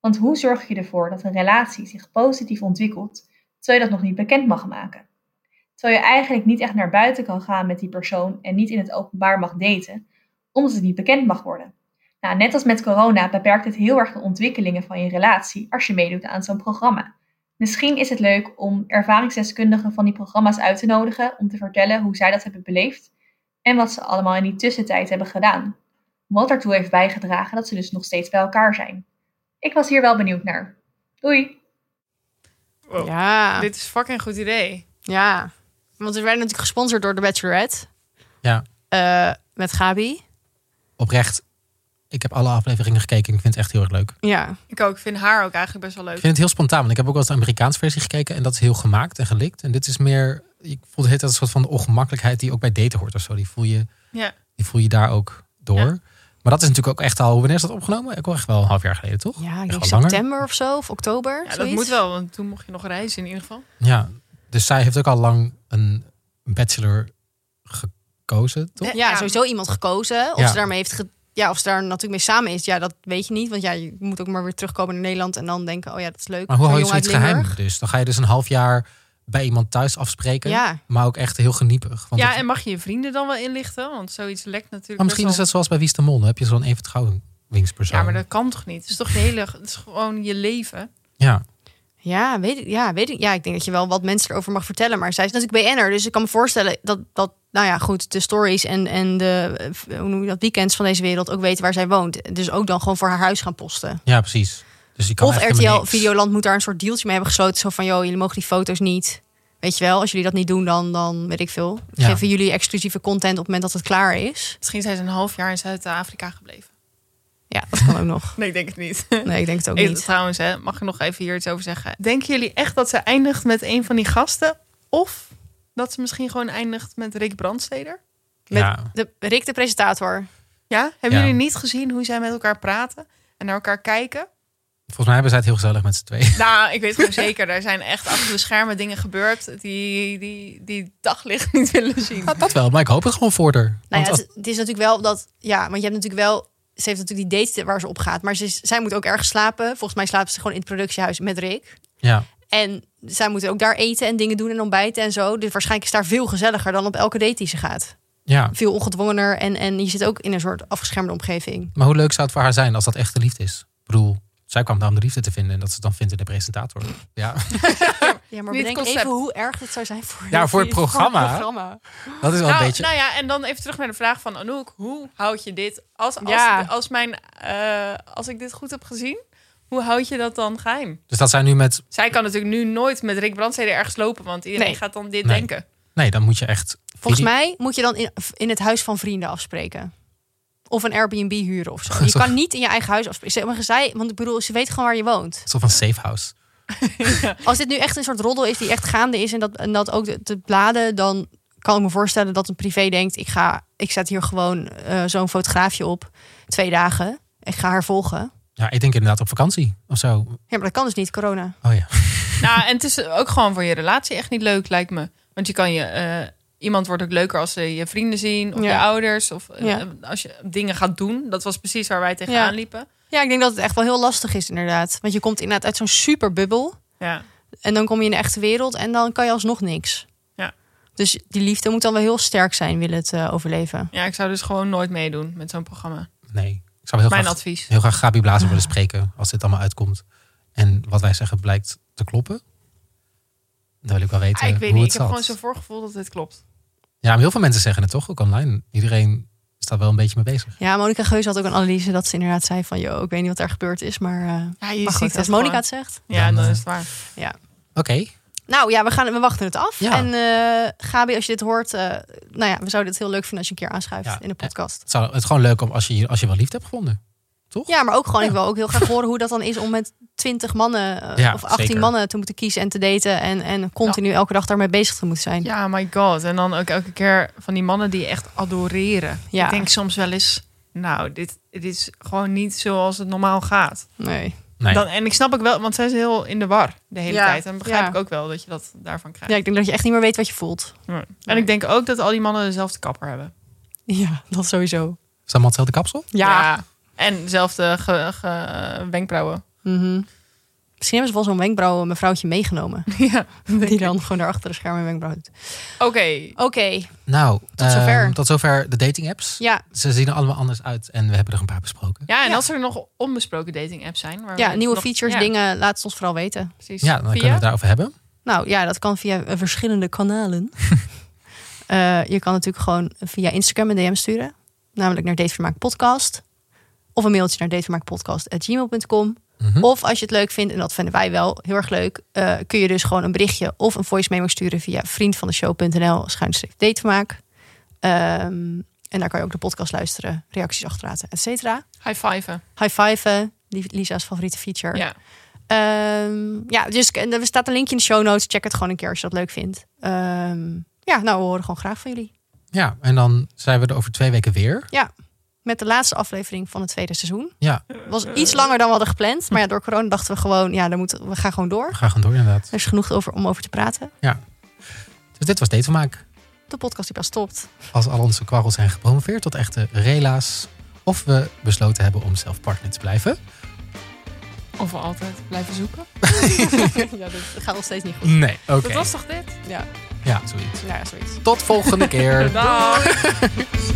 [SPEAKER 8] Want hoe zorg je ervoor dat een relatie zich positief ontwikkelt, terwijl je dat nog niet bekend mag maken? terwijl je eigenlijk niet echt naar buiten kan gaan met die persoon en niet in het openbaar mag daten, omdat het niet bekend mag worden. Nou, net als met corona beperkt het heel erg de ontwikkelingen van je relatie als je meedoet aan zo'n programma. Misschien is het leuk om ervaringsdeskundigen van die programma's uit te nodigen om te vertellen hoe zij dat hebben beleefd en wat ze allemaal in die tussentijd hebben gedaan. Wat ertoe heeft bijgedragen dat ze dus nog steeds bij elkaar zijn. Ik was hier wel benieuwd naar. Doei!
[SPEAKER 4] Wow.
[SPEAKER 2] Ja.
[SPEAKER 4] Oh. Dit is fucking goed idee.
[SPEAKER 2] Ja, want we werden natuurlijk gesponsord door The Bachelorette.
[SPEAKER 1] Ja.
[SPEAKER 2] Eh, met Gabi.
[SPEAKER 1] Oprecht, ik heb alle afleveringen gekeken. Ik vind het echt heel erg leuk.
[SPEAKER 2] Ja.
[SPEAKER 4] Ik ook. Ik vind haar ook eigenlijk best wel leuk.
[SPEAKER 1] Ik vind het heel spontaan. Want ik heb ook wel eens de Amerikaanse versie gekeken. En dat is heel gemaakt en gelikt. En dit is meer... Ik voel het een soort van ongemakkelijkheid die ook bij daten hoort of zo. Die voel je,
[SPEAKER 4] Ja.
[SPEAKER 1] die voel je daar ook door.
[SPEAKER 4] Ja.
[SPEAKER 1] Maar dat is natuurlijk ook echt al... Wanneer is dat opgenomen? Ik echt wel een half jaar geleden, toch?
[SPEAKER 2] Ja,
[SPEAKER 1] Echt
[SPEAKER 2] ik denk
[SPEAKER 1] wel langer.
[SPEAKER 2] september of zo, of oktober.
[SPEAKER 4] Ja, dat
[SPEAKER 2] zoiets.
[SPEAKER 4] moet wel, want toen mocht je nog reizen in ieder geval.
[SPEAKER 1] Ja, dus zij heeft ook al lang een bachelor gekozen, toch?
[SPEAKER 4] Ja.
[SPEAKER 2] Ja, sowieso iemand gekozen. Of
[SPEAKER 1] Ja.
[SPEAKER 2] ze daarmee heeft ge- ja, of ze daar natuurlijk mee samen is, ja, dat weet je niet. Want ja, je moet ook maar weer terugkomen naar Nederland en dan denken, oh ja, dat is leuk.
[SPEAKER 1] Maar hoe
[SPEAKER 2] Zo'n
[SPEAKER 1] hou je
[SPEAKER 2] jongen uit
[SPEAKER 1] zoiets geheim?
[SPEAKER 2] Limburg.
[SPEAKER 1] Dus dan ga je dus een half jaar bij iemand thuis afspreken.
[SPEAKER 2] Ja.
[SPEAKER 1] Maar ook echt heel geniepig. Want
[SPEAKER 4] ja,
[SPEAKER 1] dat-
[SPEAKER 4] en mag je je vrienden dan wel inlichten? Want zoiets lekt natuurlijk
[SPEAKER 1] maar misschien
[SPEAKER 4] best
[SPEAKER 1] is
[SPEAKER 4] wel.
[SPEAKER 1] dat zoals bij Wies de Mol. Dan heb je zo'n even vertrouwenspersoon.
[SPEAKER 4] Ja, maar dat kan toch niet? Het is toch je hele... Het is gewoon je leven.
[SPEAKER 1] Ja.
[SPEAKER 2] Ja, weet ik, ja, weet ik. Ja, ik denk dat je wel wat mensen erover mag vertellen. Maar zij is natuurlijk BN'er, dus ik kan me voorstellen dat, dat nou ja, goed, de stories en, en de eh, hoe noem je dat, weekends van deze wereld ook weten waar zij woont. Dus ook dan gewoon voor haar huis gaan posten.
[SPEAKER 1] ja, precies. Dus je kan
[SPEAKER 2] Of
[SPEAKER 1] eigenlijk helemaal
[SPEAKER 2] RTL
[SPEAKER 1] niks.
[SPEAKER 2] Videoland moet daar een soort dealtje mee hebben gesloten. Zo van, joh, jullie mogen die foto's niet. Weet je wel, als jullie dat niet doen, dan, dan weet ik veel.
[SPEAKER 1] Ja.
[SPEAKER 2] Geven jullie exclusieve content op het moment dat het klaar is.
[SPEAKER 4] Misschien zijn ze een half jaar in Zuid-Afrika gebleven.
[SPEAKER 2] Ja, dat kan ook nog.
[SPEAKER 4] Nee, ik denk het niet.
[SPEAKER 2] Nee, ik denk het ook
[SPEAKER 4] Hey,
[SPEAKER 2] niet.
[SPEAKER 4] Trouwens, hè, mag ik nog even hier iets over zeggen? Denken jullie echt dat ze eindigt met een van die gasten? Of dat ze misschien gewoon eindigt met Rick Brandsteder?
[SPEAKER 2] Met
[SPEAKER 1] Ja.
[SPEAKER 2] de, Rick, de presentator. Nou
[SPEAKER 4] Ja? Hebben
[SPEAKER 1] Ja.
[SPEAKER 4] jullie niet gezien hoe zij met elkaar praten en naar elkaar kijken?
[SPEAKER 1] Volgens mij hebben zij het heel gezellig met z'n tweeën.
[SPEAKER 4] Nou, ik weet gewoon zeker, daar zijn echt achter de schermen dingen gebeurd die, die, die daglicht niet willen zien.
[SPEAKER 1] Ja, dat wel, maar ik hoop het gewoon voor haar.
[SPEAKER 2] Nou
[SPEAKER 1] Want
[SPEAKER 2] ja,
[SPEAKER 1] als-
[SPEAKER 2] het, het is natuurlijk wel dat... Ja, want je hebt natuurlijk wel... Ze heeft natuurlijk die dates waar ze op gaat. Maar ze, is- zij moet ook ergens slapen. Volgens mij slaapt ze gewoon in het productiehuis met Rick.
[SPEAKER 1] ja.
[SPEAKER 2] En zij moeten ook daar eten en dingen doen en ontbijten en zo. Dus waarschijnlijk is daar veel gezelliger dan op elke date die ze gaat.
[SPEAKER 1] ja,
[SPEAKER 2] Veel ongedwongener en, en je zit ook in een soort afgeschermde omgeving.
[SPEAKER 1] maar hoe leuk zou het voor haar zijn als dat echt de liefde is? Ik bedoel, zij kwam daar om de liefde te vinden. En dat ze het dan vindt in de presentator. Ja.
[SPEAKER 2] Ja, maar
[SPEAKER 4] Niet
[SPEAKER 2] bedenk
[SPEAKER 4] concept.
[SPEAKER 2] even hoe erg het zou zijn voor,
[SPEAKER 1] Ja, voor het programma. Dat is wel
[SPEAKER 4] nou,
[SPEAKER 1] een beetje...
[SPEAKER 4] nou ja, en dan even terug naar de vraag van Anouk. Hoe houd je dit? Als, als,
[SPEAKER 2] Ja.
[SPEAKER 4] als, mijn, eh, als ik dit goed heb gezien, hoe houd je dat dan geheim?
[SPEAKER 1] Dus dat zij nu met...
[SPEAKER 4] Zij kan natuurlijk nu nooit met Rick Brandstede ergens lopen, want iedereen
[SPEAKER 2] Nee.
[SPEAKER 4] gaat dan dit
[SPEAKER 1] Nee.
[SPEAKER 4] denken.
[SPEAKER 1] Nee, dan moet je echt...
[SPEAKER 2] Volgens mij moet je dan in, in het huis van vrienden afspreken. Of een Airbnb huren of zo. Je
[SPEAKER 1] Zo.
[SPEAKER 2] kan niet in je eigen huis afspreken. Zeg Maar zij, want ik bedoel, ze weet gewoon waar je woont.
[SPEAKER 1] Een soort van safe house.
[SPEAKER 2] Als dit nu echt een soort roddel is die echt gaande is... en dat, en dat ook te- te bladen, dan kan ik me voorstellen... dat een privé denkt, ik, ga, ik zet hier gewoon eh, zo'n fotograafje op. Twee dagen. Ik ga haar volgen.
[SPEAKER 1] Ja, ik denk inderdaad op vakantie of zo.
[SPEAKER 2] Ja, maar dat kan dus niet, corona.
[SPEAKER 1] Oh ja.
[SPEAKER 4] Nou, en het is ook gewoon voor je relatie echt niet leuk, lijkt me. Want je kan je, eh, iemand wordt ook leuker als ze je vrienden zien of
[SPEAKER 2] Ja.
[SPEAKER 4] je ouders. Of eh,
[SPEAKER 2] Ja.
[SPEAKER 4] als je dingen gaat doen. Dat was precies waar wij tegenaan
[SPEAKER 2] Ja.
[SPEAKER 4] liepen.
[SPEAKER 2] Ja, ik denk dat het echt wel heel lastig is inderdaad. Want je komt inderdaad uit zo'n superbubbel.
[SPEAKER 4] Ja.
[SPEAKER 2] En dan kom je in de echte wereld en dan kan je alsnog niks.
[SPEAKER 4] Ja.
[SPEAKER 2] Dus die liefde moet dan wel heel sterk zijn, wil het eh, overleven.
[SPEAKER 4] ja, ik zou dus gewoon nooit meedoen met zo'n programma.
[SPEAKER 1] Nee. Ik zou heel
[SPEAKER 4] Mijn
[SPEAKER 1] graag,
[SPEAKER 4] advies.
[SPEAKER 1] heel graag Gabi Blazer willen spreken als dit allemaal uitkomt. En wat wij zeggen blijkt te kloppen. Dan wil ik wel weten
[SPEAKER 4] Ah, ik weet
[SPEAKER 1] hoe
[SPEAKER 4] niet, ik
[SPEAKER 1] het
[SPEAKER 4] heb gewoon
[SPEAKER 1] zat.
[SPEAKER 4] zo'n voorgevoel dat dit klopt.
[SPEAKER 1] Ja, maar heel veel mensen zeggen het toch, ook online. Iedereen is daar wel een beetje mee bezig.
[SPEAKER 2] Ja, Monica Geus had ook een analyse dat ze inderdaad zei van... joh, ik weet niet wat er gebeurd is, maar, eh,
[SPEAKER 4] Ja, je
[SPEAKER 2] maar
[SPEAKER 4] ziet
[SPEAKER 2] goed,
[SPEAKER 4] dat
[SPEAKER 2] als Monica
[SPEAKER 4] gewoon.
[SPEAKER 2] het zegt...
[SPEAKER 4] Ja,
[SPEAKER 1] Dan,
[SPEAKER 4] dan
[SPEAKER 1] eh,
[SPEAKER 4] is het waar.
[SPEAKER 1] Oké,
[SPEAKER 2] Nou ja, we, gaan, we wachten het af.
[SPEAKER 1] Ja.
[SPEAKER 2] En eh Gabi, als je dit hoort, eh, nou ja, we zouden het heel leuk vinden als je een keer aanschuift
[SPEAKER 1] Ja.
[SPEAKER 2] in de podcast.
[SPEAKER 1] het, zou- het is gewoon leuk om als je, hier- als je wel liefde hebt gevonden. Toch?
[SPEAKER 2] Ja, maar ook gewoon,
[SPEAKER 1] Ja.
[SPEAKER 2] ik wil ook heel graag horen hoe dat dan is om met 20 mannen eh,
[SPEAKER 1] Ja,
[SPEAKER 2] of 18
[SPEAKER 1] zeker.
[SPEAKER 2] mannen te moeten kiezen en te daten. En, en continu elke dag daarmee bezig te moeten zijn.
[SPEAKER 4] Ja, my god. En dan ook elke keer van die mannen die je echt adoreren.
[SPEAKER 2] Ja.
[SPEAKER 4] Ik denk soms wel eens, nou, dit, dit is gewoon niet zoals het normaal gaat.
[SPEAKER 2] Nee.
[SPEAKER 1] Nee.
[SPEAKER 4] Dan, en ik snap ook wel, want zij is heel in de war de hele
[SPEAKER 2] Ja.
[SPEAKER 4] tijd. En begrijp
[SPEAKER 2] Ja.
[SPEAKER 4] ik ook wel dat je dat daarvan krijgt.
[SPEAKER 2] Ja, ik denk dat je echt niet meer weet wat je voelt.
[SPEAKER 4] Ja. En ik denk ook dat al die mannen dezelfde kapper hebben.
[SPEAKER 2] Ja, dat sowieso.
[SPEAKER 1] Is dat allemaal hetzelfde kapsel?
[SPEAKER 2] Ja.
[SPEAKER 4] En dezelfde ge- ge- wenkbrauwen.
[SPEAKER 2] Mhm. Misschien hebben ze wel zo'n wenkbrauw eh, mevrouwtje meegenomen.
[SPEAKER 4] ja.
[SPEAKER 2] Die dan gewoon daar achter de schermen een wenkbrauw doet.
[SPEAKER 4] Oké.
[SPEAKER 2] Oké,
[SPEAKER 1] Nou, ehm,
[SPEAKER 2] zover.
[SPEAKER 1] tot zover de dating apps.
[SPEAKER 2] ja.
[SPEAKER 1] Ze zien er allemaal anders uit en we hebben er een paar besproken.
[SPEAKER 4] Ja, en als er nog onbesproken dating apps zijn. Waar
[SPEAKER 2] ja,
[SPEAKER 4] we
[SPEAKER 2] nieuwe
[SPEAKER 4] nog-
[SPEAKER 2] features,
[SPEAKER 4] ja,
[SPEAKER 2] dingen, laat het ons vooral weten.
[SPEAKER 4] Precies.
[SPEAKER 1] Ja, dan
[SPEAKER 4] Via?
[SPEAKER 1] kunnen we het daarover hebben.
[SPEAKER 2] Nou ja, dat kan via eh, verschillende kanalen. Eh, je kan natuurlijk gewoon via Instagram een DM sturen. Namelijk naar Datevermaak Podcast. Of een mailtje naar datevermaakpodcast.gmail.com.
[SPEAKER 1] Mhm.
[SPEAKER 2] Of als je het leuk vindt, en dat vinden wij wel heel erg leuk... eh, kun je dus gewoon een berichtje of een voice memo sturen... via vriendvandeshow.nl schuinstreep datevermaak. Ehm, en daar kan je ook de podcast luisteren, reacties achterlaten, et cetera.
[SPEAKER 4] High fiven.
[SPEAKER 2] High five, eh, die Lisa's favoriete feature.
[SPEAKER 4] Ja.
[SPEAKER 2] Ehm, ja, dus en er staat een linkje in de show notes. Check het gewoon een keer als je dat leuk vindt. Ehm, ja, nou, we horen gewoon graag van jullie.
[SPEAKER 1] Ja, en dan zijn we er over twee weken weer.
[SPEAKER 2] Met de laatste aflevering van het tweede seizoen.
[SPEAKER 1] Ja,
[SPEAKER 2] Was iets langer dan we hadden gepland. Maar ja, door corona dachten we gewoon, ja, dan moeten, we gaan gewoon door.
[SPEAKER 1] we gaan gewoon door inderdaad.
[SPEAKER 2] Er is genoeg over, om over te praten.
[SPEAKER 1] Dus dit was Datevermaak.
[SPEAKER 2] De podcast die pas stopt.
[SPEAKER 1] Als al onze kwarrels zijn gepromoveerd tot echte rela's... of we besloten hebben om zelf partner te blijven.
[SPEAKER 4] Of we altijd blijven zoeken.
[SPEAKER 2] ja, dat gaat nog steeds niet goed.
[SPEAKER 1] Nee, oké.
[SPEAKER 4] Dat was toch dit?
[SPEAKER 1] Ja, zoiets.
[SPEAKER 2] Nou ja, zoiets.
[SPEAKER 1] Tot volgende keer.
[SPEAKER 4] Dag.